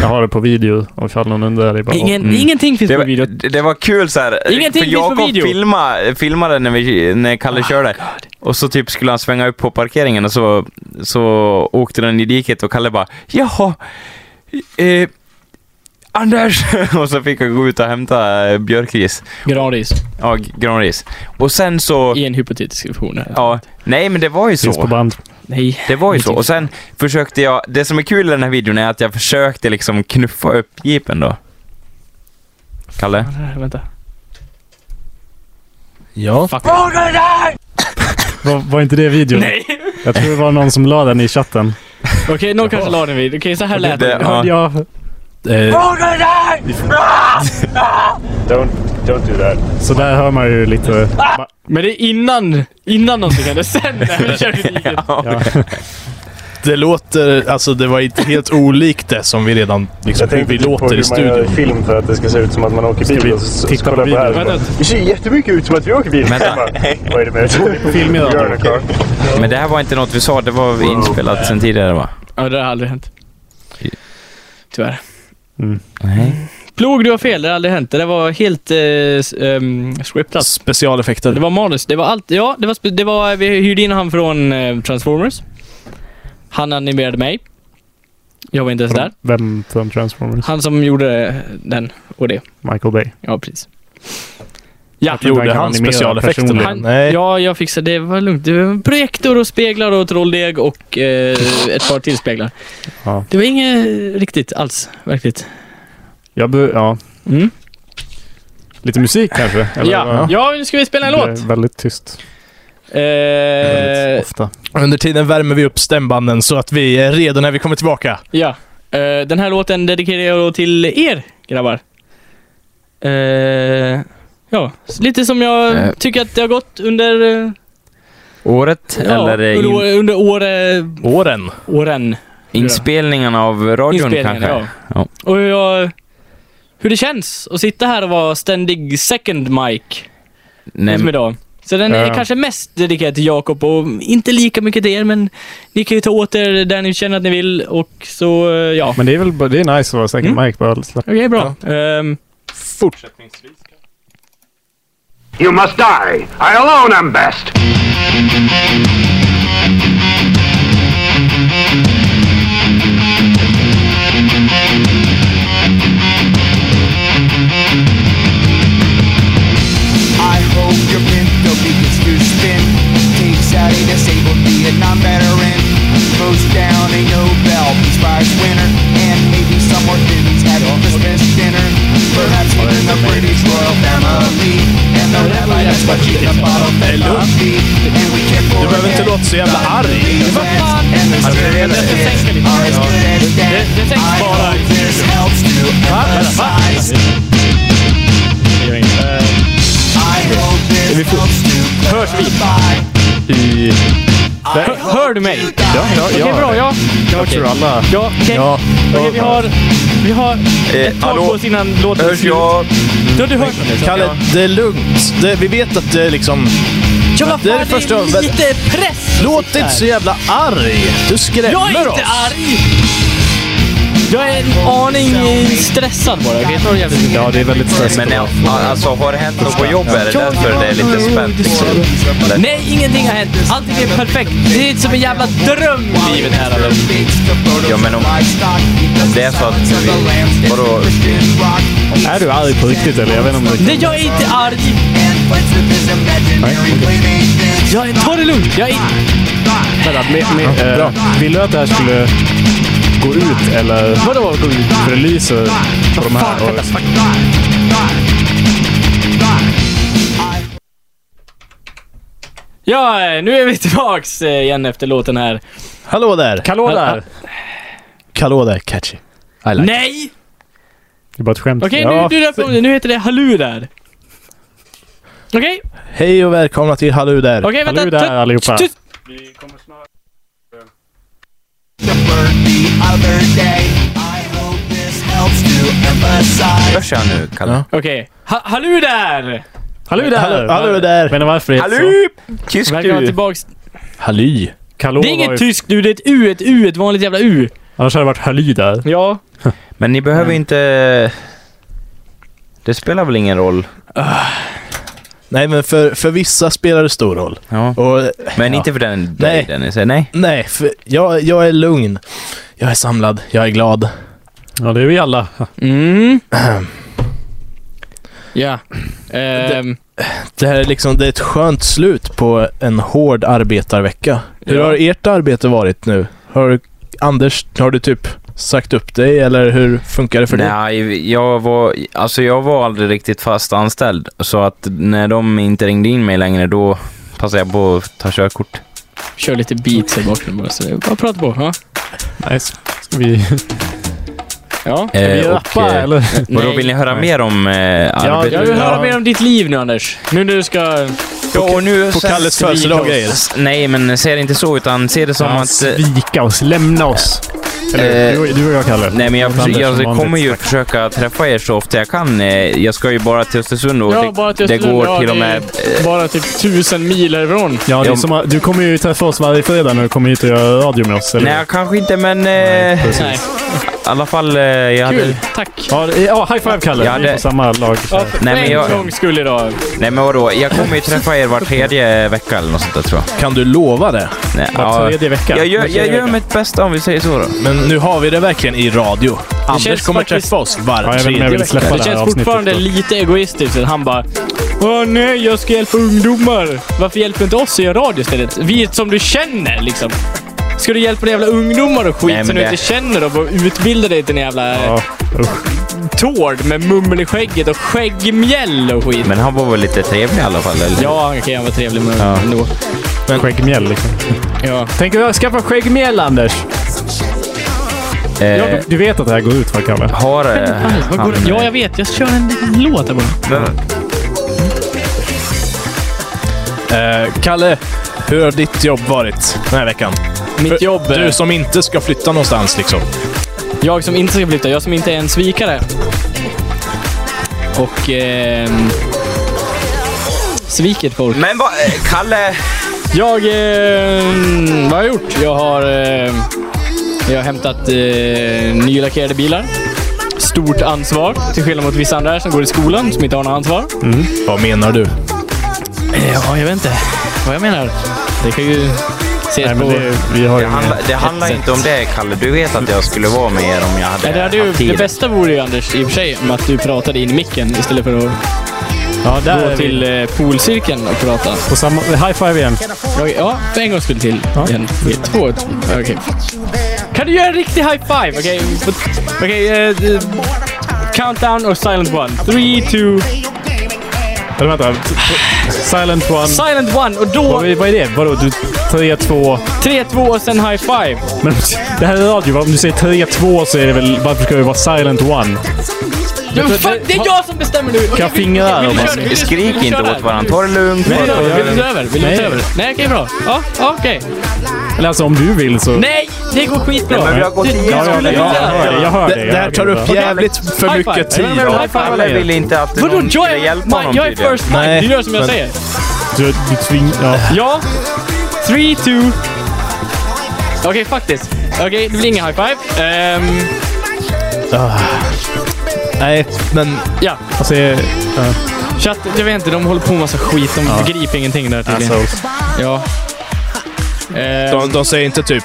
[SPEAKER 3] Jag har det på video om ifall någon undrar. Det är bara,
[SPEAKER 1] Ingen,
[SPEAKER 2] Mm.
[SPEAKER 1] Ingenting finns
[SPEAKER 2] Det
[SPEAKER 1] på
[SPEAKER 2] var,
[SPEAKER 1] video.
[SPEAKER 2] det det var kul så här.
[SPEAKER 1] Ingenting
[SPEAKER 2] för
[SPEAKER 1] finns på
[SPEAKER 2] Jakob
[SPEAKER 1] video. Oh
[SPEAKER 2] Filma, filmade när, vi, när Kalle körde. Och så typ skulle han svänga upp på parkeringen och så, så åkte den i diket och Kalle bara ”Jaha, eh, Anders!” *laughs* Och så fick han gå ut och hämta eh, björkris.
[SPEAKER 1] Gratis.
[SPEAKER 2] Ja, g- granris. Och sen så...
[SPEAKER 1] I en hypotetisk situation. här.
[SPEAKER 2] Ja, nej men det var ju
[SPEAKER 3] finns på
[SPEAKER 2] så.
[SPEAKER 3] band.
[SPEAKER 1] Nej.
[SPEAKER 2] Det var ju så. Och sen försökte jag... Det som är kul i den här videon är att jag försökte liksom knuffa upp jeepen då. Kalle?
[SPEAKER 1] Vänta.
[SPEAKER 4] Ja.
[SPEAKER 1] Fuck.
[SPEAKER 3] Var, var inte det videon?
[SPEAKER 1] Nej!
[SPEAKER 3] Jag tror det var någon som la den i chatten.
[SPEAKER 1] Okej, någon kanske la den vid. Okej, så här lät
[SPEAKER 2] Det-
[SPEAKER 1] det.
[SPEAKER 2] ja.
[SPEAKER 3] Ja.
[SPEAKER 4] Eh,
[SPEAKER 8] Don't don't do that.
[SPEAKER 3] Så där hör man ju lite...
[SPEAKER 2] *laughs*
[SPEAKER 1] Men det är innan, innan någonting hände. Sen när vi körde dit.
[SPEAKER 3] Ja.
[SPEAKER 4] Det låter... Alltså det var inte helt olikt det som vi redan... Liksom,
[SPEAKER 8] Jag
[SPEAKER 4] hur vi
[SPEAKER 8] tänkte typ på
[SPEAKER 4] låter i
[SPEAKER 8] hur man gör
[SPEAKER 4] studion.
[SPEAKER 8] film för att det ska se ut som att man åker
[SPEAKER 3] vi
[SPEAKER 8] bil. Och så,
[SPEAKER 3] titta
[SPEAKER 8] så,
[SPEAKER 3] på
[SPEAKER 8] kollar jag
[SPEAKER 3] videon?
[SPEAKER 8] här och bara, Det ser jättemycket ut som att vi åker bil.
[SPEAKER 2] Vänta.
[SPEAKER 8] Jag bara, Vad är det med
[SPEAKER 3] *laughs* Film idag.
[SPEAKER 8] Gör det, Carl.
[SPEAKER 2] Men det här var inte något vi sa, det var inspelat sen tidigare va?
[SPEAKER 1] Ja, det har aldrig hänt. Tyvärr.
[SPEAKER 2] Nej.
[SPEAKER 1] Plog, du har fel. Det har aldrig hänt. Det där var helt eh, s- ehm, scriptat. Det
[SPEAKER 4] Specialeffekter.
[SPEAKER 1] var manus. Det var allt. Ja, det var, spe- det var, vi hyrde in han från eh, Transformers. Han animerade mig. Jag var inte ens där.
[SPEAKER 3] Vem från Transformers?
[SPEAKER 1] Han som gjorde eh, den och det.
[SPEAKER 3] Michael Bay.
[SPEAKER 1] Ja, precis.
[SPEAKER 3] Ja,
[SPEAKER 4] Gjorde han specialeffekterna?
[SPEAKER 1] Han,
[SPEAKER 4] Nej.
[SPEAKER 1] ja, jag fixade det. var lugnt. Det var projektor och speglar och trolldeg och eh, ett par till speglar.
[SPEAKER 3] Ja.
[SPEAKER 1] Det var inget riktigt alls, verkligt.
[SPEAKER 3] Jag be- ja,
[SPEAKER 1] Mm.
[SPEAKER 3] lite musik kanske? eller
[SPEAKER 1] Ja.
[SPEAKER 3] vad?
[SPEAKER 1] ja, nu ska vi spela en
[SPEAKER 3] Det är
[SPEAKER 1] låt.
[SPEAKER 3] Väldigt tyst.
[SPEAKER 1] Eh,
[SPEAKER 3] väldigt ofta.
[SPEAKER 4] Under tiden värmer vi upp stämbanden så att vi är redo när vi kommer tillbaka.
[SPEAKER 1] ja. Eh, den här låten dedikerar jag då till er, grabbar. Eh, ja, lite som jag
[SPEAKER 2] Eh.
[SPEAKER 1] tycker att det har gått under, eh,
[SPEAKER 2] Året
[SPEAKER 1] ja,
[SPEAKER 2] eller
[SPEAKER 1] under,
[SPEAKER 2] in,
[SPEAKER 1] år- under år, eh,
[SPEAKER 4] Åren.
[SPEAKER 1] åren.
[SPEAKER 2] inspelningarna av radion
[SPEAKER 1] Inspelningen,
[SPEAKER 2] kanske?
[SPEAKER 1] Ja. Och hur, jag, hur det känns att sitta här och vara ständig second mic.
[SPEAKER 2] Nej,
[SPEAKER 1] Som idag. Så den är
[SPEAKER 3] Ja.
[SPEAKER 1] kanske mest dedikerad till Jakob och inte lika mycket till er men ni kan ju ta åt er där ni känner att ni vill och så eh, ja.
[SPEAKER 3] Men det är väl bara- det är nice att vara second
[SPEAKER 1] Mm.
[SPEAKER 3] mic. Bara slapp-
[SPEAKER 1] Okej, bra. Ehm,
[SPEAKER 9] You must die. I alone am best.
[SPEAKER 10] I hope your window begins to spin. Takes out a disabled Vietnam veteran. Throws down a Nobel Peace Prize winner. And maybe some more Finns had all this best dinner. Perhaps even the British royal family. And the rabbi that's what you can bottle fed puppy. And we can't
[SPEAKER 4] Du behöver inte låta så jävla arg.
[SPEAKER 1] det tänks bara-
[SPEAKER 10] This helps to emphasize. I hope this helps to clarify.
[SPEAKER 3] I,
[SPEAKER 1] hör, hör du mig?
[SPEAKER 10] Ja,
[SPEAKER 3] ja,
[SPEAKER 1] Okej,
[SPEAKER 3] ja.
[SPEAKER 1] bra. Ja, ja
[SPEAKER 3] Jag
[SPEAKER 1] okej.
[SPEAKER 3] tror alla...
[SPEAKER 1] Ja, okej.
[SPEAKER 4] Ja.
[SPEAKER 1] Okej, vi har, vi har ett tag
[SPEAKER 2] hallå?
[SPEAKER 1] på oss innan låten är
[SPEAKER 2] Hörs
[SPEAKER 1] slut.
[SPEAKER 2] jag?
[SPEAKER 1] Ja, du hörs.
[SPEAKER 4] Kalle, det är lugnt. Det, vi vet att det är liksom...
[SPEAKER 1] Ja, vad
[SPEAKER 4] det är
[SPEAKER 1] fan,
[SPEAKER 4] det första jag-
[SPEAKER 1] det är lite press.
[SPEAKER 4] Låt inte så jävla arg. Du
[SPEAKER 1] Jag är
[SPEAKER 4] skrämmer oss.
[SPEAKER 1] inte arg! Jag är en aning eh, stressad bara. Okej, ta det jävligt
[SPEAKER 3] Ja, det är väldigt stressigt.
[SPEAKER 2] Men ja, alltså har det hänt något på jobbet? Är det därför det är lite spänt liksom?
[SPEAKER 1] Nej, ingenting har hänt. Allting är perfekt. Det är som en jävla dröm livet här. Alltså.
[SPEAKER 2] Ja, men om- det är så att vi- vadå?
[SPEAKER 3] Är du arg på riktigt eller? Jag vet inte om du...
[SPEAKER 1] Nej, jag är inte arg. Jag är, ta det lugnt. Jag är,
[SPEAKER 3] Vänta, med, med, eh, vill du att det här skulle gå ut eller? Vadå gå ut? För det lyser på de här. Och,
[SPEAKER 1] ja, eh, nu är vi tillbaks eh, igen efter låten här.
[SPEAKER 4] Hallå där.
[SPEAKER 3] Hallå där!
[SPEAKER 4] Hallå där, catchy. I like
[SPEAKER 1] Nej!
[SPEAKER 3] Det är bara ett skämt.
[SPEAKER 1] Okej,
[SPEAKER 3] Ja,
[SPEAKER 1] nu, du döper om det. Nu heter det Hallå där. Okej,
[SPEAKER 4] Hej och välkomna till Hallå där.
[SPEAKER 1] okej, vänta.
[SPEAKER 3] Hallå där
[SPEAKER 1] Tut-
[SPEAKER 3] allihopa.
[SPEAKER 1] tut-
[SPEAKER 2] Hörs jag nu, Kalle?
[SPEAKER 1] Okej. Ha- Hallå där!
[SPEAKER 3] Hallå där!
[SPEAKER 4] Hallå- hallå där.
[SPEAKER 3] Men varför det
[SPEAKER 2] Hallå!
[SPEAKER 3] så?
[SPEAKER 2] Tysk
[SPEAKER 1] Verkar vara
[SPEAKER 2] du?
[SPEAKER 1] tillbaks.
[SPEAKER 4] Halli.
[SPEAKER 3] Hallå
[SPEAKER 1] Det är
[SPEAKER 3] var
[SPEAKER 1] inget
[SPEAKER 3] ju-
[SPEAKER 1] tyskt nu. Det är ett U, ett U, ett vanligt jävla U.
[SPEAKER 3] Annars hade det varit Halli där.
[SPEAKER 1] Ja.
[SPEAKER 2] Men ni behöver inte... Det spelar väl ingen roll?
[SPEAKER 4] Nej, men för, för vissa spelar det stor roll.
[SPEAKER 2] Ja.
[SPEAKER 4] Och
[SPEAKER 2] Men inte för den dig
[SPEAKER 4] Nej.
[SPEAKER 2] Dennis, nej?
[SPEAKER 4] nej, för jag, jag är lugn. Jag är samlad. Jag är glad.
[SPEAKER 3] Ja, det är vi alla.
[SPEAKER 1] Mm. *clears throat* Ja. Ehm,
[SPEAKER 4] Det här är liksom, det är ett skönt slut på en hård arbetarvecka. Hur
[SPEAKER 1] Ja.
[SPEAKER 4] har ert arbete varit nu? Har Anders, har du typ sagt upp dig eller hur funkar det för dig?
[SPEAKER 2] Nej, jag var, alltså jag var aldrig riktigt fast anställd. Så att när de inte ringde in mig längre, då passade jag på att ta körkort.
[SPEAKER 1] kör lite beats här bakom bara så det är bara att prata på. Ja.
[SPEAKER 3] Nice. Ska vi,
[SPEAKER 1] Ja.
[SPEAKER 2] Eh,
[SPEAKER 3] vi
[SPEAKER 2] och,
[SPEAKER 3] rappa
[SPEAKER 2] eh,
[SPEAKER 3] eller?
[SPEAKER 2] och då vill ni höra
[SPEAKER 3] Nej.
[SPEAKER 2] mer om eh,
[SPEAKER 3] Ja,
[SPEAKER 2] arbetet?
[SPEAKER 1] Jag vill höra mer om ditt liv nu Anders. Nu när du ska...
[SPEAKER 2] Ja, och nu...
[SPEAKER 4] på Kalles födelsedag och grejer.
[SPEAKER 2] S- Nej, men se det inte så, utan se det som
[SPEAKER 3] Ja,
[SPEAKER 2] att... eh,
[SPEAKER 3] Svika oss, lämna oss. Eller,
[SPEAKER 2] Eh,
[SPEAKER 3] du, du och jag, Kalle.
[SPEAKER 2] Nej, men jag,
[SPEAKER 3] Mot Anders
[SPEAKER 2] försöker,
[SPEAKER 3] som
[SPEAKER 2] jag
[SPEAKER 3] vanligt.
[SPEAKER 2] kommer ju försöka träffa er så ofta jag kan. Eh, Jag ska ju bara till Östersund och
[SPEAKER 1] Ja,
[SPEAKER 2] det,
[SPEAKER 1] bara till
[SPEAKER 2] det
[SPEAKER 1] Östersund.
[SPEAKER 2] går
[SPEAKER 1] ja,
[SPEAKER 2] till och
[SPEAKER 1] det
[SPEAKER 2] med... eh,
[SPEAKER 1] är Bara typ tusen mil härifrån.
[SPEAKER 3] Ja, det är
[SPEAKER 2] jag-
[SPEAKER 3] som, att- du kommer ju träffa oss varje fredag när du kommer hit och gör radio med oss. Eller?
[SPEAKER 2] Nej, kanske inte, men eh, i
[SPEAKER 1] Nej,
[SPEAKER 2] alla fall... eh, Jag hade,
[SPEAKER 1] kul. Tack.
[SPEAKER 3] Ja, det- ja, high five, Kalle.
[SPEAKER 2] Ja,
[SPEAKER 3] Vi är
[SPEAKER 2] det-
[SPEAKER 3] på samma lag.
[SPEAKER 1] Ja, för
[SPEAKER 2] Nej, men
[SPEAKER 1] en
[SPEAKER 2] jag-
[SPEAKER 1] gångs skull idag.
[SPEAKER 2] nej, men vadå? Jag kommer ju träffa er var tredje vecka eller något sånt där, tror jag.
[SPEAKER 4] Kan du lova det?
[SPEAKER 2] Nej,
[SPEAKER 3] Var
[SPEAKER 2] ja,
[SPEAKER 3] tredje vecka.
[SPEAKER 2] jag gör, jag gör mitt bästa om vi säger så då.
[SPEAKER 4] Men nu har vi det verkligen i radio. Anders
[SPEAKER 1] känns
[SPEAKER 4] kommer
[SPEAKER 1] faktiskt-
[SPEAKER 4] träffa oss var
[SPEAKER 3] Ja, jag vet inte om
[SPEAKER 4] tredje
[SPEAKER 3] jag vill
[SPEAKER 4] vecka.
[SPEAKER 3] släppa
[SPEAKER 1] Det
[SPEAKER 3] det här
[SPEAKER 1] känns
[SPEAKER 3] avsnittet.
[SPEAKER 1] fortfarande
[SPEAKER 3] då.
[SPEAKER 1] lite egoistiskt. att Han bara Åh nej, jag ska hjälpa ungdomar. Varför hjälper inte oss att göra radio istället? Vi är som du känner liksom. Ska du hjälpa de jävla ungdomar och skit
[SPEAKER 2] Nej, men
[SPEAKER 1] som du
[SPEAKER 2] det-
[SPEAKER 1] inte känner och bara utbilda dig till en jävla eh,
[SPEAKER 3] Ja, usch.
[SPEAKER 1] tård med mummel i skägget och skäggmjäll och skit?
[SPEAKER 2] Men han var väl lite trevlig i alla fall, eller?
[SPEAKER 1] Ja, han kan vara trevlig men ändå.
[SPEAKER 3] Skäggmjäll liksom.
[SPEAKER 1] Ja.
[SPEAKER 3] Tänker du skaffa skäggmjäll, Anders?
[SPEAKER 2] Eh,
[SPEAKER 3] Jakob, du vet att det här går ut för Kalle?
[SPEAKER 2] Har eh,
[SPEAKER 1] Vad går
[SPEAKER 2] han...
[SPEAKER 1] det- ja, jag vet. Jag kör en liten låt här bara.
[SPEAKER 4] Eh, Kalle, hur har ditt jobb varit den här veckan?
[SPEAKER 1] Mitt
[SPEAKER 4] För-
[SPEAKER 1] jobb.
[SPEAKER 4] Du
[SPEAKER 1] eh,
[SPEAKER 4] som inte ska flytta någonstans liksom.
[SPEAKER 1] Jag som inte ska flytta, jag som inte är en svikare. Och... ehm, sviket folk.
[SPEAKER 2] Men vad... eh, Kalle...
[SPEAKER 1] Jag... ehm, vad har jag gjort? Jag har... ehm, jag har hämtat eh, nylackerade bilar. Stort ansvar, till skillnad mot vissa andra här som går i skolan som inte har något ansvar.
[SPEAKER 4] Vad menar du?
[SPEAKER 1] Ja, jag vet inte vad jag menar. Det kan ju ses
[SPEAKER 3] Nej,
[SPEAKER 1] på...
[SPEAKER 3] men det, vi har
[SPEAKER 2] Det
[SPEAKER 3] ju ingen-
[SPEAKER 2] handlar, det handlar inte om det, Kalle. Du vet att jag skulle vara med er om jag hade
[SPEAKER 1] Nej, det, hade ju,
[SPEAKER 2] haft tid.
[SPEAKER 1] det bästa vore ju Anders i och för sig om att du pratade in i micken istället för att
[SPEAKER 3] Ja, där är
[SPEAKER 1] gå
[SPEAKER 3] vi.
[SPEAKER 1] till eh, poolcirkeln och prata.
[SPEAKER 3] På samma... High five igen.
[SPEAKER 1] Ja, Ja, för en gångs skull till.
[SPEAKER 3] Ja.
[SPEAKER 1] En, två, t- okej. Kan du göra en riktig high five? Okej, okay. okej. eh, eh, countdown och silent one. Three, two...
[SPEAKER 3] Eller vänta. Silent one.
[SPEAKER 1] Silent one och
[SPEAKER 3] Vad
[SPEAKER 1] då
[SPEAKER 3] är vad är det? Vadå? Du... Tre, två...
[SPEAKER 1] tre, två och sen high five.
[SPEAKER 3] Men det här är radio. va? Om du säger tre, två så är det väl... Varför ska det vara silent one?
[SPEAKER 1] Du, fuck, det är jag som bestämmer nu! Okej,
[SPEAKER 3] Kan fingrar
[SPEAKER 1] vill du
[SPEAKER 3] man-
[SPEAKER 1] köra- vill du- vill
[SPEAKER 2] Skrik
[SPEAKER 1] du
[SPEAKER 2] inte
[SPEAKER 1] köra?
[SPEAKER 2] åt varandra. Ta det lugnt.
[SPEAKER 1] Vill du ta
[SPEAKER 2] Ta det
[SPEAKER 1] över? Vill du ta
[SPEAKER 2] lugnt.
[SPEAKER 1] över? Vill du ta
[SPEAKER 3] Nej.
[SPEAKER 1] över? Nej, okej, bra. Ja, ja, okej.
[SPEAKER 3] Eller alltså om du vill så...
[SPEAKER 1] Nej, det går skitbra.
[SPEAKER 2] Men vi har gått
[SPEAKER 1] Du-
[SPEAKER 2] igenom
[SPEAKER 1] du skulle
[SPEAKER 2] det.
[SPEAKER 3] Jag
[SPEAKER 1] vilja-
[SPEAKER 3] hör dig. Jag hör
[SPEAKER 4] Det,
[SPEAKER 3] dig. jag
[SPEAKER 4] det här
[SPEAKER 3] hör
[SPEAKER 4] tar
[SPEAKER 3] dig.
[SPEAKER 4] upp jävligt för
[SPEAKER 1] High
[SPEAKER 4] mycket
[SPEAKER 1] five.
[SPEAKER 4] tid.
[SPEAKER 1] Nej, men-
[SPEAKER 2] Ja, Kalle ville inte att
[SPEAKER 1] Vadå?
[SPEAKER 2] någon
[SPEAKER 1] Jag
[SPEAKER 2] skulle
[SPEAKER 1] är,
[SPEAKER 2] hjälpa honom
[SPEAKER 1] jag är
[SPEAKER 2] tydligen.
[SPEAKER 1] first mind. Du gör som jag
[SPEAKER 4] men-
[SPEAKER 1] säger.
[SPEAKER 3] Du, du tving... Ja.
[SPEAKER 1] Ja. Three, two... Okej, fuck this. Okej, det blir ingen high five. Ehm,
[SPEAKER 4] Nej, men
[SPEAKER 1] ja,
[SPEAKER 3] Alltså, eh, ja.
[SPEAKER 1] chatt, jag vet inte, de håller på med massa skit. De begriper ingenting där tydligen. Ja. Ehm,
[SPEAKER 4] de, de säger inte typ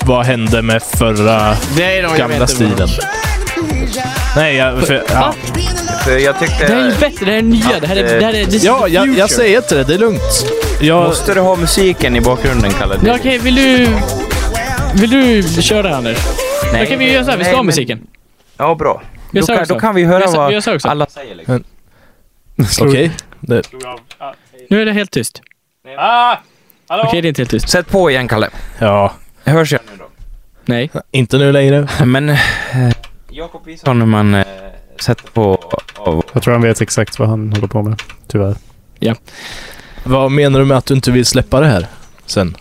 [SPEAKER 4] vad hände med förra
[SPEAKER 1] det är de, jag vet
[SPEAKER 4] gamla
[SPEAKER 1] inte vad de-
[SPEAKER 4] stilen? Nej, jag, för, ja.
[SPEAKER 2] För jag
[SPEAKER 1] Det här är ju
[SPEAKER 2] tyckte...
[SPEAKER 1] bättre, det här är nya. Det här är... Det här är this is
[SPEAKER 4] ja
[SPEAKER 1] the
[SPEAKER 4] jag, jag
[SPEAKER 1] future.
[SPEAKER 4] säger inte det. Det är lugnt. Jag,
[SPEAKER 2] Måste du ha musiken i bakgrunden,
[SPEAKER 1] Ja,
[SPEAKER 2] Kalle?
[SPEAKER 1] Okej, vill du... Vill du köra Anders? Då kan vi göra så här, vi ska
[SPEAKER 2] nej,
[SPEAKER 1] ha
[SPEAKER 2] men-
[SPEAKER 1] musiken.
[SPEAKER 2] Ja, bra.
[SPEAKER 1] Jag
[SPEAKER 2] Då
[SPEAKER 1] sa
[SPEAKER 2] kan,
[SPEAKER 1] också.
[SPEAKER 2] då kan vi höra
[SPEAKER 1] Jag sa- jag sa
[SPEAKER 2] vad
[SPEAKER 1] också.
[SPEAKER 2] alla säger. Liksom.
[SPEAKER 4] Okej.
[SPEAKER 1] Nu är det helt tyst. Okej, det är inte helt tyst.
[SPEAKER 2] Sätt på igen, Kalle.
[SPEAKER 4] Ja,
[SPEAKER 2] Hörs jag nu
[SPEAKER 1] Nej.
[SPEAKER 4] inte nu längre.
[SPEAKER 2] då? Men... eh, Jakob visar hur man eh, sätter på... Av.
[SPEAKER 3] Jag tror han vet exakt vad han håller på med. Tyvärr.
[SPEAKER 4] Vad menar du med att du inte vill släppa det här sen?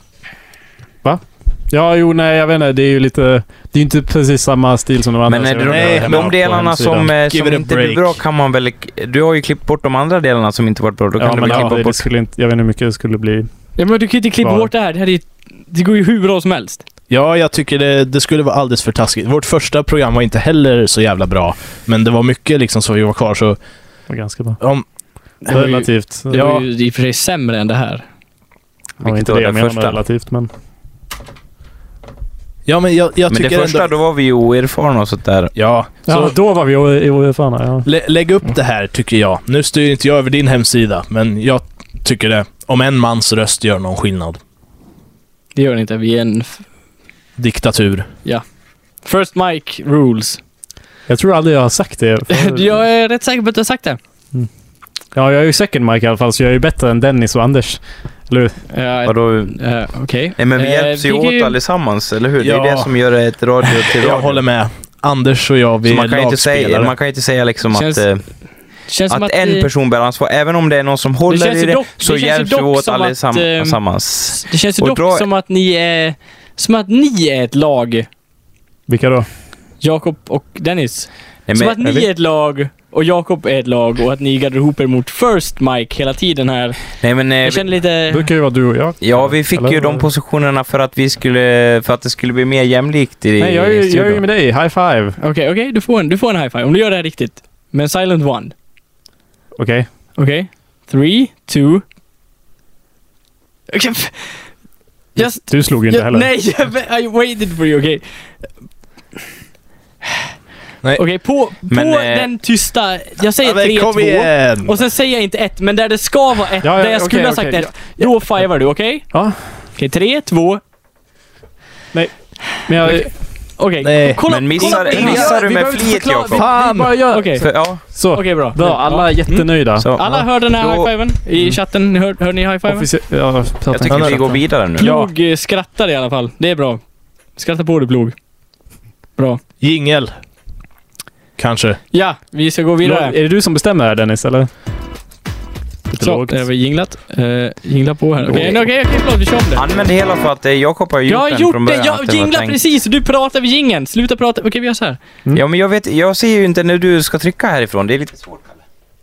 [SPEAKER 3] Ja, jo, nej, jag vet inte. Det är ju lite... Det är ju inte precis samma stil som de andra.
[SPEAKER 2] Men
[SPEAKER 3] så jag
[SPEAKER 2] eh,
[SPEAKER 3] vet inte
[SPEAKER 2] de,
[SPEAKER 3] vad
[SPEAKER 2] de,
[SPEAKER 3] hemma på
[SPEAKER 2] delarna
[SPEAKER 3] hemsidan.
[SPEAKER 2] som, eh,
[SPEAKER 4] Give
[SPEAKER 2] som
[SPEAKER 4] it a
[SPEAKER 2] inte blir
[SPEAKER 4] break.
[SPEAKER 2] bra kan man väl... Du har ju klippt bort de andra delarna som inte varit bra. Då kan
[SPEAKER 3] Ja,
[SPEAKER 2] du väl
[SPEAKER 3] men ja,
[SPEAKER 2] klippa
[SPEAKER 3] det, det
[SPEAKER 2] bort...
[SPEAKER 3] skulle inte... Jag vet inte hur mycket det skulle bli.
[SPEAKER 1] Ja, men du kan ju inte klippa
[SPEAKER 3] Kvar.
[SPEAKER 1] bort det här. Det, här är, ju- det går ju hur bra som helst.
[SPEAKER 4] Ja, jag tycker det, det skulle vara alldeles för taskigt. Vårt första program var inte heller så jävla bra, men det var mycket liksom som vi var kvar så...
[SPEAKER 3] Det var ganska bra.
[SPEAKER 4] Om,
[SPEAKER 1] var ju-
[SPEAKER 3] Relativt.
[SPEAKER 1] Det var ju i och för sig sämre än det här.
[SPEAKER 3] Det var
[SPEAKER 2] Vilket
[SPEAKER 3] inte
[SPEAKER 2] var
[SPEAKER 3] det jag
[SPEAKER 2] det
[SPEAKER 3] menar med
[SPEAKER 2] första?
[SPEAKER 3] relativt, men...
[SPEAKER 4] ja, men jag, jag
[SPEAKER 2] Men det
[SPEAKER 4] tycker
[SPEAKER 2] första,
[SPEAKER 4] ändå...
[SPEAKER 2] då var vi ju oerfarna och sånt där.
[SPEAKER 4] Ja, så
[SPEAKER 3] Ja, då var vi o- i oerfarna, ja.
[SPEAKER 4] lä, lägg upp det här tycker jag. Nu styr inte jag över din hemsida, men jag tycker det. Om en mans röst gör någon skillnad.
[SPEAKER 1] Det gör det inte. Vi är en... f-
[SPEAKER 4] Diktatur.
[SPEAKER 1] First mic rules.
[SPEAKER 3] Jag tror aldrig jag har sagt *laughs* det.
[SPEAKER 1] *laughs*
[SPEAKER 3] förut.
[SPEAKER 1] jag är rätt säker på att du har sagt det.
[SPEAKER 3] Ja, jag är ju second mic i alla fall, så jag är ju bättre än Dennis och Anders. Eller hur?
[SPEAKER 1] Ja,
[SPEAKER 2] Vadå?
[SPEAKER 1] eh, Okej.
[SPEAKER 2] Nej, men vi
[SPEAKER 1] Eh,
[SPEAKER 2] hjälps ju
[SPEAKER 1] vi kan
[SPEAKER 2] åt allesammans, eller hur? Det är
[SPEAKER 4] Ja.
[SPEAKER 2] ju det som gör ett radio
[SPEAKER 1] *laughs*
[SPEAKER 2] till
[SPEAKER 4] Jag
[SPEAKER 2] radio.
[SPEAKER 4] håller med. Anders och jag, vi
[SPEAKER 2] Så
[SPEAKER 4] är
[SPEAKER 2] man kan, ju inte säga,
[SPEAKER 4] lagspelare.
[SPEAKER 2] man kan ju inte säga liksom
[SPEAKER 1] Känns-
[SPEAKER 2] att... Eh,
[SPEAKER 1] Känns som
[SPEAKER 2] Att
[SPEAKER 1] att
[SPEAKER 2] en
[SPEAKER 1] eh,
[SPEAKER 2] person bär ansvar. Även om det är någon som håller
[SPEAKER 1] känns
[SPEAKER 2] i
[SPEAKER 1] ju
[SPEAKER 2] det,
[SPEAKER 1] dock-
[SPEAKER 2] så
[SPEAKER 1] det känns ju
[SPEAKER 2] hjälps vi
[SPEAKER 1] dock
[SPEAKER 2] åt
[SPEAKER 1] som
[SPEAKER 2] allesammans.
[SPEAKER 1] att, eh,
[SPEAKER 2] sammans.
[SPEAKER 1] Det känns ju
[SPEAKER 2] Och
[SPEAKER 1] dock
[SPEAKER 2] bra-
[SPEAKER 1] som att ni är... Som att ni är ett lag,
[SPEAKER 3] Vilka då?
[SPEAKER 1] Jakob och Dennis.
[SPEAKER 2] Nej,
[SPEAKER 1] som
[SPEAKER 2] men-
[SPEAKER 1] att ni är ett lag och Jakob är ett lag och att ni gaddar ihop er mot First Mike hela tiden här.
[SPEAKER 2] Nej, men, eh,
[SPEAKER 1] Jag känner lite...
[SPEAKER 3] Brukar ju vara du och jag.
[SPEAKER 2] Ja, vi fick
[SPEAKER 3] Eller-
[SPEAKER 2] ju de positionerna för att vi skulle, för att det skulle bli mer jämlikt i
[SPEAKER 3] Nej, jag är,
[SPEAKER 2] i
[SPEAKER 3] ju-
[SPEAKER 2] studion.
[SPEAKER 3] jag är ju med dig. High five.
[SPEAKER 1] Okej, okej, du, får en, du får en high five om du gör det här riktigt. Men silent one.
[SPEAKER 3] Okej.
[SPEAKER 1] Okej? Three, two... Okay. Just...
[SPEAKER 3] Du slog ju inte
[SPEAKER 1] Jag,
[SPEAKER 3] heller.
[SPEAKER 1] nej, jag- I waited for you, okej?
[SPEAKER 4] Nej.
[SPEAKER 1] Okej, på, på
[SPEAKER 2] Men, eh,
[SPEAKER 1] den tysta... Jag säger
[SPEAKER 4] Ja, men
[SPEAKER 1] 3, 2.
[SPEAKER 4] kom igen!
[SPEAKER 1] Och sen säger jag inte ett, men där det ska vara ett,
[SPEAKER 3] Ja, ja,
[SPEAKER 1] där jag
[SPEAKER 3] okej,
[SPEAKER 1] skulle ha sagt
[SPEAKER 3] okej,
[SPEAKER 1] ett, då fivar du, okej?
[SPEAKER 3] Ja.
[SPEAKER 1] Okej, tre, två...
[SPEAKER 3] Men jag,
[SPEAKER 1] Okej, kolla,
[SPEAKER 4] Nej,
[SPEAKER 2] Men
[SPEAKER 1] kolla på
[SPEAKER 2] missar,
[SPEAKER 1] innan.
[SPEAKER 2] missar du
[SPEAKER 3] Vi
[SPEAKER 2] med
[SPEAKER 3] behöver
[SPEAKER 2] flit
[SPEAKER 3] förklara-
[SPEAKER 2] Jakob?
[SPEAKER 3] vi bara gör...
[SPEAKER 1] Okej,
[SPEAKER 2] För- Ja,
[SPEAKER 3] Så.
[SPEAKER 1] okej, bra.
[SPEAKER 3] Då, alla Mm. är jättenöjda.
[SPEAKER 2] så.
[SPEAKER 1] Alla hör den här
[SPEAKER 2] Då-
[SPEAKER 1] high-fiven i chatten. Hör, hör ni high-fiven?
[SPEAKER 3] Offici- ja,
[SPEAKER 2] Jag tycker vi går vidare nu.
[SPEAKER 1] Plog eh, skrattar i alla fall. Det är bra. Skratta på dig Plog. Bra.
[SPEAKER 4] Jingel. Kanske.
[SPEAKER 1] Ja, vi ska gå
[SPEAKER 3] Lå-
[SPEAKER 1] vidare.
[SPEAKER 3] Är det du som bestämmer här Dennis, eller? Lite
[SPEAKER 1] Så,
[SPEAKER 3] lågt.
[SPEAKER 1] där har vi jinglat. Uh, jingla på här. Okej,
[SPEAKER 2] Okej.
[SPEAKER 1] okay, okej, okej, förlåt. Vi kör om det.
[SPEAKER 2] Använd det hela för att eh, Jakob har gjort
[SPEAKER 1] Jag har
[SPEAKER 2] den från
[SPEAKER 1] gjort det!
[SPEAKER 2] början. att
[SPEAKER 1] Jag
[SPEAKER 2] var
[SPEAKER 1] jinglar
[SPEAKER 2] tänkt.
[SPEAKER 1] precis! Du pratar vid jingeln. Sluta prata. Okej, vi gör så här.
[SPEAKER 2] Ja, men jag vet, jag ser ju inte när du ska trycka härifrån. Det är lite svårt. Kalle.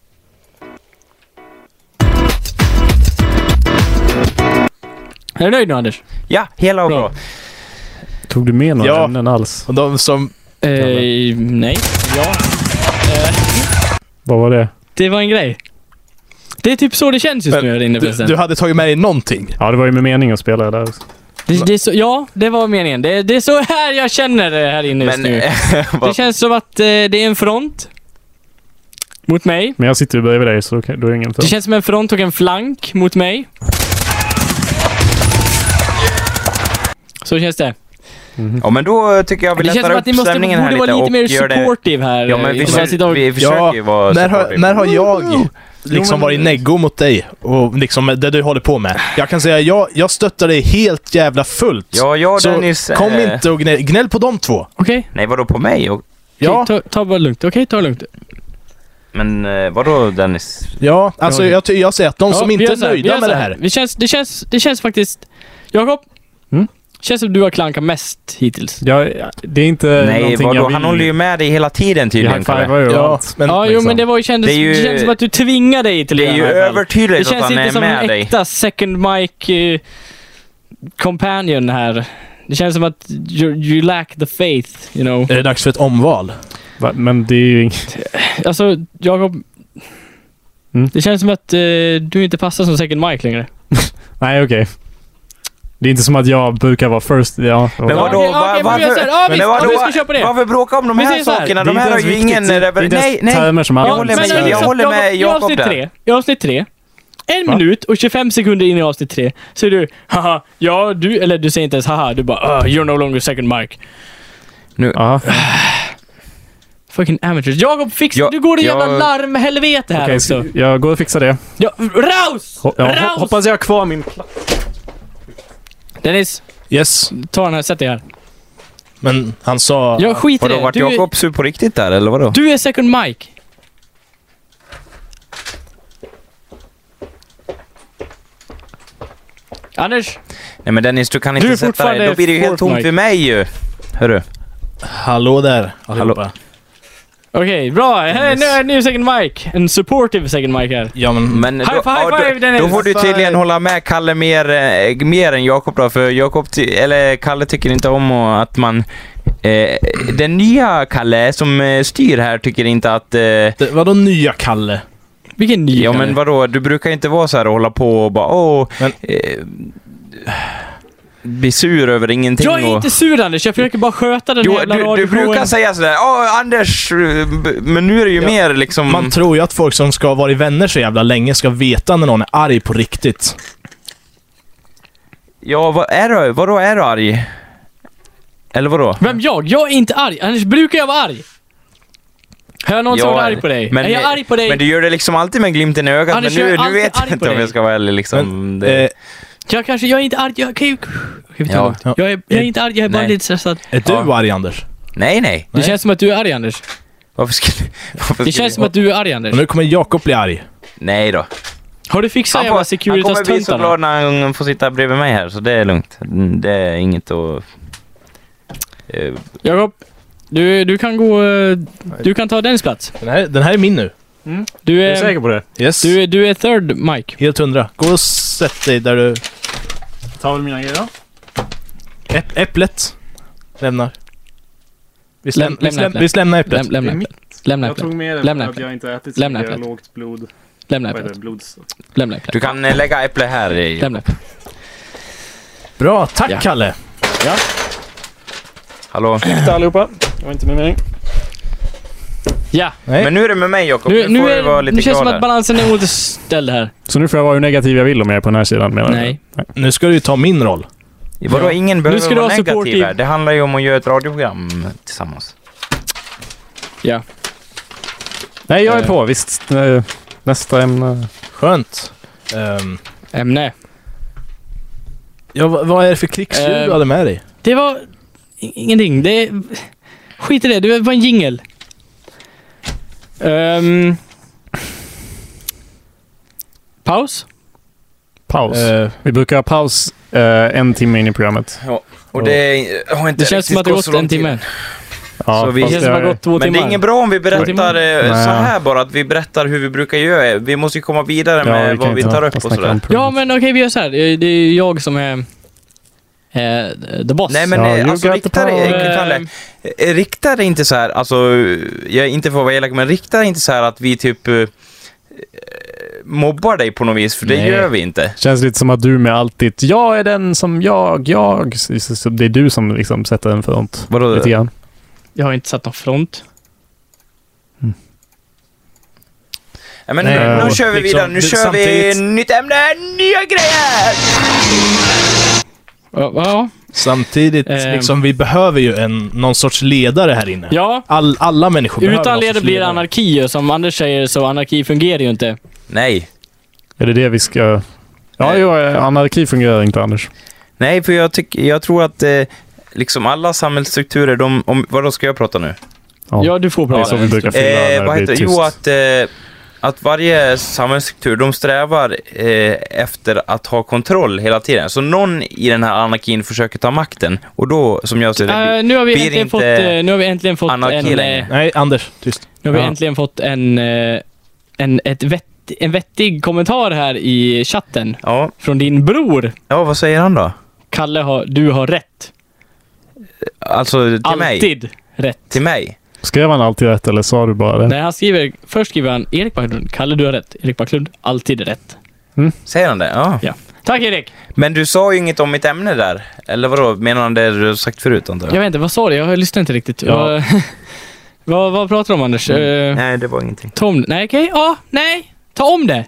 [SPEAKER 1] Är du nöjd nu Anders?
[SPEAKER 2] Ja, hela och
[SPEAKER 1] Bra.
[SPEAKER 2] bra.
[SPEAKER 3] Tog du med några
[SPEAKER 4] Ja.
[SPEAKER 3] ämnen alls?
[SPEAKER 4] Och de som...
[SPEAKER 1] Eh, nej. Ja.
[SPEAKER 3] Vad var det?
[SPEAKER 1] Det var en grej. Det är typ så det känns just nu här inne
[SPEAKER 4] Du,
[SPEAKER 1] förresten.
[SPEAKER 4] du hade tagit med dig någonting.
[SPEAKER 3] Ja, det var ju med mening att spela där också.
[SPEAKER 1] Det, det är så, ja, det var meningen. Det, det är så här jag känner det här inne just
[SPEAKER 2] Men eh,
[SPEAKER 1] nu.
[SPEAKER 2] vad-
[SPEAKER 1] Det känns som att eh, det är en front. Mot mig.
[SPEAKER 3] Men jag sitter ju bredvid dig, så då kan- då är det ingen
[SPEAKER 1] Det känns som en front och en flank mot mig. Så känns det.
[SPEAKER 2] *laughs* ja, men då eh, tycker jag vi
[SPEAKER 1] Det känns
[SPEAKER 2] lättar
[SPEAKER 1] som att ni
[SPEAKER 2] upp
[SPEAKER 1] måste,
[SPEAKER 2] stämningen här
[SPEAKER 1] borde
[SPEAKER 2] lite
[SPEAKER 1] vara lite
[SPEAKER 2] och
[SPEAKER 1] mer
[SPEAKER 2] gör det...
[SPEAKER 1] supportive här.
[SPEAKER 2] Ja, men
[SPEAKER 1] eh,
[SPEAKER 2] vi,
[SPEAKER 1] inte bara sitta och-
[SPEAKER 2] vi försöker ju vara
[SPEAKER 4] när, har,
[SPEAKER 2] supportive.
[SPEAKER 4] när har jag liksom varit neggo mot dig? Och liksom det du håller på med. Jag kan säga, jag, jag stöttar dig helt jävla fullt.
[SPEAKER 2] Ja, jag och
[SPEAKER 4] så
[SPEAKER 2] Dennis...
[SPEAKER 4] kom
[SPEAKER 2] eh,
[SPEAKER 4] inte och gnäll, gnäll på de två.
[SPEAKER 1] Okej, okej,
[SPEAKER 2] Nej, vadå på mig? Och,
[SPEAKER 4] Ja,
[SPEAKER 1] ta, ta bara lugnt. Okej, ta det lugnt.
[SPEAKER 2] men eh, vadå Dennis?
[SPEAKER 4] ja alltså jag, ty- jag säger att de
[SPEAKER 1] Ja,
[SPEAKER 4] som
[SPEAKER 1] vi
[SPEAKER 4] inte
[SPEAKER 1] gör
[SPEAKER 4] är
[SPEAKER 1] så här, vi
[SPEAKER 4] nöjda
[SPEAKER 1] gör
[SPEAKER 4] med
[SPEAKER 1] så
[SPEAKER 4] det här.
[SPEAKER 1] Vi känns, det, känns, det känns faktiskt... Jakob?
[SPEAKER 3] Mm?
[SPEAKER 1] Känns som du har klankat mest hittills.
[SPEAKER 3] Jag, det är inte
[SPEAKER 2] Nej,
[SPEAKER 3] Eh, någonting jag
[SPEAKER 2] vadå?
[SPEAKER 3] vill.
[SPEAKER 2] Han håller ju med dig hela tiden
[SPEAKER 3] Vi
[SPEAKER 2] tydligen. Kalle.
[SPEAKER 3] high-fivar ju
[SPEAKER 4] Ja,
[SPEAKER 3] överallt.
[SPEAKER 4] men,
[SPEAKER 1] ja, jo,
[SPEAKER 3] liksom.
[SPEAKER 1] men det, var, ju- kändes,
[SPEAKER 2] Det
[SPEAKER 1] det,
[SPEAKER 2] är ju-
[SPEAKER 1] känns som att du tvingar dig till
[SPEAKER 2] Det är
[SPEAKER 1] här
[SPEAKER 2] ju
[SPEAKER 1] i alla fall.
[SPEAKER 2] övertydligt
[SPEAKER 1] Det känns
[SPEAKER 2] att han
[SPEAKER 1] inte
[SPEAKER 2] är
[SPEAKER 1] som
[SPEAKER 2] med
[SPEAKER 1] en
[SPEAKER 2] dig.
[SPEAKER 1] äkta second mic eh, companion här. Det känns som att you, you lack the faith, you know.
[SPEAKER 4] Är det dags för ett omval?
[SPEAKER 3] Va? Men det är ju inget...
[SPEAKER 1] Alltså, Jakob.
[SPEAKER 3] Mm.
[SPEAKER 1] Det känns som att eh, du inte passar som second mic längre.
[SPEAKER 3] Nej, okej. Det är inte som att jag brukar vara first. Ja,
[SPEAKER 2] Men
[SPEAKER 3] ja.
[SPEAKER 2] vadå?
[SPEAKER 1] okej,
[SPEAKER 2] va-
[SPEAKER 1] okej, men vi gör så här.
[SPEAKER 2] varför-
[SPEAKER 1] Ja,
[SPEAKER 2] men
[SPEAKER 1] visst,
[SPEAKER 2] vadå?
[SPEAKER 1] ja, vi ska köra på det.
[SPEAKER 2] Varför bråka om de
[SPEAKER 1] Vi
[SPEAKER 2] här
[SPEAKER 1] säger så här,
[SPEAKER 2] sakerna?
[SPEAKER 3] Det är
[SPEAKER 2] De
[SPEAKER 3] inte
[SPEAKER 2] här har
[SPEAKER 3] ens
[SPEAKER 2] ju
[SPEAKER 3] viktigt.
[SPEAKER 2] ingen
[SPEAKER 3] Det är inte
[SPEAKER 2] rever-
[SPEAKER 3] ens
[SPEAKER 2] Nej, nej.
[SPEAKER 3] termer som
[SPEAKER 2] Jag
[SPEAKER 3] alla
[SPEAKER 2] håller
[SPEAKER 1] men
[SPEAKER 2] med,
[SPEAKER 3] använder.
[SPEAKER 1] liksom,
[SPEAKER 2] jag håller med
[SPEAKER 1] i
[SPEAKER 2] Jakob
[SPEAKER 1] avsnitt
[SPEAKER 2] där.
[SPEAKER 1] tre, I avsnitt tre, en
[SPEAKER 3] Va?
[SPEAKER 1] minut och 25 sekunder in i avsnitt tre, så är du haha, ja du, eller du säger inte ens haha, du bara "Ah, you're no longer second mic.
[SPEAKER 3] Ja,
[SPEAKER 1] Fucking amateurs. Jakob, fixa,
[SPEAKER 2] Ja,
[SPEAKER 1] du går i jävla
[SPEAKER 2] jag-
[SPEAKER 1] larmhelvete här
[SPEAKER 3] okej.
[SPEAKER 1] också.
[SPEAKER 3] så jag går och fixar det.
[SPEAKER 1] Ja, raus!
[SPEAKER 3] Ho- ja, ho-
[SPEAKER 1] raus!
[SPEAKER 3] hoppas jag har kvar min...
[SPEAKER 1] Dennis,
[SPEAKER 4] Yes,
[SPEAKER 1] ta den här, sätt dig här.
[SPEAKER 4] men han sa...
[SPEAKER 1] Jag skiter i
[SPEAKER 2] Vadå,
[SPEAKER 1] det.
[SPEAKER 2] vart
[SPEAKER 1] Du,
[SPEAKER 2] Jakob sur på riktigt där eller vadå?
[SPEAKER 1] du är second mic. Anders,
[SPEAKER 2] Nej men Dennis, du kan inte
[SPEAKER 1] Du är
[SPEAKER 2] sätta dig. Då
[SPEAKER 1] fortfarande
[SPEAKER 2] blir det ju helt tomt
[SPEAKER 1] Fortnite.
[SPEAKER 2] vid mig ju. Hörru.
[SPEAKER 4] Hallå där allihopa.
[SPEAKER 1] okej bra. Här, Nu är en ny second mic. En supportive second mic här.
[SPEAKER 4] Ja, men,
[SPEAKER 2] Men
[SPEAKER 1] High five,
[SPEAKER 2] ja,
[SPEAKER 1] five, Dennis.
[SPEAKER 2] då får du tydligen hålla med Kalle mer, eh, mer än Jakob då, för Jakob, ty- eller Kalle tycker inte om och att man... Eh, den nya Kalle som eh, styr här tycker inte att... Eh,
[SPEAKER 4] det, vadå nya Kalle?
[SPEAKER 1] Vilken ny
[SPEAKER 2] ja
[SPEAKER 1] Kalle.
[SPEAKER 2] men vadå, du brukar inte vara så här och hålla på och bara åh...
[SPEAKER 4] Men-
[SPEAKER 2] eh, bli sur över ingenting
[SPEAKER 1] Jag är
[SPEAKER 2] och...
[SPEAKER 1] inte sur Anders, jag försöker bara sköta den
[SPEAKER 2] Du,
[SPEAKER 1] jävla
[SPEAKER 2] du, du
[SPEAKER 1] radioshowen.
[SPEAKER 2] brukar säga sådär åh Anders, eh, b- men nu är det ju mer liksom...
[SPEAKER 1] Mm.
[SPEAKER 4] Man tror ju att folk som ska ha varit vänner så jävla länge ska veta när någon är arg på riktigt.
[SPEAKER 2] ja, vad är du, vadå är du arg? Eller vadå?
[SPEAKER 1] Vem jag? Jag är inte arg. Annars brukar jag vara arg. Har jag någonsin
[SPEAKER 2] Ja,
[SPEAKER 1] varit arg på dig?
[SPEAKER 2] men-
[SPEAKER 1] är jag arg på dig?
[SPEAKER 2] Men du gör det liksom alltid med glimten i ögat,
[SPEAKER 1] Anders,
[SPEAKER 2] men
[SPEAKER 1] jag
[SPEAKER 2] nu,
[SPEAKER 1] är
[SPEAKER 2] nu
[SPEAKER 1] alltid
[SPEAKER 2] vet jag
[SPEAKER 1] arg på
[SPEAKER 2] inte om
[SPEAKER 1] dig.
[SPEAKER 2] jag ska vara ärlig liksom.
[SPEAKER 4] Men,
[SPEAKER 2] det,
[SPEAKER 4] eh,
[SPEAKER 1] Jag kanske, jag är inte arg. Jag kan ju... Okej, vi tar
[SPEAKER 2] Ja.
[SPEAKER 1] lugnt. Jag, är, jag är inte arg, jag är bara
[SPEAKER 2] Nej.
[SPEAKER 1] lite stressad.
[SPEAKER 4] är du
[SPEAKER 2] ja.
[SPEAKER 4] arg Anders?
[SPEAKER 2] nej, nej.
[SPEAKER 1] Det känns som att du är arg Anders.
[SPEAKER 2] Varför skulle... *laughs* Varför
[SPEAKER 1] Det
[SPEAKER 2] skulle-
[SPEAKER 1] känns som att du är arg Anders.
[SPEAKER 4] Och nu kommer Jakob bli arg.
[SPEAKER 2] Nej då.
[SPEAKER 1] Har du fixat
[SPEAKER 2] Han, får,
[SPEAKER 1] jävla
[SPEAKER 2] han kommer bli så glad
[SPEAKER 1] Securitas-töntarna?
[SPEAKER 2] när han får sitta bredvid mig här, så det är lugnt. Mm, Det är inget att... eh,
[SPEAKER 1] Jakob, du, du kan gå... eh, Du kan ta Dennis plats.
[SPEAKER 4] Den här, den här är min nu.
[SPEAKER 1] Du
[SPEAKER 3] Är du
[SPEAKER 1] är,
[SPEAKER 3] säker på det?
[SPEAKER 4] Yes.
[SPEAKER 1] du, är- du är third Mike.
[SPEAKER 4] Helt hundra. Gå och sätt dig där du...
[SPEAKER 3] Ta väl mina grejer då.
[SPEAKER 4] Äpp, äpplet. Lämnar. Visst,
[SPEAKER 1] Läm-
[SPEAKER 4] läm, visst,
[SPEAKER 1] lämna
[SPEAKER 4] läm,
[SPEAKER 1] äpplet.
[SPEAKER 4] visst lämna äpplet?
[SPEAKER 1] Läm, lämna
[SPEAKER 3] Det är
[SPEAKER 1] äpplet. Lämna
[SPEAKER 3] Jag
[SPEAKER 1] äpplet.
[SPEAKER 3] tog med det
[SPEAKER 1] Lämna
[SPEAKER 3] för att
[SPEAKER 1] äpplet.
[SPEAKER 3] jag inte ätit så
[SPEAKER 1] Lämna
[SPEAKER 3] mycket. Jag har
[SPEAKER 1] äpplet.
[SPEAKER 3] lågt blod...
[SPEAKER 1] Lämna
[SPEAKER 3] Vad heter
[SPEAKER 1] äpplet.
[SPEAKER 3] det? Blods...
[SPEAKER 1] Lämna äpplet.
[SPEAKER 2] Du kan eh, lägga äpple här i...
[SPEAKER 1] Lämna äpplet.
[SPEAKER 4] Bra, tack
[SPEAKER 1] Ja.
[SPEAKER 4] Kalle!
[SPEAKER 2] Hallå?
[SPEAKER 3] Titta allihopa. Det var inte min mening.
[SPEAKER 1] Ja,
[SPEAKER 4] Nej.
[SPEAKER 2] Men nu är det med mig Jakob,
[SPEAKER 1] nu, nu,
[SPEAKER 2] får du vara
[SPEAKER 1] är,
[SPEAKER 2] lite
[SPEAKER 1] nu känns det som
[SPEAKER 2] gladare.
[SPEAKER 1] att balansen är återställd här.
[SPEAKER 3] Så nu får jag vara hur negativ jag vill om jag är på den här sidan menar du?
[SPEAKER 1] Nej.
[SPEAKER 4] Nu ska du ju ta min roll.
[SPEAKER 2] Vadå, ingen
[SPEAKER 1] Nu
[SPEAKER 2] behöver
[SPEAKER 1] ska du
[SPEAKER 2] vara
[SPEAKER 1] ha
[SPEAKER 2] negativ
[SPEAKER 1] supportive.
[SPEAKER 2] här. Det handlar ju om att göra ett radioprogram tillsammans.
[SPEAKER 1] Ja.
[SPEAKER 3] Nej, jag är
[SPEAKER 1] Eh.
[SPEAKER 3] på. Visst. Eh, Nästa ämne.
[SPEAKER 4] Skönt. Ehm,
[SPEAKER 1] Ämne.
[SPEAKER 4] ja, vad, vad är det för krigsdjur
[SPEAKER 1] Ehm.
[SPEAKER 4] du hade med dig?
[SPEAKER 1] Det var i- ingenting. Det... Skit i det. Det var en jingel. Ehm. paus?
[SPEAKER 3] Paus.
[SPEAKER 4] Eh,
[SPEAKER 3] Vi brukar ha paus eh, en timme in i programmet.
[SPEAKER 2] Och det har inte
[SPEAKER 1] Det känns som
[SPEAKER 2] riktigt
[SPEAKER 1] att det
[SPEAKER 2] gått
[SPEAKER 1] gått
[SPEAKER 2] så lång
[SPEAKER 1] en
[SPEAKER 2] tid.
[SPEAKER 1] timme.
[SPEAKER 3] Ja,
[SPEAKER 2] Så
[SPEAKER 1] Det
[SPEAKER 2] vi-
[SPEAKER 3] fast
[SPEAKER 1] känns som att det gått två
[SPEAKER 2] Men det är
[SPEAKER 1] timmar.
[SPEAKER 2] inget bra om vi berättar eh,
[SPEAKER 3] Nej.
[SPEAKER 2] så här bara, att vi berättar hur vi brukar göra. Vi måste ju komma vidare med
[SPEAKER 3] kan
[SPEAKER 2] vad vi
[SPEAKER 3] inte
[SPEAKER 2] tar upp
[SPEAKER 3] fastna
[SPEAKER 2] och sådär.
[SPEAKER 3] kramper.
[SPEAKER 1] Ja, men okej, vi gör så här. Eh, Det är ju jag som är eh, the boss.
[SPEAKER 2] Nej men
[SPEAKER 3] Ja,
[SPEAKER 2] eh,
[SPEAKER 3] you
[SPEAKER 2] alltså
[SPEAKER 3] got the
[SPEAKER 2] rikta dig,
[SPEAKER 1] power.
[SPEAKER 2] Kalle, eh, rikta dig inte så här, alltså, eh, jag är inte för att vara elak, men rikta dig inte så här att vi typ eh, mobbar dig på något vis, för det
[SPEAKER 4] Nej.
[SPEAKER 2] gör vi inte.
[SPEAKER 3] Känns lite som att du med allt ditt “jag är den som jag, jag”. Så- så- så Det är du som liksom sätter en front.
[SPEAKER 2] Vadå?
[SPEAKER 3] Lite grann.
[SPEAKER 1] Jag har inte satt någon front.
[SPEAKER 2] Ja, men
[SPEAKER 4] Nej,
[SPEAKER 2] nu,
[SPEAKER 3] och
[SPEAKER 2] nu kör vi
[SPEAKER 4] liksom,
[SPEAKER 2] vidare, nu
[SPEAKER 4] det-
[SPEAKER 2] kör
[SPEAKER 4] samtidigt-
[SPEAKER 2] vi nytt ämne, nya grejer!
[SPEAKER 1] Ja, ja.
[SPEAKER 4] Samtidigt,
[SPEAKER 1] Ehm.
[SPEAKER 4] liksom, vi behöver ju en, någon sorts ledare här inne.
[SPEAKER 1] ja.
[SPEAKER 4] All, alla människor behöver
[SPEAKER 1] Utan
[SPEAKER 4] någon
[SPEAKER 1] ledare
[SPEAKER 4] sorts
[SPEAKER 1] blir det anarki och som Anders säger så anarki fungerar ju inte.
[SPEAKER 2] Nej.
[SPEAKER 3] Är det det vi ska... Ja,
[SPEAKER 2] Nej.
[SPEAKER 3] jo, eh, anarki fungerar inte, Anders.
[SPEAKER 2] Nej, för jag, tyck, jag tror att eh, liksom alla samhällsstrukturer, de, om, vadå ska jag prata nu?
[SPEAKER 3] Ja.
[SPEAKER 1] Ja, du får
[SPEAKER 3] Det är
[SPEAKER 1] prata.
[SPEAKER 3] så vi brukar fylla
[SPEAKER 2] Eh,
[SPEAKER 3] när
[SPEAKER 2] vad
[SPEAKER 3] det
[SPEAKER 2] heter
[SPEAKER 3] blir
[SPEAKER 2] det?
[SPEAKER 3] tyst.
[SPEAKER 2] Jo, att, eh, att varje samhällsstruktur, de strävar eh, efter att ha kontroll hela tiden. Så någon i den här anarkin försöker ta makten och då, som jag ser det, blir-
[SPEAKER 1] Eh, nu, har vi
[SPEAKER 2] blir
[SPEAKER 1] äntligen
[SPEAKER 2] inte
[SPEAKER 1] fått, eh, nu har vi äntligen fått en...
[SPEAKER 2] anarki
[SPEAKER 1] eh,
[SPEAKER 2] längre.
[SPEAKER 4] Nej, Anders. Tyst.
[SPEAKER 1] Nu har vi
[SPEAKER 3] Ja.
[SPEAKER 1] äntligen fått en... eh, en ett vett, en vettig kommentar här i chatten
[SPEAKER 2] ja,
[SPEAKER 1] från din bror.
[SPEAKER 2] ja, vad säger han då?
[SPEAKER 1] Kalle, har, du har rätt.
[SPEAKER 2] Alltså till mig?
[SPEAKER 1] Alltid rätt.
[SPEAKER 2] Till mig?
[SPEAKER 3] Skrev han alltid rätt eller sa du bara det?
[SPEAKER 1] Nej, han skriver, först skriver han Erik Backlund. Kalle, du har rätt. Erik Backlund, alltid rätt.
[SPEAKER 2] Säger han det? Ja.
[SPEAKER 1] Ja. Tack Erik!
[SPEAKER 2] Men du sa ju inget om mitt ämne där. Eller vadå, menar han det du sagt förut antar jag?
[SPEAKER 1] Jag vet inte, vad sa du? Jag lyssnade inte riktigt.
[SPEAKER 3] Ja.
[SPEAKER 1] Vad, *laughs* vad, vad pratar du om Anders?
[SPEAKER 4] Mm.
[SPEAKER 1] Eh,
[SPEAKER 2] Nej, det var ingenting.
[SPEAKER 1] ta om det. Nej, okej. Ja, nej. Ta om det.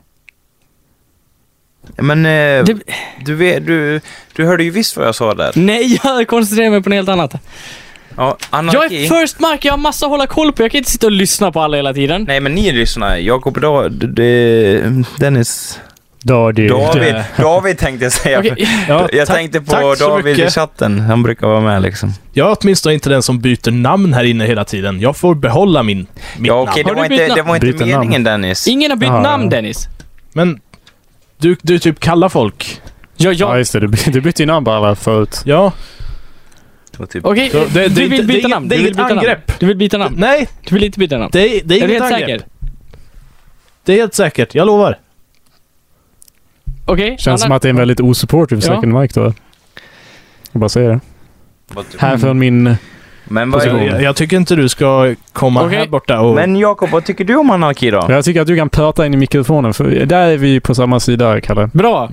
[SPEAKER 2] Men eh,
[SPEAKER 1] det.
[SPEAKER 2] Du, vet, du, du hörde ju visst vad jag sa där.
[SPEAKER 1] Nej, *laughs* jag koncentrerar mig på något helt annat.
[SPEAKER 2] Ja,
[SPEAKER 1] Jag
[SPEAKER 2] anarki.
[SPEAKER 1] är first mark, jag har massa att hålla koll på. Jag kan inte sitta och lyssna på alla hela tiden.
[SPEAKER 2] Nej men ni lyssnar, Jakob och Dennis...
[SPEAKER 3] Ja, det
[SPEAKER 2] David, David tänkte jag säga.
[SPEAKER 1] Okej,
[SPEAKER 4] Ja,
[SPEAKER 2] Jag
[SPEAKER 4] tack-
[SPEAKER 2] tänkte på
[SPEAKER 4] tack så
[SPEAKER 2] David i
[SPEAKER 4] mycket.
[SPEAKER 2] chatten, han brukar vara med liksom.
[SPEAKER 4] Jag är åtminstone inte den som byter namn här inne hela tiden. Jag får behålla min, mitt
[SPEAKER 2] Ja okej,
[SPEAKER 4] namn.
[SPEAKER 1] Har
[SPEAKER 2] det
[SPEAKER 1] du
[SPEAKER 2] var
[SPEAKER 1] bytt
[SPEAKER 2] inte, det
[SPEAKER 1] namn?
[SPEAKER 2] var inte
[SPEAKER 3] Byter namn.
[SPEAKER 2] meningen Dennis.
[SPEAKER 1] *laughs* Ingen har bytt
[SPEAKER 3] Ja,
[SPEAKER 1] namn
[SPEAKER 3] ja.
[SPEAKER 1] Dennis.
[SPEAKER 4] Men du, du typ kallar folk.
[SPEAKER 1] Ja,
[SPEAKER 3] Ja,
[SPEAKER 1] ja.
[SPEAKER 3] just det. Du, by- du bytte ju namn på alla förut.
[SPEAKER 4] Ja.
[SPEAKER 2] Det var typ-
[SPEAKER 1] Okej,
[SPEAKER 4] Så det- det
[SPEAKER 1] du
[SPEAKER 4] är inte-
[SPEAKER 1] vill
[SPEAKER 4] det är
[SPEAKER 1] byta
[SPEAKER 4] inget-
[SPEAKER 1] namn.
[SPEAKER 4] det är
[SPEAKER 1] Du vill
[SPEAKER 4] inget
[SPEAKER 1] byta namn.
[SPEAKER 4] angrepp.
[SPEAKER 1] Du vill byta namn.
[SPEAKER 4] Nej,
[SPEAKER 1] Du vill inte byta namn.
[SPEAKER 4] det, är- det är
[SPEAKER 1] Är du
[SPEAKER 4] inget
[SPEAKER 1] helt
[SPEAKER 4] angrepp.
[SPEAKER 1] säker?
[SPEAKER 4] Det är helt säkert, jag lovar.
[SPEAKER 1] Okej.
[SPEAKER 3] Känns som
[SPEAKER 1] Anna-
[SPEAKER 3] att det är en väldigt osupportive
[SPEAKER 1] Ja.
[SPEAKER 3] second mic då. Jag bara säger det.
[SPEAKER 2] Vad typ-
[SPEAKER 3] Här från min...
[SPEAKER 2] Men, vad,
[SPEAKER 4] Jag, jag, jag tycker inte du ska komma
[SPEAKER 1] Okej.
[SPEAKER 4] här borta och...
[SPEAKER 2] men Jakob, vad tycker du om anarki då?
[SPEAKER 3] Jag tycker att du kan prata in i mikrofonen för där är vi på samma sida, Kalle.
[SPEAKER 1] Bra.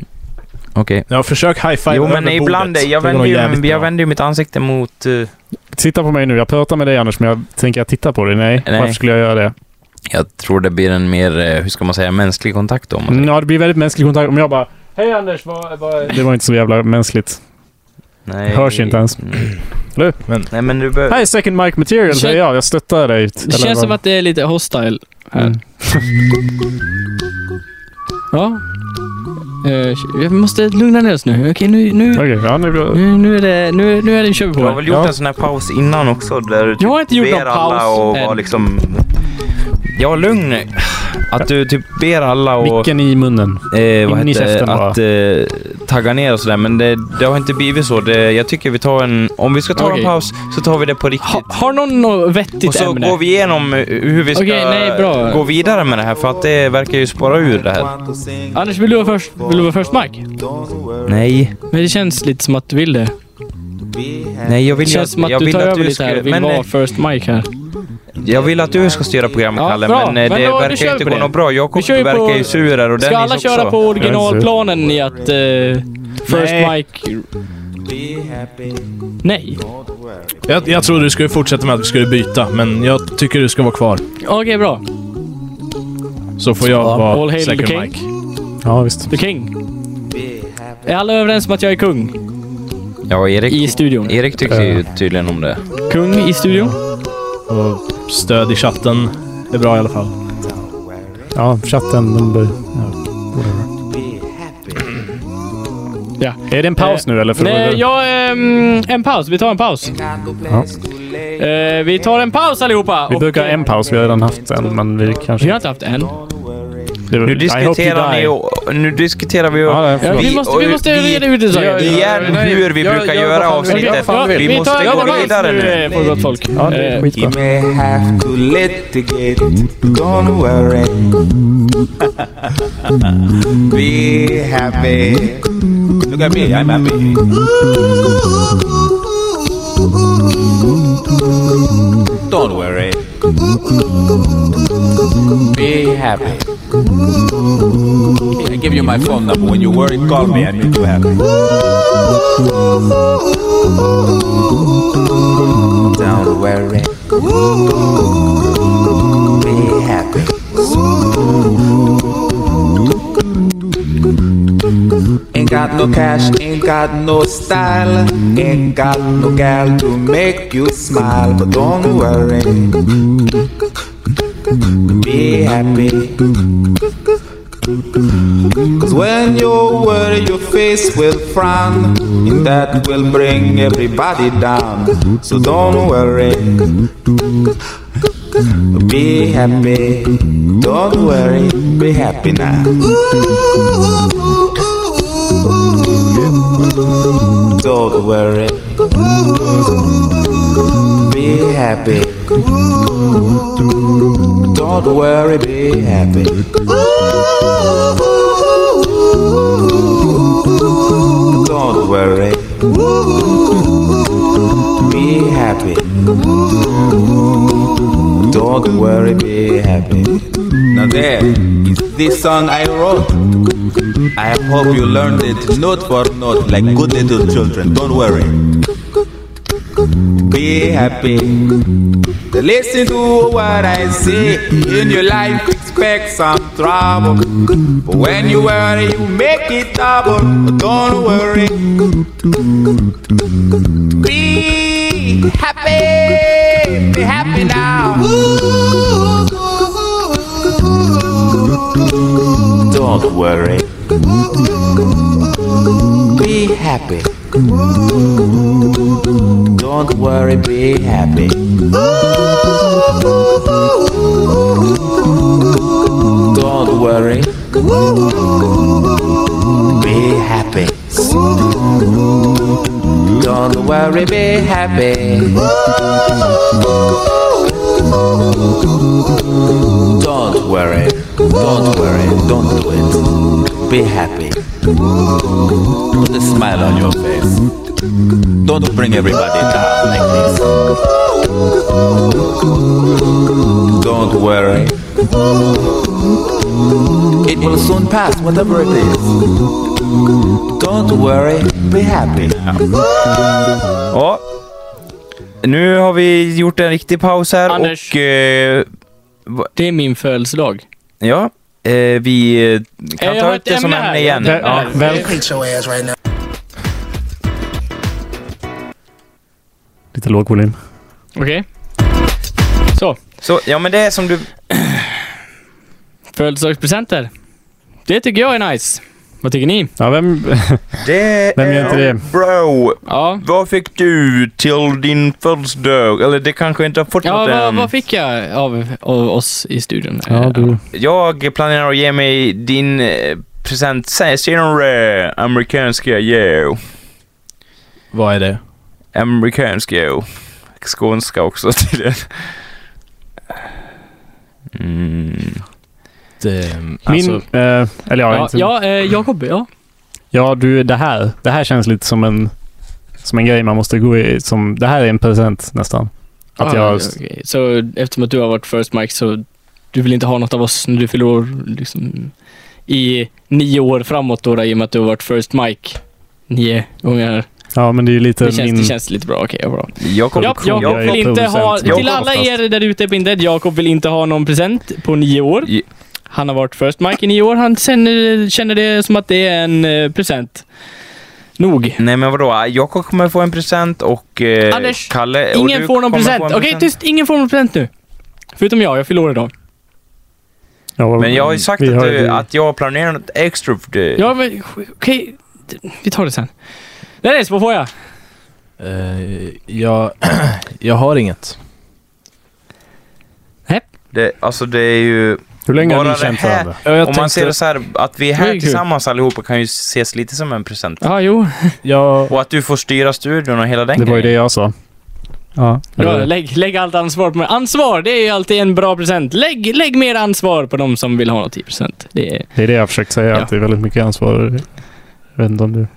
[SPEAKER 2] Okej.
[SPEAKER 4] Ja, försök high-five
[SPEAKER 2] Jo
[SPEAKER 4] över
[SPEAKER 2] men ibland, jag
[SPEAKER 4] bordet. Det går
[SPEAKER 2] vänder,
[SPEAKER 4] nog jävligt
[SPEAKER 2] ju, jag
[SPEAKER 4] bra.
[SPEAKER 2] vänder ju mitt ansikte mot... eh,
[SPEAKER 3] Titta på mig nu. Jag pratar med dig Anders, men jag tänker jag tittar på dig. Nej,
[SPEAKER 2] Nej.
[SPEAKER 3] varför skulle jag göra det?
[SPEAKER 2] jag tror det blir en mer, eh, hur ska man säga, mänsklig kontakt då, om man
[SPEAKER 3] Mm, ja, det blir väldigt mänsklig kontakt om jag bara Hej Anders, vad, vad... Det var inte så jävla mänskligt.
[SPEAKER 2] Nej.
[SPEAKER 3] Hörs inte ens.
[SPEAKER 2] Mm.
[SPEAKER 3] Eller?
[SPEAKER 4] Men-
[SPEAKER 2] Nej men du behöver...
[SPEAKER 3] Hej second mic material
[SPEAKER 1] Kän-
[SPEAKER 3] säger jag. Jag stöttar dig.
[SPEAKER 1] Det känns som att det är lite hostile här.
[SPEAKER 3] Mm.
[SPEAKER 1] Ja. Eh, Vi måste lugna ner oss nu. Okej, nu, nu,
[SPEAKER 3] Okej, ja nu blir det...
[SPEAKER 1] nu, nu är det... Nu, nu är det kör vi på
[SPEAKER 2] Du har
[SPEAKER 1] det.
[SPEAKER 2] väl gjort
[SPEAKER 3] Ja.
[SPEAKER 2] en sån här paus innan också? Där du typ-
[SPEAKER 1] Jag har inte gjort
[SPEAKER 2] ber
[SPEAKER 1] någon
[SPEAKER 2] alla
[SPEAKER 1] paus
[SPEAKER 2] och var
[SPEAKER 1] än.
[SPEAKER 2] liksom Ja, lugn. Att du typ ber alla och...
[SPEAKER 3] Micken i munnen.
[SPEAKER 2] Eh, vad
[SPEAKER 3] in i
[SPEAKER 2] heter, det?
[SPEAKER 3] käften bara.
[SPEAKER 2] att eh, tagga ner och sådär, men det, det har inte blivit så. Det, jag tycker vi tar en... Om vi ska ta
[SPEAKER 1] Okej.
[SPEAKER 2] en paus så tar vi det på riktigt.
[SPEAKER 1] Ha, har någon något
[SPEAKER 2] och
[SPEAKER 1] vettigt
[SPEAKER 2] så
[SPEAKER 1] ämne?
[SPEAKER 2] går vi igenom eh, hur vi ska
[SPEAKER 1] Okej, nej, bra.
[SPEAKER 2] gå vidare med det här, för att det verkar ju spåra ur det här.
[SPEAKER 1] Anders, vill du vara först? Vill du vara först, Mark?
[SPEAKER 2] Nej,
[SPEAKER 1] Men det känns lite som att du vill det.
[SPEAKER 2] nej jag
[SPEAKER 1] Det
[SPEAKER 2] vill,
[SPEAKER 1] känns som att
[SPEAKER 2] jag
[SPEAKER 1] du
[SPEAKER 2] vill
[SPEAKER 1] tar
[SPEAKER 2] att
[SPEAKER 1] över
[SPEAKER 2] du
[SPEAKER 1] lite
[SPEAKER 2] ska,
[SPEAKER 1] här och vill
[SPEAKER 2] men,
[SPEAKER 1] vara
[SPEAKER 2] eh,
[SPEAKER 1] first mic här.
[SPEAKER 2] Jag vill att du ska styra programmet,
[SPEAKER 1] Ja,
[SPEAKER 2] Kalle,
[SPEAKER 1] bra.
[SPEAKER 2] men eh,
[SPEAKER 1] Men
[SPEAKER 2] det
[SPEAKER 1] då- då
[SPEAKER 2] verkar
[SPEAKER 1] kör
[SPEAKER 2] ju
[SPEAKER 1] vi
[SPEAKER 2] inte
[SPEAKER 1] på
[SPEAKER 2] gå
[SPEAKER 1] det.
[SPEAKER 2] något bra.
[SPEAKER 1] Vi
[SPEAKER 2] Jakob
[SPEAKER 1] kör ju
[SPEAKER 2] verkar
[SPEAKER 1] på-
[SPEAKER 2] ju sur här och
[SPEAKER 1] Ska
[SPEAKER 2] Dennis
[SPEAKER 1] alla
[SPEAKER 2] också.
[SPEAKER 1] köra på originalplanen i att eh, first
[SPEAKER 4] Nej.
[SPEAKER 1] mic... Nej.
[SPEAKER 4] Jag, jag trodde du skulle fortsätta med att vi skulle byta, men jag tycker du ska vara kvar.
[SPEAKER 1] Okej, bra.
[SPEAKER 4] Så får jag
[SPEAKER 1] All hail
[SPEAKER 4] vara
[SPEAKER 1] the
[SPEAKER 4] second
[SPEAKER 1] king.
[SPEAKER 4] mic.
[SPEAKER 3] Ja, visst.
[SPEAKER 1] The king. Är alla överens om att jag är kung?
[SPEAKER 2] Ja, Erik,
[SPEAKER 1] I studion.
[SPEAKER 2] Erik tycker ju tydligen om det.
[SPEAKER 1] Kung i studion?
[SPEAKER 4] Och stöd i chatten är bra i alla fall.
[SPEAKER 3] Ja, chatten. Den bör, ja, whatever.
[SPEAKER 1] Ja.
[SPEAKER 3] Är det en paus nu eller? För
[SPEAKER 1] Nej, jag... ehm, en paus. Vi tar en paus. Eh, vi tar en paus allihopa.
[SPEAKER 3] Vi
[SPEAKER 1] och- eh,
[SPEAKER 3] brukar ha en paus. Vi har redan haft en, men vi kanske...
[SPEAKER 1] Vi har inte haft en.
[SPEAKER 3] Det är väl-
[SPEAKER 2] Nu
[SPEAKER 3] I hope you
[SPEAKER 2] diskuterar,
[SPEAKER 3] die.
[SPEAKER 2] ni, och- nu diskuterar vi och,
[SPEAKER 3] Ja, nej, förlåt.
[SPEAKER 1] Vi,
[SPEAKER 2] Vi-
[SPEAKER 1] måste, vi
[SPEAKER 2] och-
[SPEAKER 1] måste
[SPEAKER 2] vi-
[SPEAKER 1] reda ut det saken.
[SPEAKER 2] igen hur vi brukar göra
[SPEAKER 1] Okej,
[SPEAKER 2] avsnittet.
[SPEAKER 1] ja,
[SPEAKER 2] Vi, måste
[SPEAKER 1] tar en
[SPEAKER 2] gå
[SPEAKER 1] paus
[SPEAKER 2] vidare nu.
[SPEAKER 1] eh, För gott folk.
[SPEAKER 3] Ja, det är
[SPEAKER 1] Eh,
[SPEAKER 3] skitbra.
[SPEAKER 10] may have to litigate, don't worry. Be happy. Look at me, I'm happy. Don't worry. Be happy. I give you my phone number. When you worry, call me. I make you happy. Don't worry. Be happy. Ain't got no cash, ain't got no style, ain't got no gal to make you smile, but don't worry. Be happy. Cause when you worry, your face will frown, and that will bring everybody down. So don't worry. Be happy. Don't worry. Be happy now. Don't worry. Be happy. Don't worry, be happy. Don't worry. Be happy. Don't worry, be happy. Now there is this song I wrote. I hope you learned it note for note like good little children. Don't worry. Be happy. Listen to what I say. In your life, expect some trouble. But when you worry, you make it double. But don't worry. Be happy. Be happy now. Don't worry. Be happy. Don't worry, be happy. Don't worry. Be happy. Don't worry, be happy. Don't worry. Don't worry. Don't do it. Be happy. Put a smile on your face. Don't bring everybody down like this. Don't worry. It will soon pass, whatever it is. Don't worry, be happy.
[SPEAKER 2] Ja. Nu har vi gjort en riktig paus här
[SPEAKER 1] Anders.
[SPEAKER 2] och... Eh,
[SPEAKER 1] Det är min födelsedag.
[SPEAKER 2] ja. Eh, vi eh, kan
[SPEAKER 1] Eh, jag
[SPEAKER 2] ta
[SPEAKER 1] har
[SPEAKER 2] upp
[SPEAKER 1] ett
[SPEAKER 2] det som
[SPEAKER 1] ämne här,
[SPEAKER 2] ämne
[SPEAKER 1] jag har
[SPEAKER 2] igen.
[SPEAKER 1] ett ämne
[SPEAKER 2] Ja.
[SPEAKER 1] här.
[SPEAKER 3] Väl... Lite låg volym.
[SPEAKER 1] Okej.
[SPEAKER 2] Så, ja, men det är som du...
[SPEAKER 1] Födelsedagspresenter. Det tycker jag är nice. Vad tycker ni?
[SPEAKER 3] Ja, vem...
[SPEAKER 2] Det
[SPEAKER 3] Vem gör inte det?
[SPEAKER 2] Bro,
[SPEAKER 1] Ja,
[SPEAKER 2] vad fick du till din födelsedag? Eller det kanske inte har fått
[SPEAKER 1] ja
[SPEAKER 2] något
[SPEAKER 1] vad,
[SPEAKER 2] än.
[SPEAKER 1] vad fick jag av, av oss i studion? Eh,
[SPEAKER 3] Ja, du.
[SPEAKER 2] Jag planerar att ge mig din eh, present se- senare. Amerikanska, yeah.
[SPEAKER 4] Vad är det?
[SPEAKER 2] Amerikanska, yeah. Skånska också *laughs* tydligen. Mm.
[SPEAKER 4] det
[SPEAKER 3] Min...
[SPEAKER 4] alltså,
[SPEAKER 3] eh, eller ja,
[SPEAKER 1] Ja,
[SPEAKER 3] inte.
[SPEAKER 1] ja eh, Jakob, ja.
[SPEAKER 3] Ja, du, det här. Det här känns lite som en, som en grej man måste gå i. Som, det här är en present nästan. Att
[SPEAKER 1] Ah,
[SPEAKER 3] jag...
[SPEAKER 1] okej. Så eftersom att du har varit first Mike så du vill inte ha något av oss när du fyller år liksom, i nio år framåt då, då i och med att du har varit first Mike nio gånger.
[SPEAKER 3] Ja, men det är ju lite
[SPEAKER 1] Det känns, det
[SPEAKER 3] min...
[SPEAKER 1] känns lite bra. Okej, ja, bra.
[SPEAKER 2] Jakob,
[SPEAKER 1] Japp, Jakob
[SPEAKER 3] Jag är
[SPEAKER 1] vill inte ha,
[SPEAKER 3] producent.
[SPEAKER 1] till alla
[SPEAKER 3] Jakob
[SPEAKER 1] er där ute på Indead, Jakob vill inte ha någon present på nio år.
[SPEAKER 2] Ja.
[SPEAKER 1] Han har varit first Mike i nio år. Han känner, känner det som att det är en eh, present. Nog.
[SPEAKER 2] Nej men vadå, Jakob kommer få en present och eh,
[SPEAKER 1] Anders,
[SPEAKER 2] Kalle och
[SPEAKER 1] Ingen
[SPEAKER 2] du
[SPEAKER 1] får någon
[SPEAKER 2] kommer
[SPEAKER 1] present.
[SPEAKER 2] få en
[SPEAKER 1] Okej, tyst. Ingen får någon present nu. Förutom jag. Jag fyller år idag.
[SPEAKER 3] Ja,
[SPEAKER 2] Men jag har ju sagt
[SPEAKER 3] vi
[SPEAKER 2] att,
[SPEAKER 3] har
[SPEAKER 2] du,
[SPEAKER 3] ju-
[SPEAKER 2] att jag planerar något extra för dig.
[SPEAKER 1] Ja, men sk- okej. D- Vi tar det sen. Dennis, vad får jag?
[SPEAKER 4] eh, jag, *clears throat* jag har inget.
[SPEAKER 2] Det, alltså det är ju...
[SPEAKER 3] Hur länge har
[SPEAKER 2] Bara
[SPEAKER 3] ni
[SPEAKER 2] det
[SPEAKER 3] känt
[SPEAKER 2] här-
[SPEAKER 3] varandra?
[SPEAKER 4] Ja, jag
[SPEAKER 2] om man ser det så här, att vi är
[SPEAKER 1] Det är
[SPEAKER 2] här
[SPEAKER 1] kul.
[SPEAKER 2] tillsammans allihopa kan ju ses lite som en present.
[SPEAKER 1] Ja, jo.
[SPEAKER 4] jag,
[SPEAKER 2] Och att du får styra studion och hela den
[SPEAKER 3] Det var ju det
[SPEAKER 2] grejen.
[SPEAKER 3] jag sa. Ja.
[SPEAKER 1] Bra,
[SPEAKER 3] eller-
[SPEAKER 1] lägg, lägg allt ansvar på mig. Ansvar, det är ju alltid en bra present. Lägg, lägg mer ansvar på de som vill ha något i present. Det är...
[SPEAKER 3] Det är det jag har försökt säga,
[SPEAKER 1] Ja.
[SPEAKER 3] att det är väldigt mycket ansvar. Jag vet inte om du...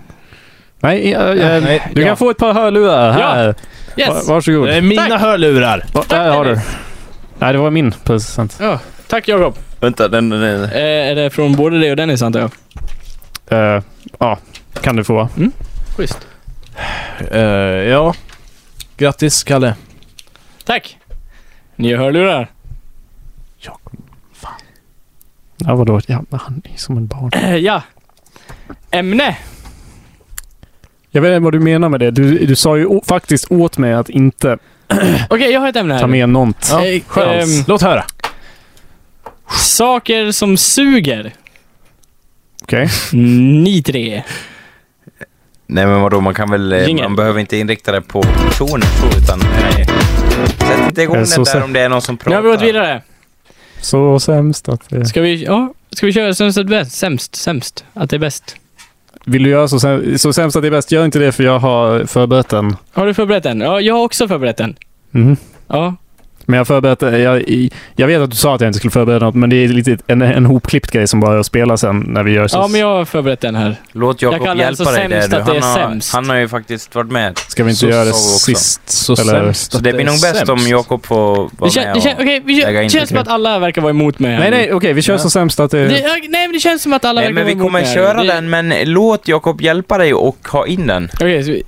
[SPEAKER 3] Nej, jag, jag,
[SPEAKER 4] nej,
[SPEAKER 3] du
[SPEAKER 1] ja.
[SPEAKER 3] kan få ett par hörlurar här.
[SPEAKER 1] Yes!
[SPEAKER 3] Va- Varsågod.
[SPEAKER 4] det är mina
[SPEAKER 1] Tack.
[SPEAKER 4] hörlurar!
[SPEAKER 3] Va- Där har du. Nej, det var min present.
[SPEAKER 1] Tack Jakob.
[SPEAKER 2] Vänta, den, den, den.
[SPEAKER 1] Eh, är det från både dig och Dennis antar jag?
[SPEAKER 3] Eh, Ja, kan du få.
[SPEAKER 1] Schysst.
[SPEAKER 4] Eh, ja. Grattis, Kalle.
[SPEAKER 1] Tack! Nya hörlurar. *clears throat*
[SPEAKER 3] Ja, vadå? Ja, men han är som en barn.
[SPEAKER 1] Eh, ja. Ämne.
[SPEAKER 3] Jag vet inte vad du menar med det. Du, du sa ju å- faktiskt åt mig att inte
[SPEAKER 1] Okej, jag har ett ämne här.
[SPEAKER 3] ta med något.
[SPEAKER 4] Ja,
[SPEAKER 1] Eh,
[SPEAKER 4] skönt.
[SPEAKER 1] ehm.
[SPEAKER 4] Låt höra.
[SPEAKER 1] Saker som suger.
[SPEAKER 3] Okej.
[SPEAKER 1] Ni tre.
[SPEAKER 2] Nej men vadå, man kan väl... eh,
[SPEAKER 1] Jingel.
[SPEAKER 2] Man behöver inte inrikta det på personer så, utan... Nej. Sätt inte igång
[SPEAKER 3] Eh,
[SPEAKER 2] den
[SPEAKER 3] så
[SPEAKER 2] där
[SPEAKER 3] sä-
[SPEAKER 2] om det är någon som
[SPEAKER 1] Nu
[SPEAKER 2] pratar.
[SPEAKER 1] har vi gått vidare.
[SPEAKER 3] Så sämst att det...
[SPEAKER 1] Ska vi, ja, ska vi köra sämst att bäst? Sämst, sämst. Att det är bäst.
[SPEAKER 3] Vill du göra så, säm- så sämst att det är bäst? Gör inte det för jag har förberett den.
[SPEAKER 1] Har du förberett en? Ja, jag har också förberett en.
[SPEAKER 3] Mhm.
[SPEAKER 1] Ja.
[SPEAKER 3] Men jag förberett... Jag, i- jag vet att du sa att jag inte skulle förbereda något, men det är lite en, en hopklippt grej som bara jag spelar sen när vi gör så.
[SPEAKER 1] ja, men jag har förberett en här.
[SPEAKER 2] Låt
[SPEAKER 1] Jag kallar
[SPEAKER 2] Jakob
[SPEAKER 1] det
[SPEAKER 2] hjälpa
[SPEAKER 1] så
[SPEAKER 2] dig där
[SPEAKER 1] sämst
[SPEAKER 2] du.
[SPEAKER 1] att det är
[SPEAKER 2] Han,
[SPEAKER 1] sämst.
[SPEAKER 2] har, han har ju faktiskt varit med.
[SPEAKER 3] Ska vi inte
[SPEAKER 4] Så
[SPEAKER 3] göra
[SPEAKER 2] sa
[SPEAKER 3] det
[SPEAKER 2] vi också.
[SPEAKER 3] sist?
[SPEAKER 4] Så
[SPEAKER 3] Eller-
[SPEAKER 4] sämst
[SPEAKER 2] Så
[SPEAKER 4] att
[SPEAKER 2] det blir nog bäst
[SPEAKER 4] sämst.
[SPEAKER 2] om Jakob får vara
[SPEAKER 1] Det, kän,
[SPEAKER 2] med
[SPEAKER 1] det,
[SPEAKER 2] och...
[SPEAKER 1] kän, okej, vi kö-
[SPEAKER 2] lägga in
[SPEAKER 1] det känns som att alla verkar vara emot mig. här
[SPEAKER 3] Nej,
[SPEAKER 1] nu.
[SPEAKER 3] nej, okej. Vi kör
[SPEAKER 4] Ja.
[SPEAKER 3] så sämst att det...
[SPEAKER 1] Det, ja, nej, men det känns som att alla
[SPEAKER 2] Nej
[SPEAKER 1] verkar
[SPEAKER 2] men
[SPEAKER 1] vara
[SPEAKER 2] vi
[SPEAKER 1] emot
[SPEAKER 2] kommer
[SPEAKER 1] mig här.
[SPEAKER 2] köra
[SPEAKER 1] Det-
[SPEAKER 2] den, men låt Jakob hjälpa dig och ha in den.
[SPEAKER 1] Okej, så vi,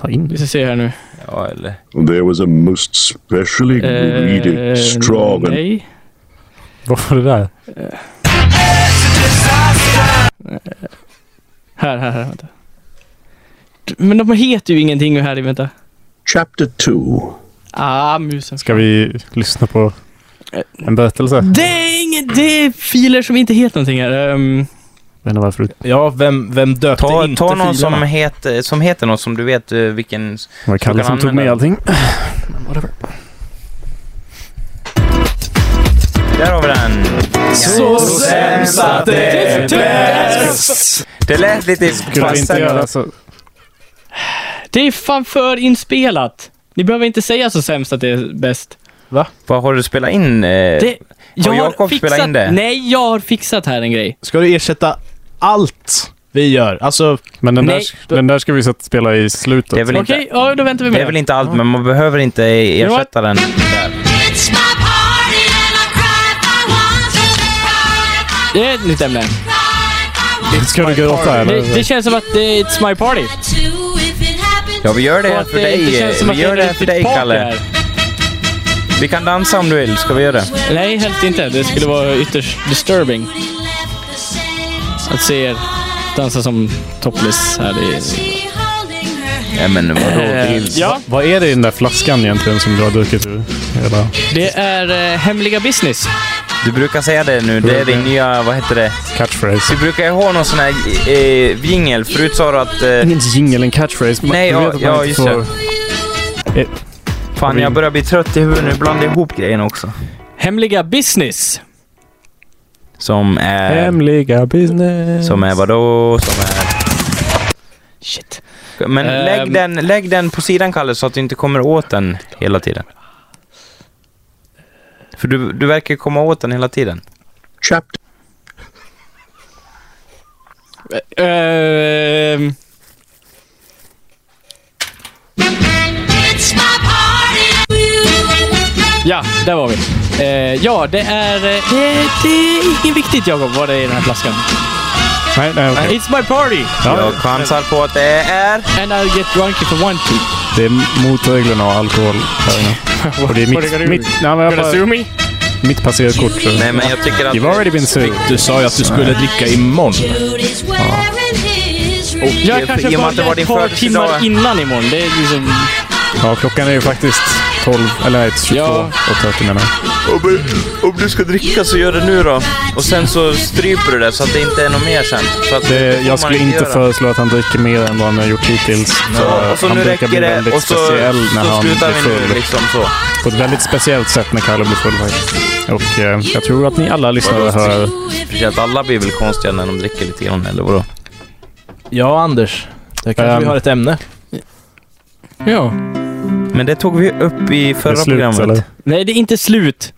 [SPEAKER 3] Ta in
[SPEAKER 1] vi ska se här nu.
[SPEAKER 2] Ja, eller...
[SPEAKER 11] There was a most specially
[SPEAKER 1] Eh,
[SPEAKER 11] greedy, strong, and
[SPEAKER 1] nej.
[SPEAKER 3] Vad var det där?
[SPEAKER 1] Här, här, här. Vänta. Men de heter ju ingenting här i, vänta.
[SPEAKER 11] Chapter 2.
[SPEAKER 1] Ah, musen.
[SPEAKER 3] Ska vi lyssna på en berättelse? Jag
[SPEAKER 1] Det är inget, det är filer som inte heter någonting här. Ehm,
[SPEAKER 3] vet inte varför du
[SPEAKER 4] Ja, vem, vem döpte
[SPEAKER 2] Ta,
[SPEAKER 4] inte
[SPEAKER 2] ta någon
[SPEAKER 4] filerna?
[SPEAKER 2] som heter, som heter något som du vet eh, vilken...
[SPEAKER 3] Det var Kalle
[SPEAKER 2] kan
[SPEAKER 3] som tog med
[SPEAKER 2] använda
[SPEAKER 3] allting.
[SPEAKER 2] Där har vi den!
[SPEAKER 1] så
[SPEAKER 2] sämst att det är Det lät lite
[SPEAKER 3] Skulle vi inte göra
[SPEAKER 2] passande.
[SPEAKER 3] så?
[SPEAKER 1] Det är fan för inspelat. Ni behöver inte säga så sämst att det är bäst.
[SPEAKER 2] Vad har du spelat in? eh?
[SPEAKER 1] Det, jag
[SPEAKER 2] Jakob spelat in det?
[SPEAKER 1] Nej, jag har fixat här en grej.
[SPEAKER 4] Ska du ersätta allt vi gör? Alltså,
[SPEAKER 3] Men den,
[SPEAKER 1] Nej,
[SPEAKER 3] där, den där ska vi sätta spela i slutet.
[SPEAKER 2] Det är väl inte-
[SPEAKER 1] Okej, ja, då väntar vi med
[SPEAKER 2] Det är väl inte allt, men man behöver inte
[SPEAKER 1] know what?
[SPEAKER 2] ersätta den.
[SPEAKER 12] It's my party and I cry if I want to. Cry if I
[SPEAKER 1] Det är ett nytt ämne.
[SPEAKER 3] Ska du
[SPEAKER 1] Det,
[SPEAKER 3] gråta
[SPEAKER 1] det
[SPEAKER 3] eller?
[SPEAKER 1] känns som att det är It's My Party.
[SPEAKER 12] want to if it happens.
[SPEAKER 2] Ja, vi gör det
[SPEAKER 1] Och
[SPEAKER 2] här
[SPEAKER 1] att
[SPEAKER 2] för
[SPEAKER 1] inte
[SPEAKER 2] dig.
[SPEAKER 1] känns som
[SPEAKER 2] Vi
[SPEAKER 1] att
[SPEAKER 2] gör
[SPEAKER 1] är
[SPEAKER 2] det här för
[SPEAKER 1] riktigt
[SPEAKER 2] dig,
[SPEAKER 1] party
[SPEAKER 2] Kalle.
[SPEAKER 1] här.
[SPEAKER 2] Vi kan dansa om du vill. Ska vi göra det?
[SPEAKER 1] Nej, helst inte. Det skulle vara ytterst disturbing att se er dansa som topless här. Det är,
[SPEAKER 2] Ja, men vadå?
[SPEAKER 3] Eh,
[SPEAKER 1] ja.
[SPEAKER 3] Vad är det i den där flaskan egentligen som du har druckit ur? Eller?
[SPEAKER 1] Det är eh, Hemliga Business.
[SPEAKER 2] Du brukar säga det nu. Det är din nya, vad heter det?
[SPEAKER 3] Catchphrase.
[SPEAKER 2] Du brukar ju ha någon sån här eh, jingel. Förut sa du att... Eh,
[SPEAKER 3] Inte ens jingle, en catchphrase. Man-
[SPEAKER 2] Nej,
[SPEAKER 3] jag
[SPEAKER 2] ja,
[SPEAKER 3] vet att man
[SPEAKER 2] ja
[SPEAKER 3] inte
[SPEAKER 2] just det.
[SPEAKER 3] Eh,
[SPEAKER 2] Fan, jag börjar bli trött i huvudet nu. Blanda ihop grejerna också.
[SPEAKER 1] Hemliga Business.
[SPEAKER 2] Som
[SPEAKER 3] Eh,
[SPEAKER 2] är...
[SPEAKER 3] Hemliga business.
[SPEAKER 2] Eh. Som är vadå? Som är...
[SPEAKER 1] Shit.
[SPEAKER 2] Men
[SPEAKER 1] Ehm.
[SPEAKER 2] lägg, den, lägg den på sidan, Kalle, så att du inte kommer åt den hela tiden. För du, du verkar komma åt den hela tiden.
[SPEAKER 11] Chapter.
[SPEAKER 1] Ehm,
[SPEAKER 12] It's my party
[SPEAKER 1] ja, där var vi. Eh, ja, det är... eh, Det, det är inget viktigt, Jakob, vad det är i den här flaskan.
[SPEAKER 3] Nej, nej, okej.
[SPEAKER 1] It's my party!
[SPEAKER 2] Jag chansar på att det är...
[SPEAKER 1] And I'll get drunk if I want to.
[SPEAKER 3] Det är mot reglerna och *laughs* alkohol här inne. Och det är
[SPEAKER 1] What are you
[SPEAKER 3] mitt,
[SPEAKER 1] gonna
[SPEAKER 3] mitt,
[SPEAKER 1] do?
[SPEAKER 3] nej, men jag
[SPEAKER 1] Gonna sue
[SPEAKER 3] bara,
[SPEAKER 1] me?
[SPEAKER 3] mitt passerkort. Så.
[SPEAKER 2] Nej, men jag tycker att...
[SPEAKER 3] You've already been sued.
[SPEAKER 4] Du sa ju att du skulle dricka imorgon.
[SPEAKER 12] Judy's wearing his ring.
[SPEAKER 2] I-
[SPEAKER 1] Jag kanske
[SPEAKER 2] i och med
[SPEAKER 1] bara
[SPEAKER 2] att det var din
[SPEAKER 1] ett par
[SPEAKER 2] födelsedag-
[SPEAKER 1] timmar innan imorgon. Det är liksom...
[SPEAKER 3] Ja, klockan är ju faktiskt 12, eller nej, 22
[SPEAKER 1] Ja.
[SPEAKER 3] och 30 menar jag.
[SPEAKER 2] Om, om du ska dricka så gör det nu då. Och sen så stryper du det så att det inte är något mer sen. Så att det
[SPEAKER 3] det,
[SPEAKER 2] får man
[SPEAKER 3] Jag skulle inte
[SPEAKER 2] göra.
[SPEAKER 3] föreslå att han dricker mer än vad han har gjort hittills. Eh,
[SPEAKER 2] Så, och så
[SPEAKER 3] han
[SPEAKER 2] nu
[SPEAKER 3] brukar
[SPEAKER 2] räcker
[SPEAKER 3] bli
[SPEAKER 2] det
[SPEAKER 3] väldigt
[SPEAKER 2] och så,
[SPEAKER 3] speciell när
[SPEAKER 2] så
[SPEAKER 3] han blir
[SPEAKER 2] slutar vi nu
[SPEAKER 3] full.
[SPEAKER 2] liksom så.
[SPEAKER 3] På ett väldigt speciellt sätt när Kalle blir full faktiskt. Och eh, jag tror att ni alla lyssnare hör...
[SPEAKER 2] För att alla blir väl konstiga när de dricker lite grann eller vadå?
[SPEAKER 4] Ja, Anders. Där kanske
[SPEAKER 3] Ehm.
[SPEAKER 4] vi har ett ämne.
[SPEAKER 1] Ja.
[SPEAKER 2] Men det tog vi upp i förra
[SPEAKER 3] slut,
[SPEAKER 2] programmet.
[SPEAKER 3] eller?
[SPEAKER 1] Nej, det är inte slut.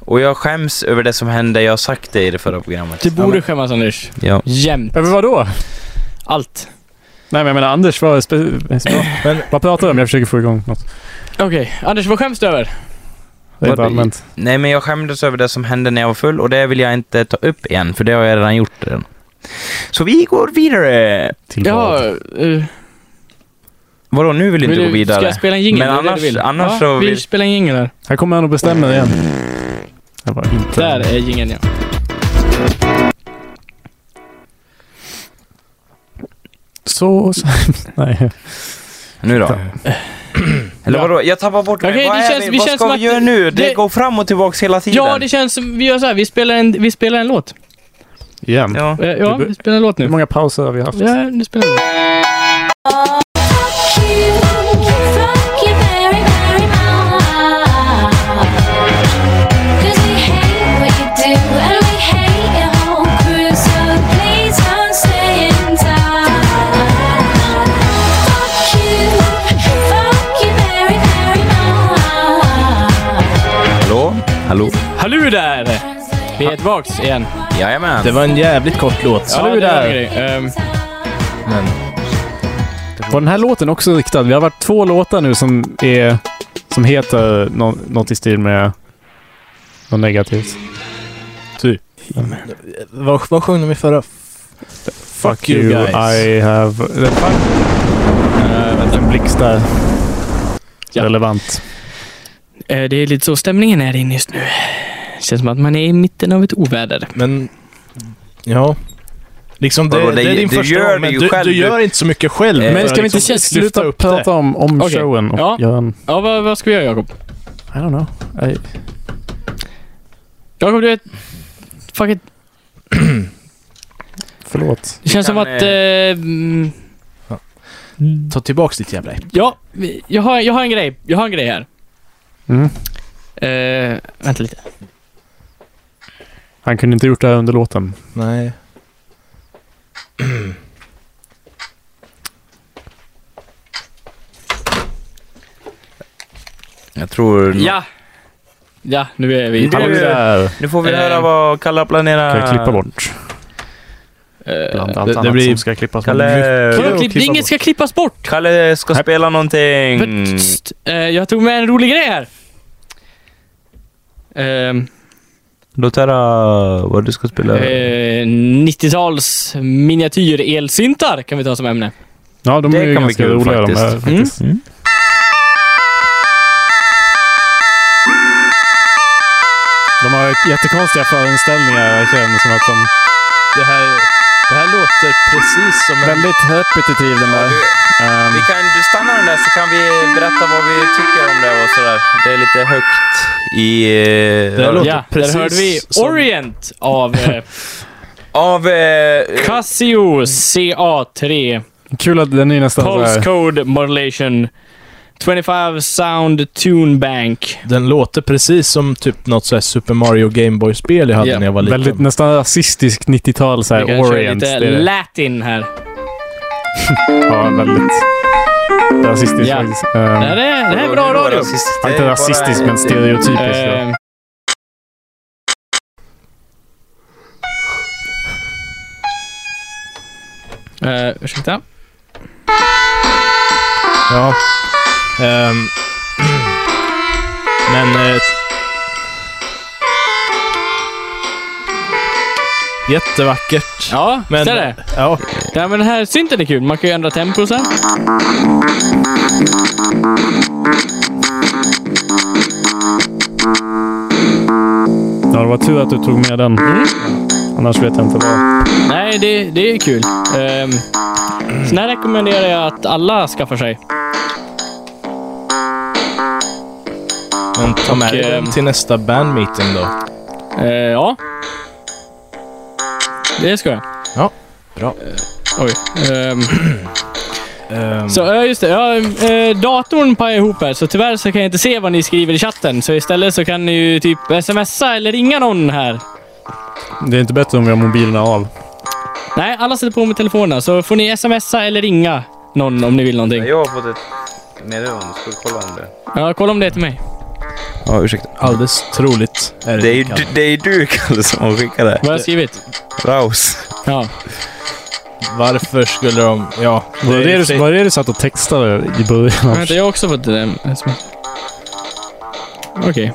[SPEAKER 2] Och jag skäms över det som hände. Jag har sagt det i det förra programmet.
[SPEAKER 1] Du borde skämmas, Anders.
[SPEAKER 2] Ja.
[SPEAKER 1] Jämt.
[SPEAKER 3] Över vad då?
[SPEAKER 1] Allt.
[SPEAKER 3] Nej, men jag menar Anders, vad, spe... men... vad pratar du om? Jag försöker få igång något.
[SPEAKER 1] Okej, Anders, vad skäms du över?
[SPEAKER 3] Rent
[SPEAKER 2] Vad-
[SPEAKER 3] allmänt.
[SPEAKER 2] Nej, men jag skämdes över det som hände när jag var full och det vill jag inte ta upp igen, för det har jag redan gjort redan. Så vi går vidare!
[SPEAKER 3] Till
[SPEAKER 1] Ja,
[SPEAKER 3] vad?
[SPEAKER 1] eh,
[SPEAKER 2] Vadå, nu vill du inte
[SPEAKER 1] vill
[SPEAKER 2] gå vidare?
[SPEAKER 1] Ska jag spela en jingel?
[SPEAKER 2] Men
[SPEAKER 1] Det är det
[SPEAKER 2] annars-
[SPEAKER 1] du vill.
[SPEAKER 2] annars
[SPEAKER 1] ja,
[SPEAKER 2] så
[SPEAKER 1] vi
[SPEAKER 2] vill-
[SPEAKER 1] spelar en jingel här.
[SPEAKER 3] Här kommer han och bestämmer igen. Det var inte...
[SPEAKER 1] Där är jingeln, ja.
[SPEAKER 3] Så... *laughs* nej.
[SPEAKER 1] *clears throat*
[SPEAKER 2] Nu då? Eller vadå? Jag tappar bort mig.
[SPEAKER 1] Okej,
[SPEAKER 2] Vad,
[SPEAKER 1] det
[SPEAKER 2] är
[SPEAKER 1] känns-
[SPEAKER 2] vi,
[SPEAKER 1] vi
[SPEAKER 2] vad
[SPEAKER 1] känns
[SPEAKER 2] ska
[SPEAKER 1] som
[SPEAKER 2] vi
[SPEAKER 1] att
[SPEAKER 2] göra nu? Det,
[SPEAKER 1] det-
[SPEAKER 2] går fram och tillbaks hela tiden.
[SPEAKER 1] Ja, det känns som... Vi gör så här, vi spelar en, vi spelar en låt.
[SPEAKER 3] Igen.
[SPEAKER 2] Ja.
[SPEAKER 1] Eh, ja,
[SPEAKER 3] Du-
[SPEAKER 1] vi spelar en låt
[SPEAKER 3] Hur
[SPEAKER 1] nu.
[SPEAKER 3] många pauser har vi haft?
[SPEAKER 1] Ja, nu spelar vi.
[SPEAKER 12] Fuck you, fuck you very, very much. 'Cause we hate what you do and we hate your whole crew, so please don't stay in touch. Fuck you, fuck you very, very much.
[SPEAKER 2] Hallå? Hallå?
[SPEAKER 1] Hallå där! Vi är tillbaks igen.
[SPEAKER 2] Jajamän.
[SPEAKER 4] Det var en jävligt kort låt.
[SPEAKER 1] Ja, det var en grej. Ehm,
[SPEAKER 3] Var den här låten också riktad? Vi har varit två låtar nu som är... Som heter nå- något i stil med... Något negativt.
[SPEAKER 4] Vad, vad sjöng de i förra? Fuck you guys.
[SPEAKER 3] I have... Eh, vänta, en blixt där.
[SPEAKER 1] Ja.
[SPEAKER 3] Relevant.
[SPEAKER 1] eh, det är lite så stämningen är inne just nu. Känns som att man är i mitten av ett oväder.
[SPEAKER 4] Men, ja. Liksom det,
[SPEAKER 2] Vadå,
[SPEAKER 4] det,
[SPEAKER 2] det-
[SPEAKER 4] är din
[SPEAKER 2] det
[SPEAKER 4] första
[SPEAKER 2] gör
[SPEAKER 4] gång, men
[SPEAKER 2] du ju
[SPEAKER 4] du,
[SPEAKER 2] själv.
[SPEAKER 4] du gör inte så mycket själv.
[SPEAKER 2] Men
[SPEAKER 4] för
[SPEAKER 3] Men
[SPEAKER 4] att
[SPEAKER 3] ska vi inte
[SPEAKER 4] liksom lyfta
[SPEAKER 3] sluta
[SPEAKER 4] upp det?
[SPEAKER 3] prata om, om
[SPEAKER 1] Okej.
[SPEAKER 3] showen och
[SPEAKER 1] Ja.
[SPEAKER 3] göra en...
[SPEAKER 1] Ja, vad, vad ska vi göra, Jakob?
[SPEAKER 3] I don't know. I,
[SPEAKER 1] Jakob, du vet... Fuck it.
[SPEAKER 3] förlåt.
[SPEAKER 1] Det känns
[SPEAKER 2] kan,
[SPEAKER 1] som att...
[SPEAKER 2] eh,
[SPEAKER 1] eh, mm,
[SPEAKER 4] Ta tillbaks ditt jävla äpple.
[SPEAKER 1] ja, vi- jag har, jag har en grej. Jag har en grej här.
[SPEAKER 3] Mm.
[SPEAKER 1] Eh, vänta lite.
[SPEAKER 3] Han kunde inte gjort det här under låten.
[SPEAKER 4] Nej.
[SPEAKER 2] Jag tror...
[SPEAKER 1] Ja! Ja, nu är vi...
[SPEAKER 2] Du-
[SPEAKER 3] Hallå där!
[SPEAKER 2] Nu får vi
[SPEAKER 1] Eh,
[SPEAKER 2] höra vad Kalle planerar.
[SPEAKER 3] Kan jag klippa bort?
[SPEAKER 1] Eh,
[SPEAKER 3] Bland allt
[SPEAKER 4] det- det
[SPEAKER 3] annat
[SPEAKER 4] blir-
[SPEAKER 3] som ska klippas.
[SPEAKER 2] Kalle,
[SPEAKER 1] Vadå, klipp, det är inget ska klippas bort.
[SPEAKER 2] Kalle ska spela någonting.
[SPEAKER 1] För, tst, eh, jag tog med en rolig grej här. Ehm,
[SPEAKER 2] Låt höra vad du ska spela.
[SPEAKER 1] eh, 90-tals miniatyr elsyntar kan vi ta som ämne.
[SPEAKER 3] Ja, de
[SPEAKER 2] Det
[SPEAKER 3] är ju
[SPEAKER 2] kan bli
[SPEAKER 3] ganska
[SPEAKER 2] kul
[SPEAKER 3] roliga de här
[SPEAKER 2] faktiskt.
[SPEAKER 3] faktiskt.
[SPEAKER 2] Mm.
[SPEAKER 3] De har jättekonstiga föreställningar verkligen. Som att de...
[SPEAKER 4] Det här, Det här låter precis som...
[SPEAKER 3] Väldigt repetitiv den där. Ehm,
[SPEAKER 2] Vi kan, du stannar den där så kan vi berätta vad vi tycker om det och sådär. Det är lite högt i... eh,
[SPEAKER 1] Där
[SPEAKER 2] radion.
[SPEAKER 1] ja, där hörde vi Orient av eh,
[SPEAKER 2] Av... Eh,
[SPEAKER 1] Casio CA3
[SPEAKER 3] Kul att den är nästan såhär...
[SPEAKER 1] Postcode Modulation 25 Sound Tune Bank.
[SPEAKER 4] Den låter precis som typ något så här Super Mario Gameboy-spel jag hade
[SPEAKER 1] Ja,
[SPEAKER 4] när jag var liten.
[SPEAKER 3] Väldigt nästan rasistiskt 90-tal såhär.
[SPEAKER 1] Vi kan köra
[SPEAKER 3] Orient.
[SPEAKER 1] lite
[SPEAKER 3] det är det.
[SPEAKER 1] latin här.
[SPEAKER 3] Ja, väldigt rasistiskt
[SPEAKER 1] Ja.
[SPEAKER 3] faktiskt.
[SPEAKER 1] Det
[SPEAKER 3] Ehm,
[SPEAKER 1] här är, det här är bra radio.
[SPEAKER 3] ja,
[SPEAKER 2] eh,
[SPEAKER 3] inte rasistiskt men stereotypiskt. ja.
[SPEAKER 1] Eh, Eh, ursäkta.
[SPEAKER 4] Ja. Ehm. men... eh, jättevackert.
[SPEAKER 1] Ja,
[SPEAKER 4] Men-
[SPEAKER 1] visst är det?
[SPEAKER 4] Ja.
[SPEAKER 1] Ja, men den här synten är kul. Man kan ju ändra tempo sen.
[SPEAKER 3] Ja, det var tur att du tog med den. Annars vet jag inte vad.
[SPEAKER 1] Nej, det, det är kul. Um, så här rekommenderar jag att alla skaffar sig.
[SPEAKER 4] Men ta med dig
[SPEAKER 1] ehm,
[SPEAKER 4] den Eh, till nästa bandmeeting då.
[SPEAKER 1] Eh, ja. Det ska jag.
[SPEAKER 4] Ja, bra.
[SPEAKER 1] Oj. ehm,
[SPEAKER 4] *clears throat* Ehm,
[SPEAKER 1] så ja, just det. Ja, eh, datorn pajar ihop här, så tyvärr så kan jag inte se vad ni skriver i chatten. Så istället så kan ni ju typ smsa eller ringa någon här.
[SPEAKER 3] Det är inte bättre om vi har mobilerna av.
[SPEAKER 1] Nej, alla sätter på med telefonerna, så får ni smsa eller ringa någon om ni vill någonting.
[SPEAKER 2] Jag har fått ett meddelande. Ska vi kolla om det?
[SPEAKER 1] Ja, kolla om det är till mig.
[SPEAKER 2] Ja, ursäkta.
[SPEAKER 4] Alldeles troligt är det.
[SPEAKER 2] Det är ju
[SPEAKER 4] Kalle.
[SPEAKER 2] du- det är ju du, Kalle, som har skickat det.
[SPEAKER 1] Vad har jag skrivit?
[SPEAKER 2] Raus.
[SPEAKER 1] Ja.
[SPEAKER 4] Varför skulle de... Ja.
[SPEAKER 3] Var
[SPEAKER 4] är
[SPEAKER 3] det,
[SPEAKER 4] ju
[SPEAKER 3] det, var det du satt och textade i början?
[SPEAKER 1] Vänta, jag har också fått eh, det. Okej.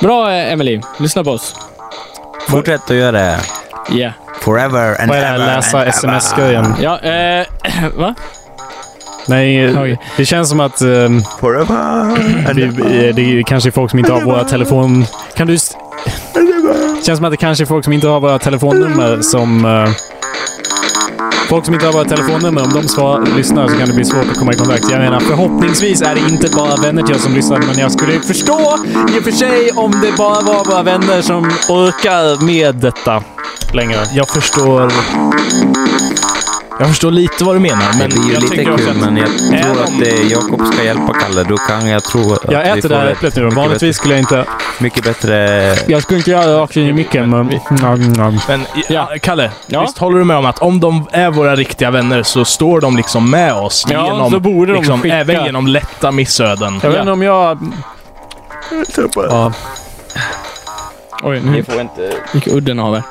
[SPEAKER 1] Bra, eh, Emily. Lyssna på oss.
[SPEAKER 2] Fortsätt att göra det.
[SPEAKER 1] Ja.
[SPEAKER 2] Forever and
[SPEAKER 3] Vad är det här?
[SPEAKER 2] ever
[SPEAKER 3] Läsa
[SPEAKER 2] and ever.
[SPEAKER 3] sms-grejen?
[SPEAKER 1] Ja, eh, *clears throat* va?
[SPEAKER 3] Nej,
[SPEAKER 1] Oj.
[SPEAKER 3] det känns som att ehm,
[SPEAKER 2] Forever and
[SPEAKER 3] vi, eh, det är kanske folk som inte har våra telefon... Kan du... s- känns som att det kanske är folk som inte har våra telefonnummer som... eh, Folk som inte har våra telefonnummer, om de svar, lyssnar så kan det bli svårt att komma i kontakt. Jag menar, förhoppningsvis är det inte bara vänner till oss som lyssnar, men jag skulle förstå i och för sig om det bara var våra vänner som orkar med detta längre.
[SPEAKER 4] Jag förstår... Jag förstår lite vad du menar,
[SPEAKER 2] Det
[SPEAKER 4] men...
[SPEAKER 2] blir ju
[SPEAKER 4] jag
[SPEAKER 2] lite
[SPEAKER 4] tycker också
[SPEAKER 2] kul,
[SPEAKER 4] att-
[SPEAKER 2] men jag tror att eh, Jakob ska hjälpa Kalle. Då kan jag tro att
[SPEAKER 3] Jag
[SPEAKER 2] vi
[SPEAKER 3] äter
[SPEAKER 2] får
[SPEAKER 3] det här
[SPEAKER 2] ett
[SPEAKER 3] äpplet nu.
[SPEAKER 2] mycket
[SPEAKER 3] Vanligtvis skulle jag inte...
[SPEAKER 2] bättre- Mycket bättre...
[SPEAKER 3] Jag skulle inte göra det rakt in i micken, men... Mm,
[SPEAKER 4] Men ja, Kalle,
[SPEAKER 1] Ja.
[SPEAKER 4] visst håller du med om att om de är våra riktiga vänner så står de liksom med oss
[SPEAKER 1] Ja,
[SPEAKER 4] genom,
[SPEAKER 1] så borde de
[SPEAKER 4] liksom,
[SPEAKER 1] skicka-
[SPEAKER 4] även genom lätta missöden?
[SPEAKER 3] Jag vet inte om jag... Ja.
[SPEAKER 1] Oj, nu
[SPEAKER 2] får inte...
[SPEAKER 1] gick udden av här.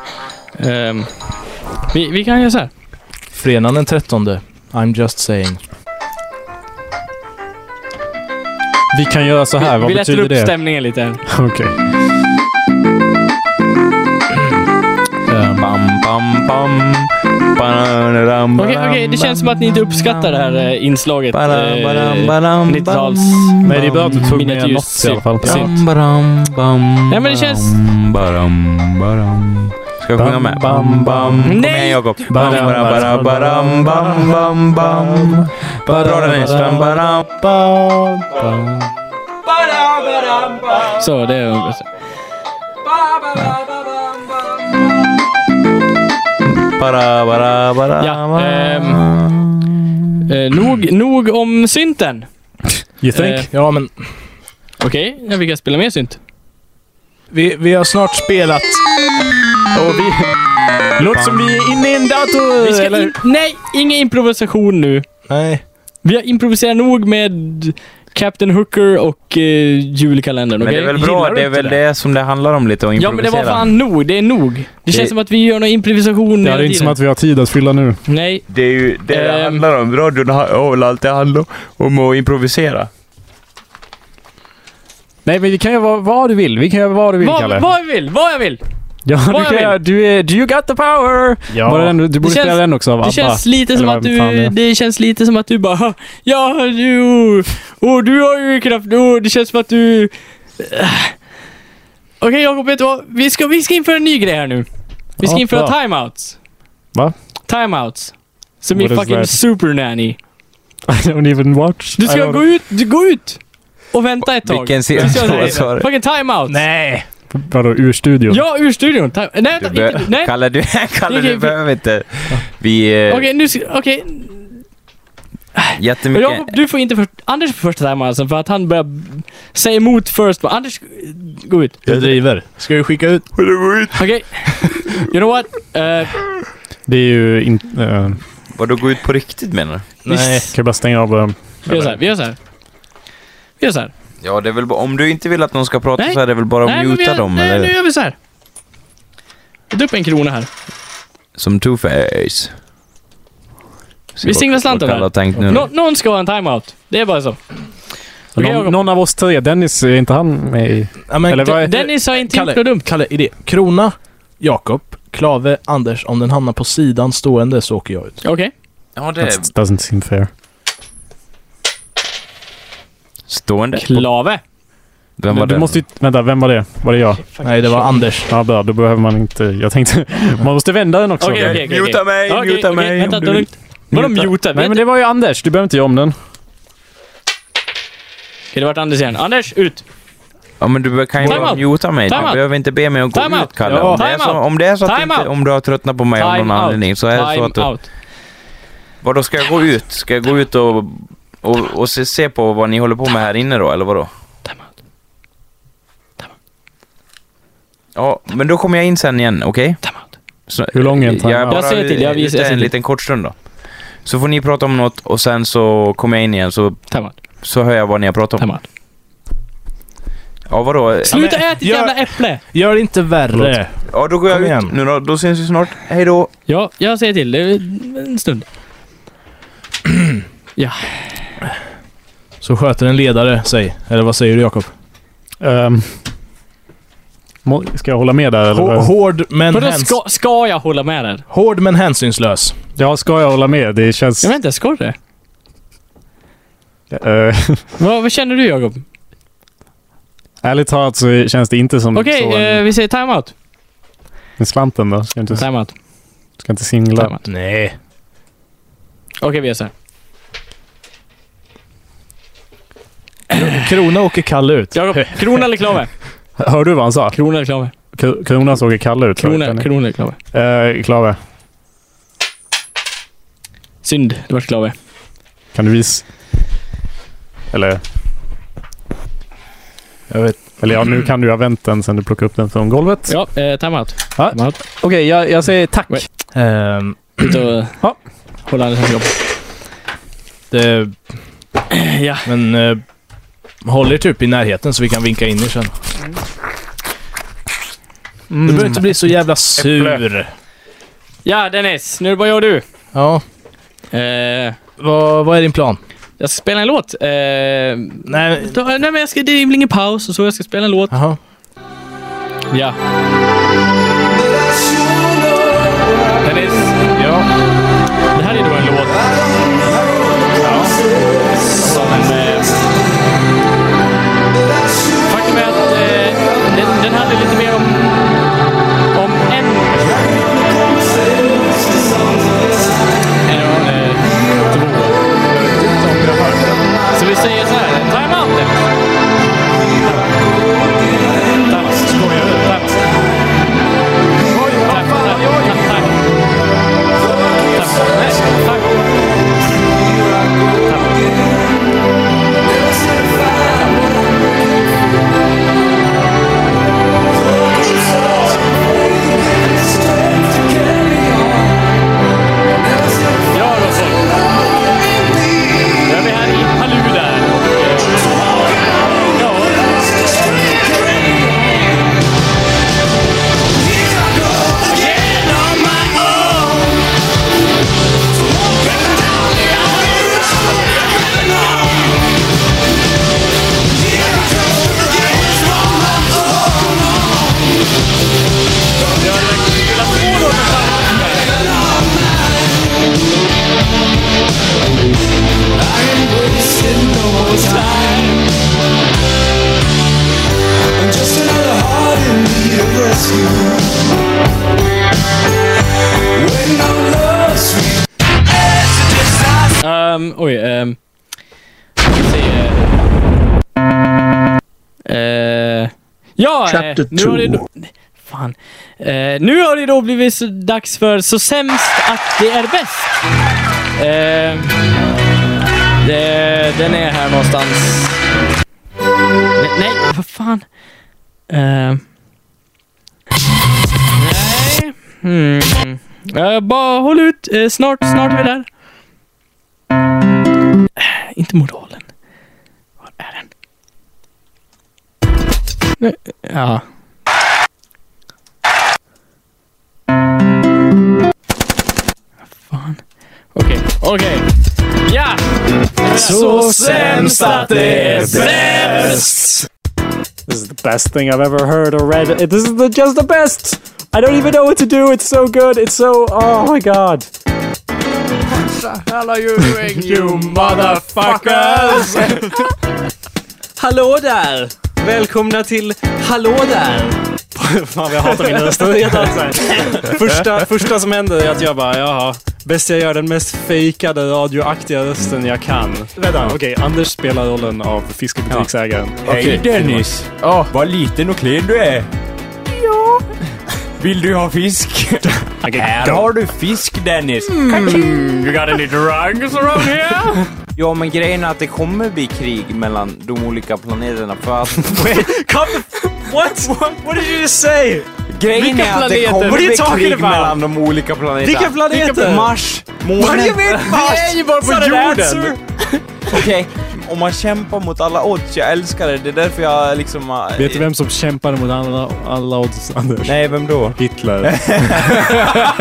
[SPEAKER 1] Ehm, vi, vi kan göra så här.
[SPEAKER 4] Fredagen den 13. I'm just saying.
[SPEAKER 3] Vi kan göra så här.
[SPEAKER 1] vi
[SPEAKER 3] Vad
[SPEAKER 1] vi lättar
[SPEAKER 3] betyder
[SPEAKER 1] upp
[SPEAKER 3] det?
[SPEAKER 1] stämningen lite. här.
[SPEAKER 3] Okej.
[SPEAKER 2] Bam, bam, bam.
[SPEAKER 1] Okej, okej, det känns som att ni inte uppskattar det här eh, inslaget. eh,
[SPEAKER 2] Badam, badam, badam,
[SPEAKER 1] 90-tals...
[SPEAKER 3] Nej, det är bra att du tog med
[SPEAKER 1] Miniatyr-
[SPEAKER 3] något i alla fall.
[SPEAKER 1] synt.
[SPEAKER 2] Bam, bam,
[SPEAKER 1] Ja, men det känns-
[SPEAKER 2] Badam, badam. Ska jag sjunga med?
[SPEAKER 3] Bam, bam.
[SPEAKER 2] Kom
[SPEAKER 1] Nej!
[SPEAKER 2] igen Jakob.
[SPEAKER 3] Badam,
[SPEAKER 2] Badam, badam, badam, badam, badam, badam. Dra den Espen. Badam, badam.
[SPEAKER 1] Så, det är bäst.
[SPEAKER 2] Bara, bara, bara,
[SPEAKER 1] Ja, ehm,
[SPEAKER 2] bara.
[SPEAKER 1] Eh, nog, nog om synten.
[SPEAKER 3] You
[SPEAKER 1] think?
[SPEAKER 4] Ja, men
[SPEAKER 1] Okej, ja, vi kan spela mer synt.
[SPEAKER 4] vi, vi har snart spelat... Och vi...
[SPEAKER 3] Låter som vi är inne i en dator!
[SPEAKER 1] Vi ska in, nej, ingen improvisation nu.
[SPEAKER 4] Nej.
[SPEAKER 1] Vi har improviserat nog med Captain Hooker och eh, julkalendern.
[SPEAKER 2] Men det är
[SPEAKER 1] okej?
[SPEAKER 2] väl
[SPEAKER 1] Gillar
[SPEAKER 2] bra,
[SPEAKER 1] du
[SPEAKER 2] det är
[SPEAKER 1] inte
[SPEAKER 2] väl det som det handlar om lite, att
[SPEAKER 1] Ja men det var
[SPEAKER 2] improvisera.
[SPEAKER 1] fan nog, det är nog. Det, känns som att vi gör någon improvisation
[SPEAKER 3] Det är
[SPEAKER 1] hela
[SPEAKER 3] inte som
[SPEAKER 1] tiden.
[SPEAKER 3] att vi har tid att fylla nu.
[SPEAKER 1] Nej,
[SPEAKER 2] Det är ju det det
[SPEAKER 1] Ehm.
[SPEAKER 2] handlar om. Radion har väl alltid handlat om att improvisera.
[SPEAKER 3] Nej, men vi kan göra vad, vad du vill. Vi kan göra vad du vill, Kalle.
[SPEAKER 1] vad, vad jag vill, vad jag vill.
[SPEAKER 3] ja,
[SPEAKER 1] vad
[SPEAKER 3] du
[SPEAKER 1] jag
[SPEAKER 3] kan
[SPEAKER 1] vill.
[SPEAKER 3] göra. Du är... Do you got the power!
[SPEAKER 4] Ja.
[SPEAKER 3] Var det den, du borde
[SPEAKER 1] känns-
[SPEAKER 3] spela den också av
[SPEAKER 1] Det
[SPEAKER 3] ABBA.
[SPEAKER 1] känns lite som
[SPEAKER 3] Eller
[SPEAKER 1] att
[SPEAKER 3] vad fan det
[SPEAKER 1] du,
[SPEAKER 3] är.
[SPEAKER 1] det känns lite som att du bara, ja du, oh, du har ju kraft, oh, det känns som att du... Äh. Okej Jakob, vet du vad? Vi ska, vi ska införa en ny grej här nu. Vi ska
[SPEAKER 3] Ja,
[SPEAKER 1] införa
[SPEAKER 3] bra.
[SPEAKER 1] timeouts.
[SPEAKER 3] Va?
[SPEAKER 1] Timeouts. Som i
[SPEAKER 3] What is
[SPEAKER 1] fucking
[SPEAKER 3] that?
[SPEAKER 1] super nanny.
[SPEAKER 3] *laughs* I don't even watch.
[SPEAKER 1] Du
[SPEAKER 3] I
[SPEAKER 1] ska
[SPEAKER 3] don't-
[SPEAKER 1] gå ut, du går ut och vänta ett tag.
[SPEAKER 2] Vilken
[SPEAKER 1] Tills jag
[SPEAKER 2] *laughs* serie?
[SPEAKER 1] säger det.
[SPEAKER 2] Sorry.
[SPEAKER 1] Fucking timeout. Nej.
[SPEAKER 3] Vadå, ur studion?
[SPEAKER 1] Ja, ur studion. Time- Nej,
[SPEAKER 2] Du
[SPEAKER 1] vänta,
[SPEAKER 2] be-
[SPEAKER 1] inte, *laughs* nej.
[SPEAKER 2] Kalle, du, Kalle,
[SPEAKER 1] Okej,
[SPEAKER 2] du
[SPEAKER 1] okej.
[SPEAKER 2] behöver inte. Vi... Eh,
[SPEAKER 1] Okej, nu ska- okej.
[SPEAKER 2] Jättemycket...
[SPEAKER 1] Jakob, du får inte för, Anders får första timeouten för att han börjar b- säga emot first. Anders, gå ut.
[SPEAKER 4] Jag driver. Ska vi skicka ut?
[SPEAKER 1] Okej.
[SPEAKER 2] *laughs*
[SPEAKER 1] You know what? Eh,
[SPEAKER 3] Det är ju inte... Uh,
[SPEAKER 2] Vadå, gå ut på riktigt menar du?
[SPEAKER 3] Nej. Kan jag bara stänga av... eh,
[SPEAKER 1] vi gör så här. Vi gör så här. Vi gör så här.
[SPEAKER 2] Ja, det är väl bara, om du inte vill att någon ska prata
[SPEAKER 1] Nej.
[SPEAKER 2] så är det väl bara att
[SPEAKER 1] men vi
[SPEAKER 2] muta
[SPEAKER 1] gör,
[SPEAKER 2] dem,
[SPEAKER 1] nej,
[SPEAKER 2] eller?
[SPEAKER 1] nu gör vi så här. Jag tar upp en krona här.
[SPEAKER 2] Som two-face.
[SPEAKER 1] Vi singlar slanten
[SPEAKER 2] Kalle har tänkt nu.
[SPEAKER 1] här. Nå- någon ska ha en timeout. Det är bara så. Okej,
[SPEAKER 3] någon,
[SPEAKER 1] Jakob.
[SPEAKER 3] någon av oss tre. Dennis, är inte han med i...
[SPEAKER 4] Ja, men
[SPEAKER 3] Eller vad är-
[SPEAKER 1] Dennis har inte gjort något
[SPEAKER 4] Kalle,
[SPEAKER 1] dumt.
[SPEAKER 4] Kalle, idé. Krona, Jakob, Klave, Anders. Om den hamnar på sidan stående så åker jag ut.
[SPEAKER 1] Okej.
[SPEAKER 2] Ja,
[SPEAKER 1] Eh,
[SPEAKER 2] det är
[SPEAKER 3] That doesn't seem fair.
[SPEAKER 2] stående.
[SPEAKER 1] Klave.
[SPEAKER 2] Vem
[SPEAKER 3] Du,
[SPEAKER 2] var
[SPEAKER 3] du
[SPEAKER 2] det?
[SPEAKER 3] måste ju, vänta, vem var det? Var det jag?
[SPEAKER 4] Nej, det var Anders.
[SPEAKER 3] Ja, bra. Då behöver man inte...
[SPEAKER 1] *laughs*
[SPEAKER 3] Jag tänkte... Man måste vända den också.
[SPEAKER 1] Okej, okej, okej. okej.
[SPEAKER 2] Muta mig,
[SPEAKER 1] Okej,
[SPEAKER 2] muta
[SPEAKER 1] okej,
[SPEAKER 2] mig,
[SPEAKER 1] Vänta,
[SPEAKER 2] om
[SPEAKER 1] det är
[SPEAKER 2] du-
[SPEAKER 1] lugnt. Vadå muta?
[SPEAKER 3] Nej,
[SPEAKER 1] Vet
[SPEAKER 3] men det var ju Anders. Du behöver inte göra om den.
[SPEAKER 1] Okej, det vart Anders igen. Anders, ut!
[SPEAKER 2] Ja, men du kan ju
[SPEAKER 1] Time
[SPEAKER 2] bara
[SPEAKER 1] out.
[SPEAKER 2] muta mig. Du
[SPEAKER 1] Time out.
[SPEAKER 2] behöver inte be mig att gå
[SPEAKER 1] Time
[SPEAKER 2] ut,
[SPEAKER 1] out.
[SPEAKER 2] Kalle.
[SPEAKER 1] Ja.
[SPEAKER 2] Om, det är
[SPEAKER 1] Time
[SPEAKER 2] så,
[SPEAKER 1] out.
[SPEAKER 2] om det är så att du
[SPEAKER 1] Time
[SPEAKER 2] inte,
[SPEAKER 1] out.
[SPEAKER 2] om du har tröttnat på mig av någon
[SPEAKER 1] Time out.
[SPEAKER 2] anledning så är det så
[SPEAKER 1] Time
[SPEAKER 2] att du...
[SPEAKER 1] out.
[SPEAKER 2] Vadå, ska jag gå ut? Ska jag gå ut och, och, och se, se på vad ni håller på med här inne då, eller vadå?
[SPEAKER 1] Time out.
[SPEAKER 2] Ja, men då kommer jag in sen igen, okej?
[SPEAKER 1] Time out.
[SPEAKER 2] Så-
[SPEAKER 3] Hur lång är en
[SPEAKER 2] Jag,
[SPEAKER 3] timeout?
[SPEAKER 2] bara,
[SPEAKER 1] Jag säger till, jag visar- jag
[SPEAKER 2] ute
[SPEAKER 1] säger
[SPEAKER 2] en
[SPEAKER 1] till.
[SPEAKER 2] liten kort stund då. Så får ni prata om något och sen så kommer jag in igen så,
[SPEAKER 1] Time out.
[SPEAKER 2] så hör jag vad ni har pratat om.
[SPEAKER 1] Time out.
[SPEAKER 2] Ja, vadå?
[SPEAKER 1] Sluta äta ett
[SPEAKER 4] gör-
[SPEAKER 1] jävla äpple!
[SPEAKER 4] Gör det inte värre.
[SPEAKER 2] Ja, då går jag
[SPEAKER 4] Kom
[SPEAKER 2] ut
[SPEAKER 4] igen.
[SPEAKER 2] nu då. Då syns vi snart. Hej då.
[SPEAKER 1] Ja, jag säger till. Det är En stund.
[SPEAKER 4] Så sköter en ledare sig. Eller vad säger du Jakob?
[SPEAKER 3] Ehm, må- ska jag hålla med där eller?
[SPEAKER 4] Hå-
[SPEAKER 3] vad?
[SPEAKER 4] Hård men,
[SPEAKER 1] Vadå,
[SPEAKER 4] häns
[SPEAKER 1] ska, ska jag hålla med där?
[SPEAKER 4] hård men hänsynslös.
[SPEAKER 3] Ja, ska jag hålla med? Det känns...
[SPEAKER 1] Jag vet inte, ska du det?
[SPEAKER 3] Eh,
[SPEAKER 1] Vad, vad känner du Jakob?
[SPEAKER 3] ärligt talat så känns det inte som
[SPEAKER 1] Okej,
[SPEAKER 3] så.
[SPEAKER 1] eh,
[SPEAKER 3] en-
[SPEAKER 1] vi säger timeout.
[SPEAKER 3] en slanten då? Ska jag inte,
[SPEAKER 1] Timeout.
[SPEAKER 3] ska jag inte singla?
[SPEAKER 1] Timeout.
[SPEAKER 4] Nej.
[SPEAKER 1] Okej, vi gör så här.
[SPEAKER 4] Krona åker Kalle
[SPEAKER 1] *laughs*
[SPEAKER 4] ut.
[SPEAKER 1] Jakob, krona eller klave?
[SPEAKER 3] Hör du vad han sa?
[SPEAKER 1] Krona eller klave?
[SPEAKER 3] Kro- Krona såg Kalle ut.
[SPEAKER 1] Krona, krona eller klave?
[SPEAKER 3] Eh, Klave,
[SPEAKER 1] Synd, det vart klave.
[SPEAKER 3] kan du visa... Eller... Jag vet. Eller ja, nu kan du ha vänt den sen du plockade upp den från golvet.
[SPEAKER 1] Ja, eh, timeout.
[SPEAKER 3] Ja.
[SPEAKER 1] Timeout.
[SPEAKER 3] Okej, jag, jag säger tack.
[SPEAKER 1] Wait.
[SPEAKER 4] Ehm,
[SPEAKER 1] *clears throat* Ut och
[SPEAKER 3] Ja.
[SPEAKER 1] hålla Anders sällskap.
[SPEAKER 4] det,
[SPEAKER 1] Ja.
[SPEAKER 4] men eh, håll er typ i närheten så vi kan vinka in er sen. Du behöver inte bli så
[SPEAKER 3] Mm.
[SPEAKER 4] jävla sur.
[SPEAKER 1] Ja, Dennis. Nu är det bara jag och du.
[SPEAKER 4] Ja.
[SPEAKER 1] Eh,
[SPEAKER 4] Vad, vad är din plan?
[SPEAKER 1] jag ska spela en låt. Eh,
[SPEAKER 4] Nej.
[SPEAKER 1] Då, nej men jag ska, det är väl ingen paus och så. Jag ska spela en låt.
[SPEAKER 4] Jaha.
[SPEAKER 1] Ja. Dennis. Ja. Det här är då en låt. Som en... eh, Faktum är att eh, den, den handlar lite mer om, om en person. Än om eh, två. Så vi säger så här. Time out! Dennis. Ehm, Eh, ja, eh,
[SPEAKER 13] Chapter
[SPEAKER 1] nu har det
[SPEAKER 13] two.
[SPEAKER 1] då, Fan. Eh, nu har det då blivit så dags för Så sämst att det är bäst. Eh, det, den är här någonstans. Nej, nej vad fan. Eh, nej. Hmm. Eh, bara håll ut. Eh, snart, snart är vi där. Eh, inte moralen. Var är den? Nej, ja. Okej, okej. Ja!
[SPEAKER 14] Så sämst att det är bäst.
[SPEAKER 3] This is the best thing I've ever heard or read. It- This is the, just the best. I don't even know what to do. It's so good. It's so. Oh my god.
[SPEAKER 14] Hell are you doing, you motherfuckers?
[SPEAKER 2] *laughs* Hallå där! Välkomna till Hallå där!
[SPEAKER 3] Fan, jag hatar min röst. Det
[SPEAKER 2] *laughs*
[SPEAKER 3] är helt allt så här. första, första som händer är att jag bara, jaha. Bäst jag gör den mest fejkade radioaktiga rösten jag kan. Vänta, okej. Anders spelar rollen av fiskebutiksägaren.
[SPEAKER 15] Hej Dennis! Vad liten och klen du är!
[SPEAKER 14] Ja.
[SPEAKER 15] Vill du ha fisk? Här har du fisk Dennis!
[SPEAKER 7] Mm,
[SPEAKER 15] you got any
[SPEAKER 7] *laughs*
[SPEAKER 15] drugs around here?
[SPEAKER 7] Ja, men grejen är att det kommer bli krig mellan de olika planeterna
[SPEAKER 1] *laughs*
[SPEAKER 7] för att...
[SPEAKER 3] Come, what? what? What did you just say?
[SPEAKER 7] Grejen är att det kommer
[SPEAKER 3] What are you
[SPEAKER 7] bli
[SPEAKER 3] talking
[SPEAKER 7] krig
[SPEAKER 3] about?
[SPEAKER 7] mellan de olika planeterna.
[SPEAKER 3] Vilka planeter?
[SPEAKER 7] Mars, månen.
[SPEAKER 3] What do you
[SPEAKER 7] *laughs*
[SPEAKER 3] mean Mars?
[SPEAKER 7] Vi är ju bara
[SPEAKER 3] Is that
[SPEAKER 7] på
[SPEAKER 3] an
[SPEAKER 7] jorden!
[SPEAKER 3] answer?
[SPEAKER 7] *laughs* Okej, om man kämpar mot alla odds, jag älskar det. Det är därför jag liksom... äh,
[SPEAKER 3] Vet du vem som kämpade mot alla, alla odds, *laughs* Anders?
[SPEAKER 7] Nej, vem då? *laughs*
[SPEAKER 3] Hitler.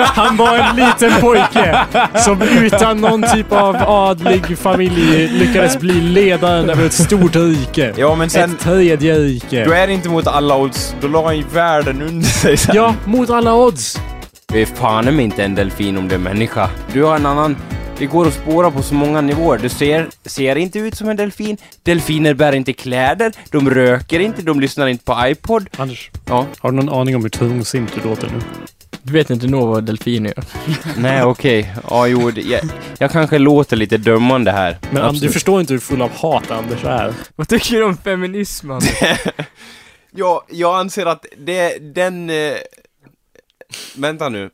[SPEAKER 3] Han var en liten pojke som utan någon typ av adlig familj lyckades bli ledaren över ett stort rike.
[SPEAKER 7] Ja, men sen-
[SPEAKER 3] Ett tredje rike.
[SPEAKER 7] Du är inte mot alla odds, då la han ju världen under sig sen.
[SPEAKER 3] Ja, mot alla odds.
[SPEAKER 2] Du är fan om inte en delfin om du är människa. Du har en annan... Det går att spåra på så många nivåer. Du ser, ser inte ut som en delfin. Delfiner bär inte kläder. De röker inte. De lyssnar inte på iPod.
[SPEAKER 3] Anders.
[SPEAKER 2] Ja.
[SPEAKER 3] Har du någon aning om hur tungsint du låter nu?
[SPEAKER 2] Du vet inte nog vad delfiner gör. Nej, okej. Ja, jo, det- jag, jag kanske låter lite dömande här.
[SPEAKER 3] Men Anders, du
[SPEAKER 2] Absolut.
[SPEAKER 3] förstår inte hur full av hat Anders är.
[SPEAKER 2] Vad tycker du om feminism,
[SPEAKER 7] Ja, jag anser att det, den... Eh, vänta nu.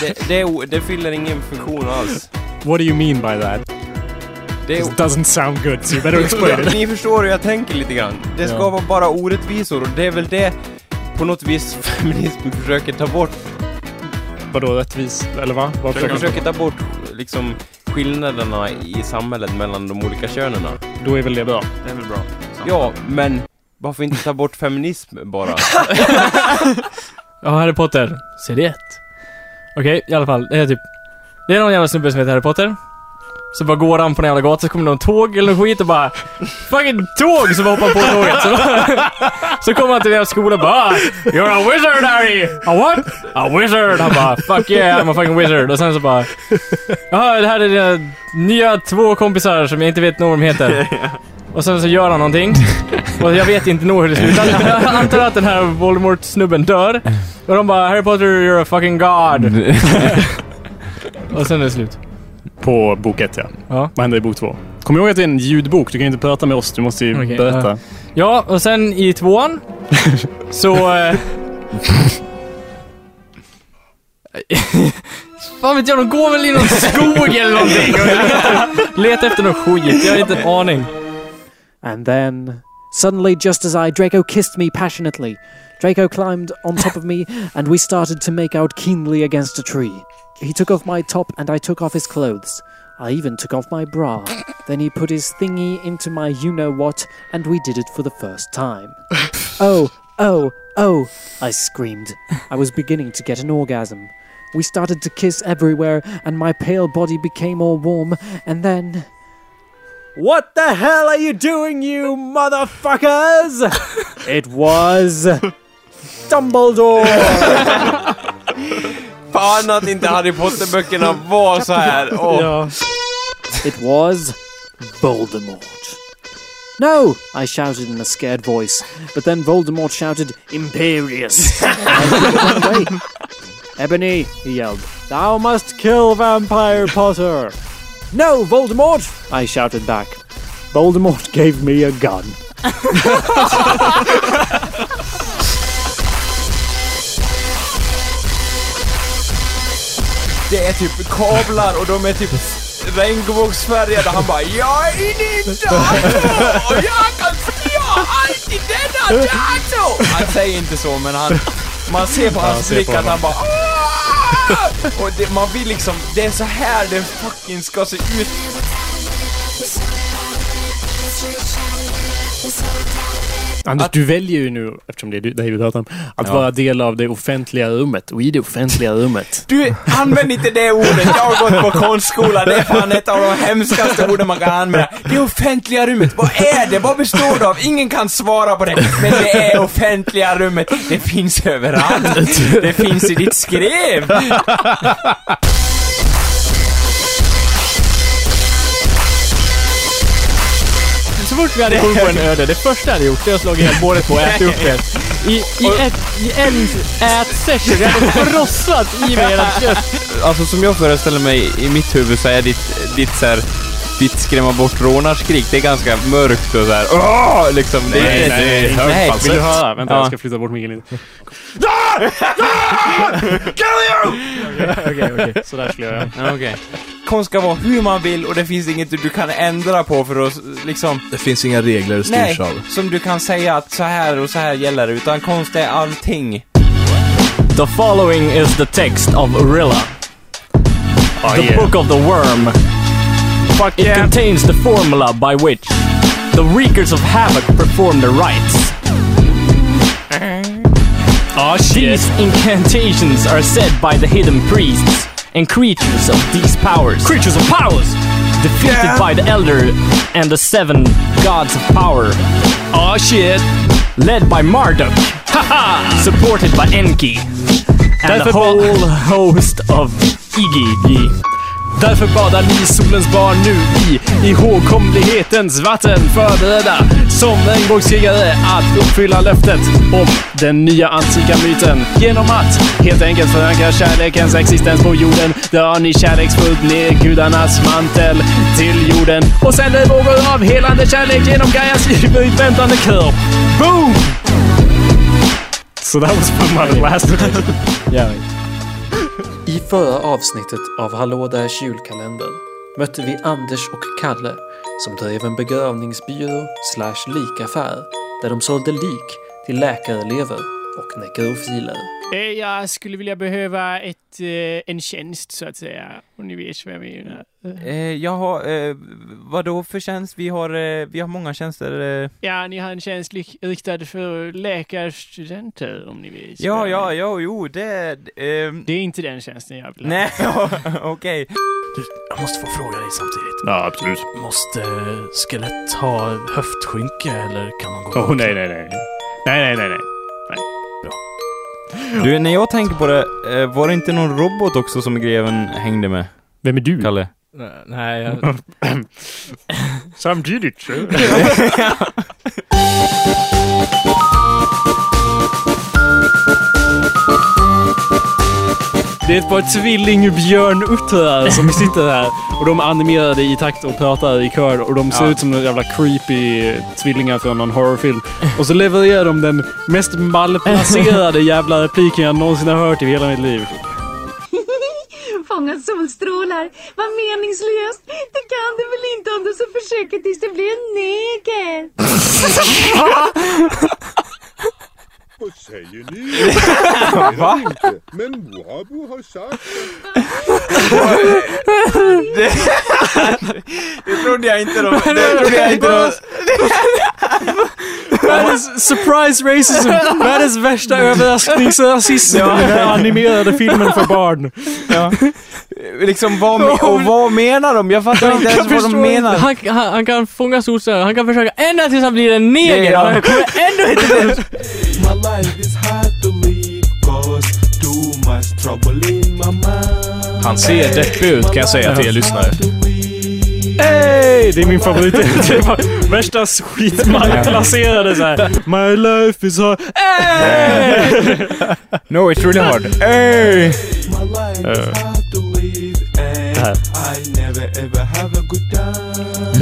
[SPEAKER 7] Det, det, är o- det fyller ingen funktion alls.
[SPEAKER 3] What do you mean by that?
[SPEAKER 7] Det är-
[SPEAKER 3] This doesn't sound good, so you better explain it.
[SPEAKER 7] Ni förstår hur jag tänker lite grann. Det ska
[SPEAKER 3] Ja.
[SPEAKER 7] vara bara orättvisor och det är väl det på något vis *laughs* feminismen försöker ta bort.
[SPEAKER 3] Vadå rättvis, eller va? Vad
[SPEAKER 7] Den
[SPEAKER 3] försöker-
[SPEAKER 7] försöker ta bort liksom skillnaderna i samhället mellan de olika könen.
[SPEAKER 3] Då är väl det bra?
[SPEAKER 7] Det är väl bra. Ja, men varför inte ta bort feminism bara?
[SPEAKER 1] Ja, Harry Potter. Serie 1. Okej, i alla fall. Det är typ... Det är någon jävla snubbe som heter Harry Potter. Så bara går han på en jävla gata, så kommer någon tåg eller någon skit och bara... Fucking tåg! Så bara hoppar han på tåget. Så, *laughs* så kommer han till deras skola och bara... "Ah, You're a wizard Harry! A what? A wizard! Han bara... Fuck yeah, I'm a fucking wizard. Och sen så bara... Jaha, det här är dina nya två kompisar som jag inte vet nog vad de *laughs* heter. Och sen så gör han någonting. Och jag vet inte nog hur det slutar. Jag antar att den här Voldemort-snubben dör. Och de bara Harry Potter, you're a fucking god. Och sen är det slut.
[SPEAKER 3] På bok ett, ja. Vad händer i bok två? Kom ihåg att det är en ljudbok. Du kan ju inte prata med oss. Du måste ju
[SPEAKER 1] Okej,
[SPEAKER 3] berätta.
[SPEAKER 1] ja. Ja, och sen i tvåan så... Eh, *laughs* Fan vet jag, de går väl i någon skog eller någonting. Leta efter någon skit, jag har inte en aning.
[SPEAKER 12] And then, suddenly, just as I, Draco kissed me passionately. Draco climbed on top of me, and we started to make out keenly against a tree. He took off my top, and I took off his clothes. I even took off my bra. Then he put his thingy into my you know what, and we did it for the first time. Oh, oh, oh, I screamed. I was beginning to get an orgasm. We started to kiss everywhere, and my pale body became all warm, and then.
[SPEAKER 14] What the hell are you doing, you motherfuckers?
[SPEAKER 12] It was
[SPEAKER 2] *laughs*
[SPEAKER 12] Dumbledore.
[SPEAKER 7] Fan att inte Harry Potter-böckerna var så här. Åh.
[SPEAKER 12] It was Voldemort. No! I shouted in a scared voice, but then Voldemort shouted, Imperious! And I looked one way. Ebony, he yelled, Thou must kill Vampire Potter! No, Voldemort! I shouted back. Voldemort gave me a gun.
[SPEAKER 2] Det är typ kablar och de är typ regnbågsfärgade. Han bara Jag är inne i datorn och jag kan styra allt i denna dator! Han säger inte så men han... Man ser på
[SPEAKER 4] Ja,
[SPEAKER 2] hans
[SPEAKER 4] ser
[SPEAKER 2] blick
[SPEAKER 4] på
[SPEAKER 2] att han
[SPEAKER 4] honom.
[SPEAKER 2] bara "Aah!" Och det, man vill liksom... Det är så här det fucking ska se ut.
[SPEAKER 3] Anders, du väljer ju nu, eftersom det är du- dig vi pratar om, att vara del av det offentliga rummet. Och i det offentliga rummet.
[SPEAKER 2] Du, använd inte det ordet. Jag har gått på konstskola. Det är fan ett av de hemskaste orden man kan använda. Det offentliga rummet, vad är det? Vad består det av? Ingen kan svara på det. Men det är offentliga rummet. Det finns överallt. Det finns i ditt skrev.
[SPEAKER 16] Så fort vi hade kommit på en öde, det första jag hade gjort det är att slå ihjäl båret på och äta upp
[SPEAKER 3] *laughs*
[SPEAKER 16] det. I, i, ett, i en ät-session. Jag hade frossat i mig hela kött.
[SPEAKER 17] Alltså som jag föreställer mig i mitt huvud så är ditt, ditt så här, ditt skrämma bort rånarskrik, det är ganska mörkt och så här. Åh! Liksom, det är
[SPEAKER 3] Nej,
[SPEAKER 17] inte-
[SPEAKER 3] nej,
[SPEAKER 17] nej,
[SPEAKER 3] nej, nej. Vill du höra? Vänta,
[SPEAKER 17] Ja.
[SPEAKER 3] jag ska flytta bort micken lite. Okej, *laughs* okej. Så där skulle jag göra.
[SPEAKER 17] Ja, okej.
[SPEAKER 2] Konst ska vara hur man vill och det finns inget du kan ändra på för att liksom...
[SPEAKER 4] Det finns inga regler det
[SPEAKER 2] Nej,
[SPEAKER 4] styrs av.
[SPEAKER 2] som du kan säga att så här och så här gäller det. Utan konst är allting.
[SPEAKER 1] The following is the text of Urilla.
[SPEAKER 16] Oh,
[SPEAKER 1] the
[SPEAKER 2] yeah.
[SPEAKER 1] Book of the Worm. it contains the formula by which the wreakers of havoc perform their rites.
[SPEAKER 16] Uh-huh. Oh,
[SPEAKER 1] These incantations are said by the hidden priests and creatures of these powers. Creatures of powers! Defeated by the Elder and the seven gods of power. Oh shit! Led by Marduk. Haha! Supported by Enki. And the
[SPEAKER 3] Därför ba-
[SPEAKER 1] whole host of Iggy.
[SPEAKER 3] Därför badar ni solens barn nu i ihågkomlighetens vatten förberedda som regnbågskrigare att uppfylla löftet om den nya antika myten genom att helt enkelt förankra kärlekens existens på jorden drar ni kärleksfullt ner gudarnas mantel till jorden och sänder vågor av helande kärlek genom *laughs* Gaias ivrigt väntande kör. Boom! So that was from my last *laughs*
[SPEAKER 18] I förra avsnittet av Hallå Därs julkalender mötte vi Anders och Kalle som drev en begravningsbyrå slash likaffär där de sålde lik till läkarelever och nekrofiler.
[SPEAKER 16] Jag skulle vilja behöva ett, eh, en tjänst så att säga. Om ni vet vad jag menar.
[SPEAKER 2] Eh, jag har, eh, vadå för tjänst? Vi har, eh, vi har många tjänster. Eh.
[SPEAKER 16] Ja, ni har en tjänst lik- riktad för läkarstudenter om ni vet.
[SPEAKER 2] Ja, ja, ja, jo, det... eh,
[SPEAKER 16] Det är inte den tjänsten jag vill ha.
[SPEAKER 2] Nej, *laughs* okej.
[SPEAKER 4] Jag måste få fråga dig samtidigt.
[SPEAKER 3] Ja, absolut.
[SPEAKER 4] Måste
[SPEAKER 2] eh,
[SPEAKER 4] skelett ha höftskynke eller kan man gå
[SPEAKER 3] Åh, Oh, nej, nej, nej. Nej, nej, nej, nej.
[SPEAKER 17] Du, när jag tänker på det, eh, var det inte någon robot också som greven hängde med?
[SPEAKER 3] Vem är du?
[SPEAKER 17] Kalle?
[SPEAKER 3] Nej, jag... Samtidigt så... Det är ett par tvillingbjörnuttrar *laughs* som sitter här. Och de är animerade i takt och pratar i kör. Och de ser
[SPEAKER 16] Ja.
[SPEAKER 3] ut som några jävla creepy tvillingar från någon horrorfilm. Och så levererar de den mest *laughs* malplacerade jävla repliken jag någonsin har hört i hela mitt liv.
[SPEAKER 12] Fånga solstrålar, vad meningslöst! Det kan du väl inte om du så försöker tills det blir en neger!
[SPEAKER 19] Vad säger ni?
[SPEAKER 2] Va?
[SPEAKER 19] Men Wabo har sagt...
[SPEAKER 2] Det, det trodde jag
[SPEAKER 17] *laughs*
[SPEAKER 2] inte de... Det trodde jag inte de...
[SPEAKER 3] That is surprise racism! Världens värsta *laughs* överraskningsrasism!
[SPEAKER 2] Ja.
[SPEAKER 3] Den här animerade filmen för barn.
[SPEAKER 2] Ja. Liksom, vad, me- och vad menar de? Jag fattar inte ens vad de menar.
[SPEAKER 16] Han, han, han kan fånga solstrålar, han kan försöka ända tills han blir en neger.
[SPEAKER 2] Ja.
[SPEAKER 1] *laughs*
[SPEAKER 16] Han kommer ändå inte bort.
[SPEAKER 20] My life is hard to lead cause too much trouble in my mind.
[SPEAKER 4] Han ser deppig ut kan jag säga till er lyssnare.
[SPEAKER 3] Hey! Det är min favorit. Det är bara värsta skitmalplacerade såhär. My life is hard. Hey!
[SPEAKER 17] No, it's really hard.
[SPEAKER 3] Hey!
[SPEAKER 20] Det
[SPEAKER 3] här.
[SPEAKER 20] I never ever have a good time.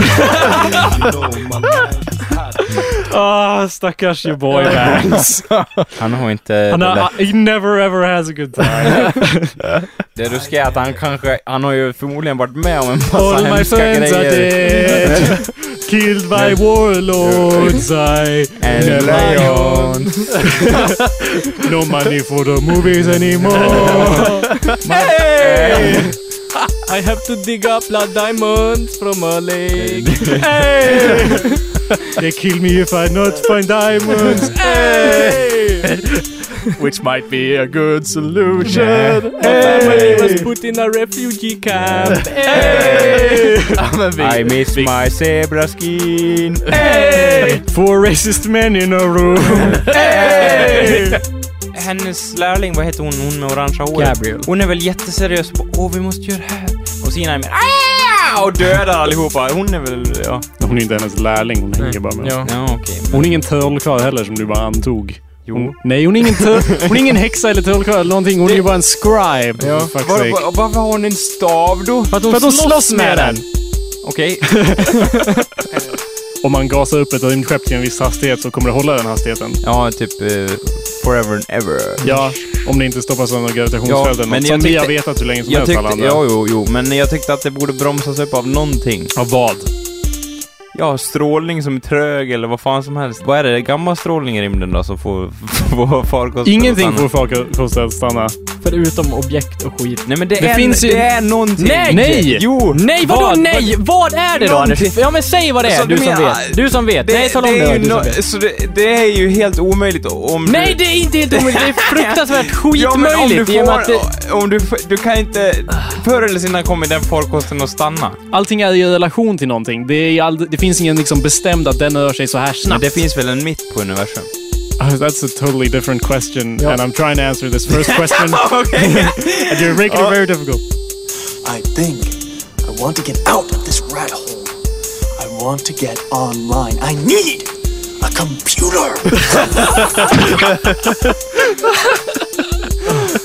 [SPEAKER 20] you know my life is hard to
[SPEAKER 3] *laughs* Ah, stackars your boy Banks.
[SPEAKER 2] Han har inte...
[SPEAKER 3] Han
[SPEAKER 2] det
[SPEAKER 3] har,
[SPEAKER 2] där-
[SPEAKER 3] he never ever has a good time.
[SPEAKER 2] Det ruskiga är att han kanske... Han har ju förmodligen varit med om en massa
[SPEAKER 3] All my
[SPEAKER 2] hemska
[SPEAKER 3] friends are
[SPEAKER 2] grejer.
[SPEAKER 3] dead. Killed by warlords I
[SPEAKER 2] And
[SPEAKER 3] never
[SPEAKER 2] lions.
[SPEAKER 3] owned. No money for the movies anymore.
[SPEAKER 1] Hey! I have to dig up blood diamonds from a lake. hey!
[SPEAKER 3] They kill me if I not find diamonds. Hey!
[SPEAKER 4] Which might be a good solution.
[SPEAKER 1] My family was put in a refugee camp. Hey!
[SPEAKER 2] *laughs* I miss my zebra skin.
[SPEAKER 3] Hey! Four racist men in a room.
[SPEAKER 2] *laughs* Hennes lärling, vad heter hon, hon med orangea håret?
[SPEAKER 1] Gabriel.
[SPEAKER 2] Hon är väl jätteseriös på åh vi måste göra det här. Och Sina är med "Aah!" och dödar allihopa. Hon är väl, ja.
[SPEAKER 3] Hon är inte hennes lärling, hon hänger bara med
[SPEAKER 2] Ja.
[SPEAKER 3] oss.
[SPEAKER 2] Ja, okej.
[SPEAKER 3] Hon är ingen trollkarl heller som du bara antog. Hon, nej, hon är ingen, tör, hon är ingen häxa eller trollkarl eller någonting. Hon är ju bara en scribe. Ja.
[SPEAKER 21] Var, var, varför har hon en stav då? För att
[SPEAKER 3] För att hon slåss med den!
[SPEAKER 21] Okej.
[SPEAKER 3] Om man gasar upp ett rymdskepp till en viss hastighet så kommer det hålla den hastigheten.
[SPEAKER 2] Ja, typ eh, forever and ever.
[SPEAKER 3] Ja, om det inte stoppas av någon gravitationsfält eller något. Som vi har vetat hur länge som
[SPEAKER 2] jag
[SPEAKER 3] helst alla
[SPEAKER 2] tyckte,
[SPEAKER 3] andra.
[SPEAKER 2] Ja, jo, jo, men jag tyckte att det borde bromsas upp av någonting.
[SPEAKER 3] Av vad?
[SPEAKER 2] Ja, strålning som är trög eller vad fan som helst. Vad är det? Gammal strålning i rymden då som får, *laughs* får farkosten
[SPEAKER 3] Ingenting
[SPEAKER 2] att
[SPEAKER 3] får
[SPEAKER 2] stanna?
[SPEAKER 3] farkosten att stanna.
[SPEAKER 1] Förutom objekt och skit.
[SPEAKER 2] Nej men det,
[SPEAKER 1] Det
[SPEAKER 2] är,
[SPEAKER 1] finns ju-
[SPEAKER 2] det är någonting.
[SPEAKER 1] Nej!
[SPEAKER 3] Nej!
[SPEAKER 2] Jo!
[SPEAKER 1] Nej, vadå
[SPEAKER 2] Vad?
[SPEAKER 1] nej? Vad är det då Anders? Ja men säg vad det är,
[SPEAKER 2] Alltså,
[SPEAKER 1] du
[SPEAKER 2] du
[SPEAKER 1] som
[SPEAKER 2] menar-
[SPEAKER 1] vet. Du som vet. Nej, tala om
[SPEAKER 2] det
[SPEAKER 1] det.
[SPEAKER 2] är
[SPEAKER 1] du
[SPEAKER 2] ju
[SPEAKER 1] som
[SPEAKER 2] nå-
[SPEAKER 1] vet.
[SPEAKER 2] så det, det är ju helt omöjligt om
[SPEAKER 1] Nej,
[SPEAKER 2] du...
[SPEAKER 1] det är inte helt omöjligt.
[SPEAKER 2] *laughs*
[SPEAKER 1] Det är fruktansvärt
[SPEAKER 2] Ja, men om
[SPEAKER 1] skitmöjligt.
[SPEAKER 2] du
[SPEAKER 1] i och med att det,
[SPEAKER 2] får, om du, får- du kan inte... Förr eller senare kommer den farkosten att stanna.
[SPEAKER 3] Allting är i relation till någonting. Det, är ju ald- det finns ingen liksom bestämd att den rör sig så här
[SPEAKER 2] Men
[SPEAKER 3] snabbt.
[SPEAKER 2] det finns väl en mitt på universum?
[SPEAKER 3] *laughs* Oh, that's a totally different question,
[SPEAKER 2] Ja.
[SPEAKER 3] and I'm trying to answer
[SPEAKER 22] *laughs*
[SPEAKER 3] this first question.
[SPEAKER 2] Okay.
[SPEAKER 3] *laughs* and you're making it very difficult.
[SPEAKER 22] Oh. I think I want to get out of this rat hole. I want to get online. I need a computer.
[SPEAKER 3] *laughs*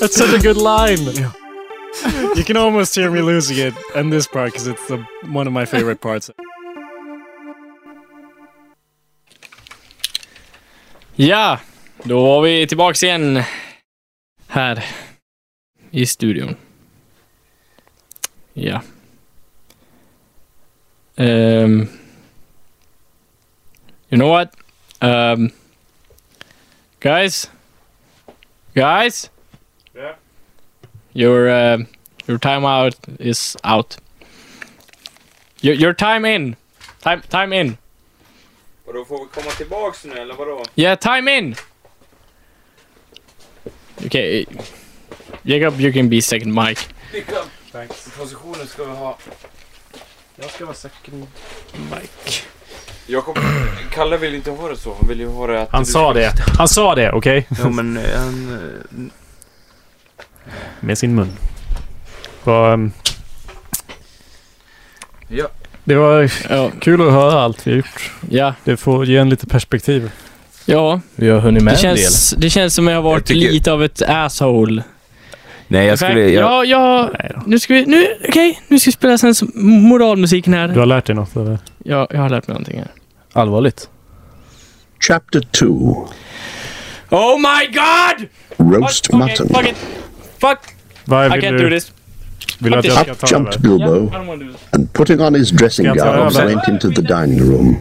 [SPEAKER 22] *laughs*
[SPEAKER 3] That's such a good line. you can almost hear me losing it in this part because it's the, one of my favorite parts.
[SPEAKER 1] Ja, då var vi tillbaks igen. Här. I studion. Ja. Um, you know what? Um, guys? Guys?
[SPEAKER 8] Yeah.
[SPEAKER 1] Your, uh, your time out is out. Your, your time in. Time, time in.
[SPEAKER 2] Och då får vi komma tillbaks nu eller vadå?
[SPEAKER 1] Yeah, time in. Okay, Jacob, you can be second mic.
[SPEAKER 4] Thanks. Positionen ska vi ha. Jag ska vara second mic.
[SPEAKER 2] Jakob, Kalle vill inte ha det så. Han vill ju ha det att...
[SPEAKER 3] Han
[SPEAKER 2] du
[SPEAKER 3] sa
[SPEAKER 2] ska-
[SPEAKER 3] det. Han sa det, okej?
[SPEAKER 2] Jo men eh, han... eh,
[SPEAKER 3] Med sin mun. Vad, ehm,
[SPEAKER 2] Ja.
[SPEAKER 3] Det var kul att höra allt vi har gjort.
[SPEAKER 1] Ja.
[SPEAKER 3] Det får ge en lite perspektiv.
[SPEAKER 1] Ja,
[SPEAKER 4] Vi har hunnit med
[SPEAKER 1] det
[SPEAKER 4] en del.
[SPEAKER 1] känns, det känns som jag har varit
[SPEAKER 2] tycker-
[SPEAKER 1] lite av ett asshole.
[SPEAKER 2] Nej jag
[SPEAKER 1] Fact-
[SPEAKER 2] skulle... Jag,
[SPEAKER 1] Ja, ja. Nu ska vi... Nu, okej. Nu ska vi spela sen som- moralmusiken här.
[SPEAKER 3] Du har lärt dig något eller?
[SPEAKER 1] Ja, jag har lärt mig någonting här.
[SPEAKER 4] Allvarligt.
[SPEAKER 11] Chapter 2
[SPEAKER 1] Oh my god!
[SPEAKER 11] Roast mutton.
[SPEAKER 1] Fuck it. Fuck.
[SPEAKER 3] Vad
[SPEAKER 1] I can't do this.
[SPEAKER 3] Vill du att jag ska
[SPEAKER 11] Up
[SPEAKER 3] ta
[SPEAKER 11] jumped
[SPEAKER 3] över?
[SPEAKER 11] Bilbo and putting on his dressing
[SPEAKER 3] Ska jag ta
[SPEAKER 11] gown
[SPEAKER 3] över?
[SPEAKER 11] went into the dining room.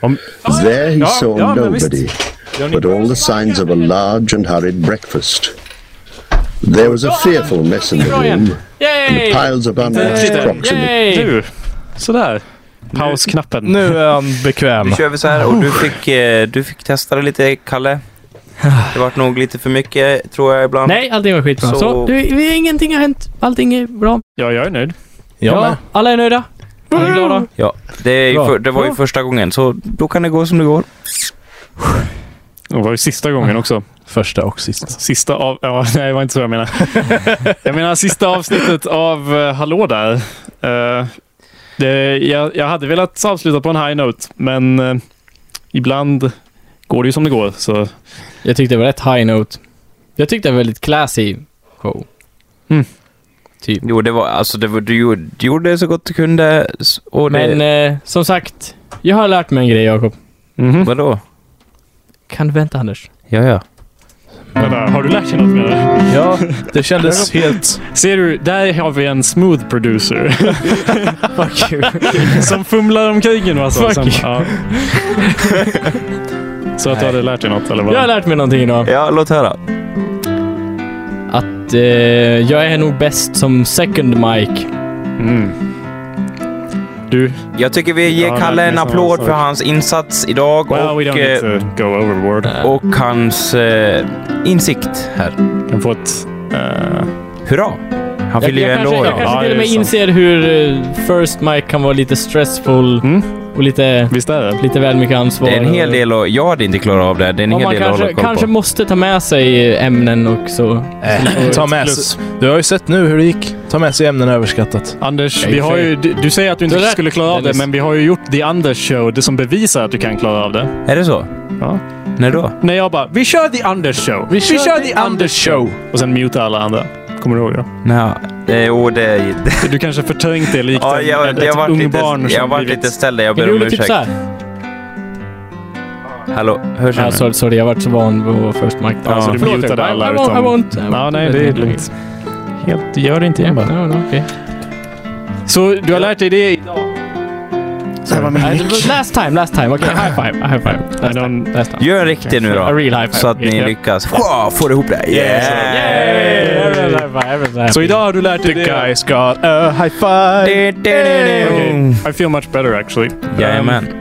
[SPEAKER 11] There he
[SPEAKER 3] Ja, ja,
[SPEAKER 11] saw
[SPEAKER 3] men visst.
[SPEAKER 11] nobody, but all the signs of a large and hurried breakfast. There was a fearful mess in the room and
[SPEAKER 1] Yay!
[SPEAKER 11] piles of unwashed crocks in the
[SPEAKER 1] Yay!
[SPEAKER 3] Du! Sådär. Pausknappen.
[SPEAKER 4] Nu är han
[SPEAKER 3] *laughs*
[SPEAKER 4] bekväm.
[SPEAKER 2] nu kör vi så här och du fick, eh, du fick testa det lite Kalle. Det vart nog lite för mycket tror jag ibland.
[SPEAKER 1] Nej, allting var skitbra. Så,
[SPEAKER 2] Så-
[SPEAKER 1] så du, vi, ingenting har hänt. Allting är bra.
[SPEAKER 3] Ja, jag är nöjd.
[SPEAKER 1] Ja, alla är nöjda. Alla är glada.
[SPEAKER 2] Ja, det, är ju
[SPEAKER 3] Bra.
[SPEAKER 2] för, det var ju
[SPEAKER 3] Bra.
[SPEAKER 2] första gången så då kan det gå som det går.
[SPEAKER 3] Det var ju sista gången också.
[SPEAKER 4] Första och sista.
[SPEAKER 3] Sista av... Ja, *laughs* nej, det var inte så
[SPEAKER 4] *laughs*
[SPEAKER 3] jag menade. jag menar sista avsnittet av uh, Hallå där. Eh, det, jag, jag hade velat avsluta på en high note, men eh, ibland går det ju som det går. Så
[SPEAKER 1] Jag tyckte det var rätt high note. Jag tyckte det var väldigt classy show.
[SPEAKER 2] Jo, det var alltså det var, du, gjorde- du gjorde så gott du kunde s- och det,
[SPEAKER 1] Eh,
[SPEAKER 4] Mhm.
[SPEAKER 1] Men eh, som sagt, jag har lärt mig en grej Jakob.
[SPEAKER 2] vadå?
[SPEAKER 1] Kan du vänta Anders?
[SPEAKER 2] Ja, ja.
[SPEAKER 1] Vänta, har du lärt dig något menar du? *laughs*
[SPEAKER 4] Ja, det kändes helt...
[SPEAKER 3] Ser du, där har vi en smooth producer. *laughs* Fuck you. Som fumlar omkring en massa.
[SPEAKER 1] Fuck
[SPEAKER 3] sen-
[SPEAKER 1] you.
[SPEAKER 3] ja. Så att du hade lärt dig något eller
[SPEAKER 1] *laughs*
[SPEAKER 3] vad?
[SPEAKER 1] Jag har lärt mig någonting idag.
[SPEAKER 2] Ja, låt höra.
[SPEAKER 1] Att eh, jag är nog bäst som second mic.
[SPEAKER 3] Mm.
[SPEAKER 1] Du?
[SPEAKER 2] Jag tycker vi ger
[SPEAKER 1] Ja,
[SPEAKER 2] Kalle
[SPEAKER 1] det är
[SPEAKER 2] en
[SPEAKER 1] samma
[SPEAKER 2] applåd
[SPEAKER 1] sak.
[SPEAKER 2] för hans insats idag
[SPEAKER 3] Well,
[SPEAKER 2] och,
[SPEAKER 3] we don't need
[SPEAKER 2] eh,
[SPEAKER 3] to go overboard.
[SPEAKER 2] och hans eh, insikt här.
[SPEAKER 3] Kan få ett... eh,
[SPEAKER 2] Hurra! Han fyller ju
[SPEAKER 1] jag,
[SPEAKER 2] ändå
[SPEAKER 1] kanske, jag kanske till och med inser hur eh, first mic kan vara lite stressful
[SPEAKER 3] mm,
[SPEAKER 1] och lite, lite väl mycket ansvar.
[SPEAKER 2] Det är en hel del och jag hade inte klarat av det. Det är en
[SPEAKER 1] och
[SPEAKER 2] hel
[SPEAKER 1] man
[SPEAKER 2] del att hålla
[SPEAKER 1] kanske,
[SPEAKER 2] koll
[SPEAKER 1] kanske
[SPEAKER 2] på.
[SPEAKER 1] måste ta med sig ämnen också.
[SPEAKER 4] Eh, ta med sig. Du har ju sett nu hur det gick. Ta med sig ämnen överskattat.
[SPEAKER 3] Anders, vi har ju, du, du säger att du inte
[SPEAKER 4] Du har rätt,
[SPEAKER 3] skulle klara av det,
[SPEAKER 4] Dennis.
[SPEAKER 3] men vi har ju gjort The Anders Show, det som bevisar att du kan klara av det.
[SPEAKER 2] Är det så?
[SPEAKER 3] Ja.
[SPEAKER 2] När då?
[SPEAKER 3] När jag bara, vi kör The Anders Show. Vi kör, The Anders Show. Och sen mutar alla andra. Kommer du ihåg det?
[SPEAKER 2] Nja, eh, och det...
[SPEAKER 3] Du kanske förträngt det likt
[SPEAKER 2] Ja,
[SPEAKER 3] en-
[SPEAKER 2] jag,
[SPEAKER 3] ett,
[SPEAKER 2] jag
[SPEAKER 3] ett
[SPEAKER 2] har varit lite,
[SPEAKER 3] ungbarn
[SPEAKER 2] jag har
[SPEAKER 3] som
[SPEAKER 2] varit
[SPEAKER 3] blivit-
[SPEAKER 2] lite ställd. Jag ber om
[SPEAKER 1] typ
[SPEAKER 2] ursäkt. Hallå, hörs jag
[SPEAKER 1] Ja,
[SPEAKER 2] nu?
[SPEAKER 1] sorry, sorry, jag har varit så van vid att vara first mic.
[SPEAKER 3] Ja, så du
[SPEAKER 1] Förlåt,
[SPEAKER 3] mutade
[SPEAKER 1] jag- I,
[SPEAKER 3] alla
[SPEAKER 1] I won't,
[SPEAKER 3] utom-
[SPEAKER 1] I won't.
[SPEAKER 3] Ja, nej, det är lugnt. Helt, gör det inte igen bara.
[SPEAKER 1] Ja, ja, okej.
[SPEAKER 3] Så du har lärt dig det idag? Det var
[SPEAKER 1] Nej, det var Last time, last time. Okej, high five. High five. Last time, last time.
[SPEAKER 2] Gör en riktig nu då.
[SPEAKER 1] A real high five.
[SPEAKER 2] Så att ni
[SPEAKER 1] Yeah.
[SPEAKER 2] lyckas. Wow, får ihop det. Yeah!
[SPEAKER 3] Så idag har du lärt dig det. The guys got a high five. I feel much better actually.
[SPEAKER 2] Jajamän.
[SPEAKER 3] Um,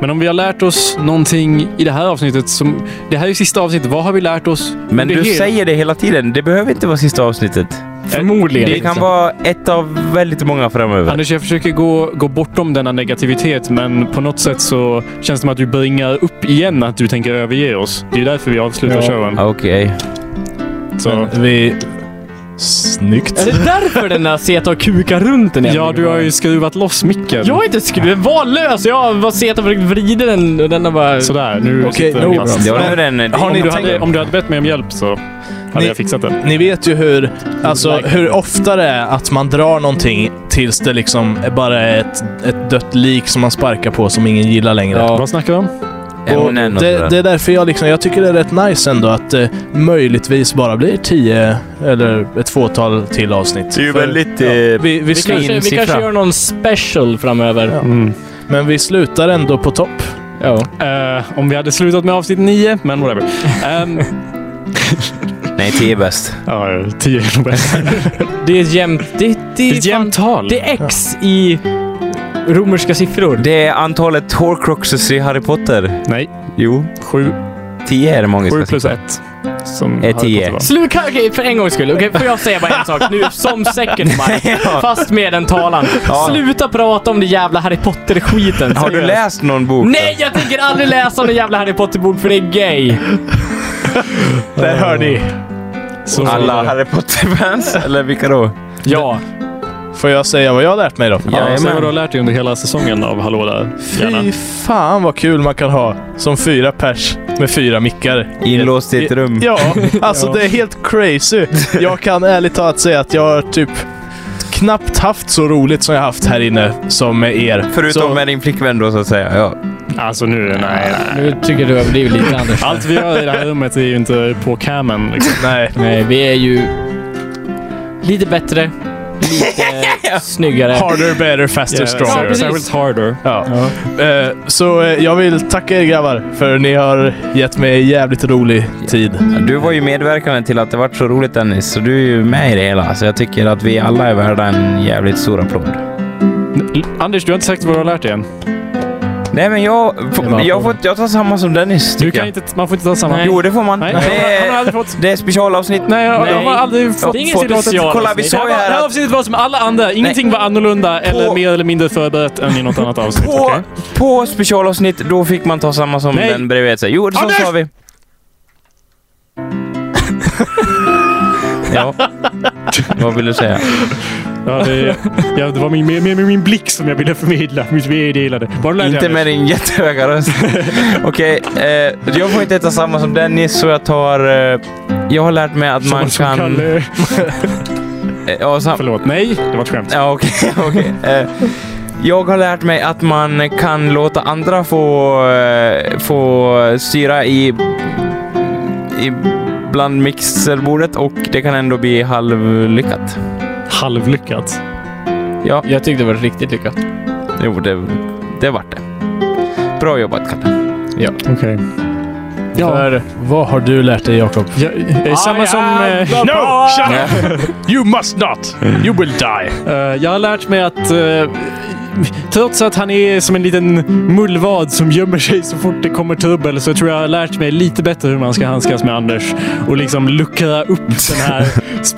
[SPEAKER 3] Men om vi har lärt oss någonting i det här avsnittet som... Det här är ju sista avsnittet. Vad har vi lärt oss?
[SPEAKER 2] Men du säger det hela tiden. Det behöver inte vara sista avsnittet.
[SPEAKER 3] Eh, Förmodligen.
[SPEAKER 2] Det kan
[SPEAKER 3] inte.
[SPEAKER 2] vara ett av väldigt många framöver.
[SPEAKER 3] liksom- Anders, jag försöker gå, gå bortom denna negativitet, men på något sätt så känns det som att du bringar upp igen att du tänker överge oss. Det är därför vi avslutar showen.
[SPEAKER 2] Okej.
[SPEAKER 3] Så.
[SPEAKER 4] Vi... Snyggt.
[SPEAKER 1] Är det därför den där seta och kukar runt en
[SPEAKER 3] Ja, du har ju skruvat loss micken.
[SPEAKER 1] Jag har inte skrivit, den var lös. Jag var seta och försökte vrida den och den har bara...
[SPEAKER 3] Sådär, nu sitter den fast.
[SPEAKER 4] Har
[SPEAKER 3] om,
[SPEAKER 4] ni
[SPEAKER 3] du
[SPEAKER 4] tänkt-
[SPEAKER 3] hade, om du hade bett mig om hjälp så hade
[SPEAKER 4] Ni-
[SPEAKER 3] jag fixat det.
[SPEAKER 4] Ni vet ju hur, alltså, hur ofta det är att man drar någonting tills det liksom är bara är ett, ett dött lik som man sparkar på som ingen gillar längre.
[SPEAKER 3] Vad snackar vi om?
[SPEAKER 4] Och
[SPEAKER 2] Ämnen och
[SPEAKER 4] det,
[SPEAKER 2] sådär.
[SPEAKER 4] det är därför jag, liksom, jag tycker det är rätt nice ändå att det möjligtvis bara blir tio eller ett fåtal till avsnitt.
[SPEAKER 2] Det är ju
[SPEAKER 4] För-
[SPEAKER 2] väldigt,
[SPEAKER 4] ja,
[SPEAKER 2] eh,
[SPEAKER 4] vi, vi slår
[SPEAKER 1] kanske,
[SPEAKER 4] in
[SPEAKER 1] vi kanske gör
[SPEAKER 4] siffran.
[SPEAKER 1] någon special framöver.
[SPEAKER 3] Mm.
[SPEAKER 4] Men vi slutar ändå på topp.
[SPEAKER 1] Ja.
[SPEAKER 3] Eh, om vi hade slutat med avsnitt nio, men whatever. Ehm,
[SPEAKER 2] Nej, tio är bäst.
[SPEAKER 3] Ja, tio är nog bäst.
[SPEAKER 1] Det är ett jämnt... Det, det, det är ett jämnt
[SPEAKER 3] tal.
[SPEAKER 1] Det är X i romerska siffror.
[SPEAKER 2] Det är antalet horcruxes i Harry Potter.
[SPEAKER 3] Nej.
[SPEAKER 2] Jo.
[SPEAKER 3] Sju.
[SPEAKER 2] Tio är det många
[SPEAKER 3] Sju
[SPEAKER 2] ska
[SPEAKER 3] plus
[SPEAKER 2] sitta.
[SPEAKER 3] ett. Som
[SPEAKER 2] Är tio.
[SPEAKER 1] Slut, kan- okej, för en gångs skull. Okej, får jag säga bara en sak nu som second
[SPEAKER 2] *laughs*
[SPEAKER 1] mic, fast med den talan.
[SPEAKER 2] Ja.
[SPEAKER 1] Sluta prata om det jävla Harry Potter-skiten.
[SPEAKER 2] Har du
[SPEAKER 1] seriöst.
[SPEAKER 2] läst någon bok?
[SPEAKER 1] Nej, jag tänker aldrig läsa om den jävla Harry Potter-bok för det är
[SPEAKER 2] *laughs*
[SPEAKER 1] gay.
[SPEAKER 4] Där hör ni.
[SPEAKER 3] Så-
[SPEAKER 2] Alla Harry
[SPEAKER 3] *laughs*
[SPEAKER 2] Potter-fans? Eller vilka då?
[SPEAKER 1] Ja.
[SPEAKER 4] Får jag säga vad jag har lärt mig då?
[SPEAKER 3] Ja, säg vad du har lärt dig under hela säsongen av Hallå där. Gärna.
[SPEAKER 4] Fy fan vad kul man kan ha som fyra pers med fyra
[SPEAKER 2] Mm.
[SPEAKER 4] mickar.
[SPEAKER 2] Inlåst i ett rum.
[SPEAKER 4] Ja,
[SPEAKER 2] *laughs*
[SPEAKER 4] alltså det är helt crazy. Jag kan ärligt talat säga att jag har typ knappt haft så roligt som jag haft här inne som med er.
[SPEAKER 2] Förutom
[SPEAKER 4] så,
[SPEAKER 2] med din flickvän då så att säga. Ja.
[SPEAKER 3] Alltså nu, nej, nej.
[SPEAKER 1] Nu tycker du överdriver lite Anders.
[SPEAKER 3] Allt vi gör i det här rummet är ju inte på camen. Liksom.
[SPEAKER 4] Nej.
[SPEAKER 1] Nej, vi är ju lite bättre,
[SPEAKER 2] *laughs*
[SPEAKER 1] lite snyggare.
[SPEAKER 4] Harder, better, faster,
[SPEAKER 3] Yeah,
[SPEAKER 4] stronger.
[SPEAKER 1] ja, precis. Särskilt
[SPEAKER 3] harder.
[SPEAKER 4] Ja. Eh, så eh, jag vill tacka er grabbar för ni har gett mig jävligt rolig tid.
[SPEAKER 2] Du var ju medverkande till att det vart så roligt Dennis, så du är ju med i det hela. Så jag tycker att vi alla är värda en jävligt stor applåd.
[SPEAKER 3] Anders, du har inte sagt vad du har lärt dig än.
[SPEAKER 2] Nej men jag, f-
[SPEAKER 3] var
[SPEAKER 2] jag, får, jag tar samma som Dennis
[SPEAKER 3] Du
[SPEAKER 2] tycker
[SPEAKER 3] kan
[SPEAKER 2] jag.
[SPEAKER 3] inte, man får inte ta samma.
[SPEAKER 2] Jo det får man.
[SPEAKER 3] Nej,
[SPEAKER 2] Det är-
[SPEAKER 3] han har aldrig fått.
[SPEAKER 2] Det är specialavsnitt.
[SPEAKER 3] Nej, jag, jag har aldrig fått.
[SPEAKER 2] Det är inget specialavsnitt. Kolla, vi sa ju
[SPEAKER 3] det här, var-
[SPEAKER 2] här
[SPEAKER 3] det här
[SPEAKER 2] att-
[SPEAKER 3] avsnittet var som alla andra. Ingenting var annorlunda eller mer eller mindre förberett än i något annat avsnitt.
[SPEAKER 2] På,
[SPEAKER 3] okej?
[SPEAKER 2] på specialavsnitt, då fick man ta samma som
[SPEAKER 3] Nej.
[SPEAKER 2] den bredvid sig. Jo, det så
[SPEAKER 3] Anders!
[SPEAKER 2] sa
[SPEAKER 3] *laughs*
[SPEAKER 2] vi. ja. Vad vill du säga?
[SPEAKER 3] Ja, det, ja, det var min, med, med min blick som jag ville förmedla. Mitt meddelande. Vad har du lärt dig,
[SPEAKER 2] Inte med
[SPEAKER 3] Anders?
[SPEAKER 2] din jättehöga
[SPEAKER 3] *laughs*
[SPEAKER 2] röst. Okej, eh, jag får inte heta samma som Dennis så jag tar... Eh, jag har lärt mig att *laughs*
[SPEAKER 3] Samma
[SPEAKER 2] man
[SPEAKER 3] som
[SPEAKER 2] kan...
[SPEAKER 3] Kalle.
[SPEAKER 2] Eh, Ja, sam-
[SPEAKER 3] Förlåt, nej. Det var ett skämt.
[SPEAKER 2] *laughs* Ja, okej. okej. Eh, Jag har lärt mig att man kan låta andra få, eh, få styra i, i bland mixerbordet och det kan ändå bli halvlyckat.
[SPEAKER 3] Halvlyckat?
[SPEAKER 2] Ja.
[SPEAKER 1] Jag tyckte det var riktigt lyckat.
[SPEAKER 2] Jo, det, det vart det. Bra jobbat, Kalle.
[SPEAKER 1] Ja.
[SPEAKER 3] Okej.
[SPEAKER 4] För vad har du lärt dig Jakob?
[SPEAKER 3] Jag, jag är samma som... eh,
[SPEAKER 4] No! Shut up! *laughs* You must not! You will die!
[SPEAKER 3] Eh, jag har lärt mig att eh, trots att han är som en liten mullvad som gömmer sig så fort det kommer trubbel så tror jag jag har lärt mig lite bättre hur man ska handskas med Anders och liksom luckra upp den
[SPEAKER 4] *laughs*
[SPEAKER 3] här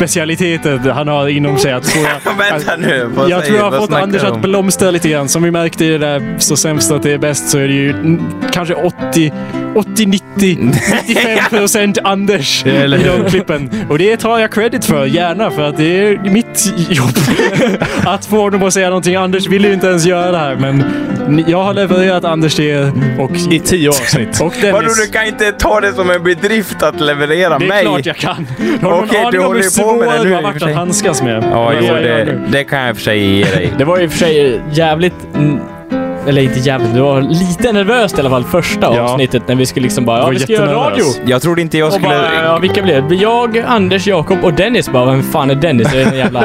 [SPEAKER 3] specialiteten han har inom sig. Att
[SPEAKER 2] *laughs*
[SPEAKER 3] få,
[SPEAKER 2] *laughs* Vänta nu, vad
[SPEAKER 3] jag
[SPEAKER 2] säger-
[SPEAKER 3] tror jag har
[SPEAKER 2] vad
[SPEAKER 3] fått
[SPEAKER 2] snackar
[SPEAKER 3] Anders
[SPEAKER 2] du
[SPEAKER 3] att
[SPEAKER 2] om?
[SPEAKER 3] blomstra lite grann. Som vi märkte i det där Så sämst att det är bäst så är det ju mm, kanske 80, 80 90, 95
[SPEAKER 2] *laughs*
[SPEAKER 3] procent Anders
[SPEAKER 2] Ja, eller
[SPEAKER 3] i de
[SPEAKER 2] hur?
[SPEAKER 3] klippen. Och det tar jag credit för, gärna, för att det är mitt jobb *laughs* att få honom att säga någonting. Anders vill ju inte ens göra det här, men ni- jag har levererat Anders till er och... I
[SPEAKER 4] tio avsnitt.
[SPEAKER 3] *laughs*
[SPEAKER 2] Vadå,
[SPEAKER 3] Och
[SPEAKER 2] du
[SPEAKER 3] Dennis.
[SPEAKER 2] kan inte ta det som en bedrift att leverera
[SPEAKER 3] Det är
[SPEAKER 2] mig?
[SPEAKER 3] klart jag kan. Har du någon
[SPEAKER 2] Okej,
[SPEAKER 3] aning
[SPEAKER 2] du
[SPEAKER 3] om
[SPEAKER 2] håller
[SPEAKER 3] hur
[SPEAKER 2] ju på med
[SPEAKER 3] svår
[SPEAKER 2] det
[SPEAKER 3] du
[SPEAKER 2] nu
[SPEAKER 3] har
[SPEAKER 2] i och för
[SPEAKER 3] varit
[SPEAKER 2] sig.
[SPEAKER 3] att handskas med?
[SPEAKER 2] Ja,
[SPEAKER 3] Vad
[SPEAKER 2] jo,
[SPEAKER 3] säger jag
[SPEAKER 2] det,
[SPEAKER 3] nu?
[SPEAKER 2] det kan jag i och för sig ge dig.
[SPEAKER 1] Det var i och för sig jävligt... mm, Eller inte jävligt, det var lite nervöst i alla fall första avsnittet när vi skulle liksom bara, ja vi ska göra radio.
[SPEAKER 2] Jag trodde inte jag
[SPEAKER 1] Och
[SPEAKER 2] skulle...
[SPEAKER 1] bara, ja, vilka blev det? Jag, Anders, Jakob och Dennis bara, vem fan är Dennis? Är det den jävla,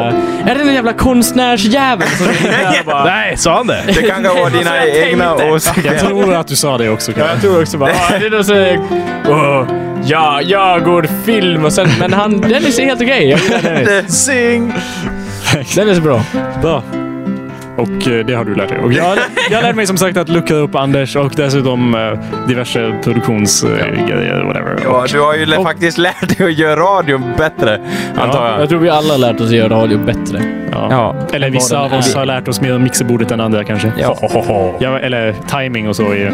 [SPEAKER 1] är det den jävla konstnärsjäveln som sitter där och bara...
[SPEAKER 4] Nej, sa han det?
[SPEAKER 2] Det kan *laughs* vara
[SPEAKER 1] Så
[SPEAKER 2] dina
[SPEAKER 1] jag tänkte.
[SPEAKER 2] egna åsikter.
[SPEAKER 3] Jag tror att du sa det också. "Ah,
[SPEAKER 1] Ja, jag tror också bara, ja, det är då så, åh, ja, jag går film och sen, men han, Dennis är helt okej. Jag gillar Dennis.
[SPEAKER 4] Sing!
[SPEAKER 1] Dennis är bra.
[SPEAKER 3] Bra. Och eh, det har du lärt dig. Och jag, jag lärde mig som sagt att lucka upp Anders och dessutom eh, diverse produktionsgrejer. eh, whatever.
[SPEAKER 2] Ja, du har ju lä- faktiskt lärt dig att göra radio bättre, antar jag.
[SPEAKER 1] Jag tror vi alla har lärt oss att göra radio bättre.
[SPEAKER 3] Ja.
[SPEAKER 2] Ja.
[SPEAKER 3] Eller vissa
[SPEAKER 1] Vad
[SPEAKER 3] av
[SPEAKER 1] den
[SPEAKER 3] oss
[SPEAKER 1] är.
[SPEAKER 3] har lärt oss mer om mixerbordet än andra kanske.
[SPEAKER 2] Ja.
[SPEAKER 3] *laughs* Ja, eller timing och så. Är,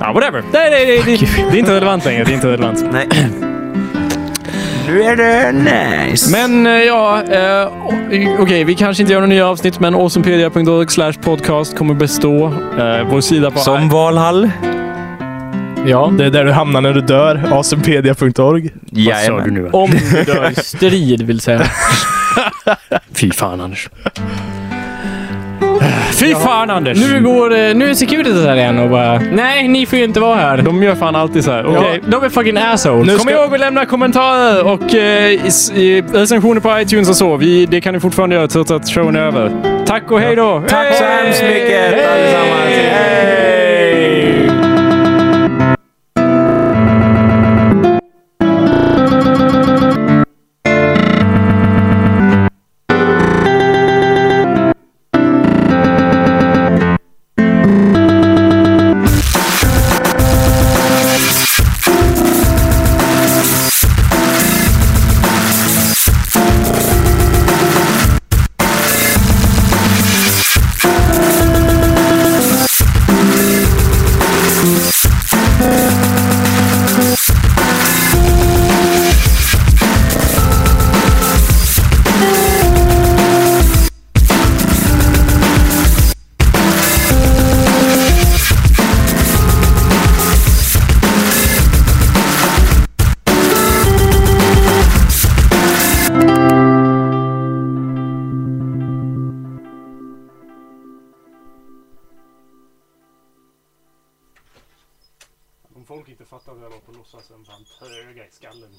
[SPEAKER 2] ja.
[SPEAKER 3] whatever. Nej, nej, nej, det, det är inte relevant längre. Det är inte relevant.
[SPEAKER 2] Nej. Nu är det nice.
[SPEAKER 3] Men eh, ja, eh, o- okej, vi kanske inte gör några nya avsnitt, men awesomepedia.org slash podcast kommer bestå. Eh, vår sida på...
[SPEAKER 2] Som Valhall.
[SPEAKER 1] Ja.
[SPEAKER 4] Det är där du hamnar när du dör. asenpedia.org.
[SPEAKER 2] Jajamän.
[SPEAKER 3] du nu?
[SPEAKER 1] Om du dör i strid vill säga.
[SPEAKER 3] Fy fan Anders. *laughs* Fy fan Anders!
[SPEAKER 1] Nu går, eh, nu är Securitas här igen och bara Nej, ni får ju inte vara här.
[SPEAKER 3] De gör fan alltid så här. Okej.
[SPEAKER 1] Ja, de är fucking assholes.
[SPEAKER 3] Kom ihåg att lämna kommentarer och eh, is- i- recensioner på iTunes och så. Vi, det kan ni fortfarande göra trots att showen är över. Tack och hej då!
[SPEAKER 2] Tack så hemskt mycket allesammans. Hej!
[SPEAKER 8] Om folk inte fattar vad jag var på låtsas så är de fan tröga i skallen.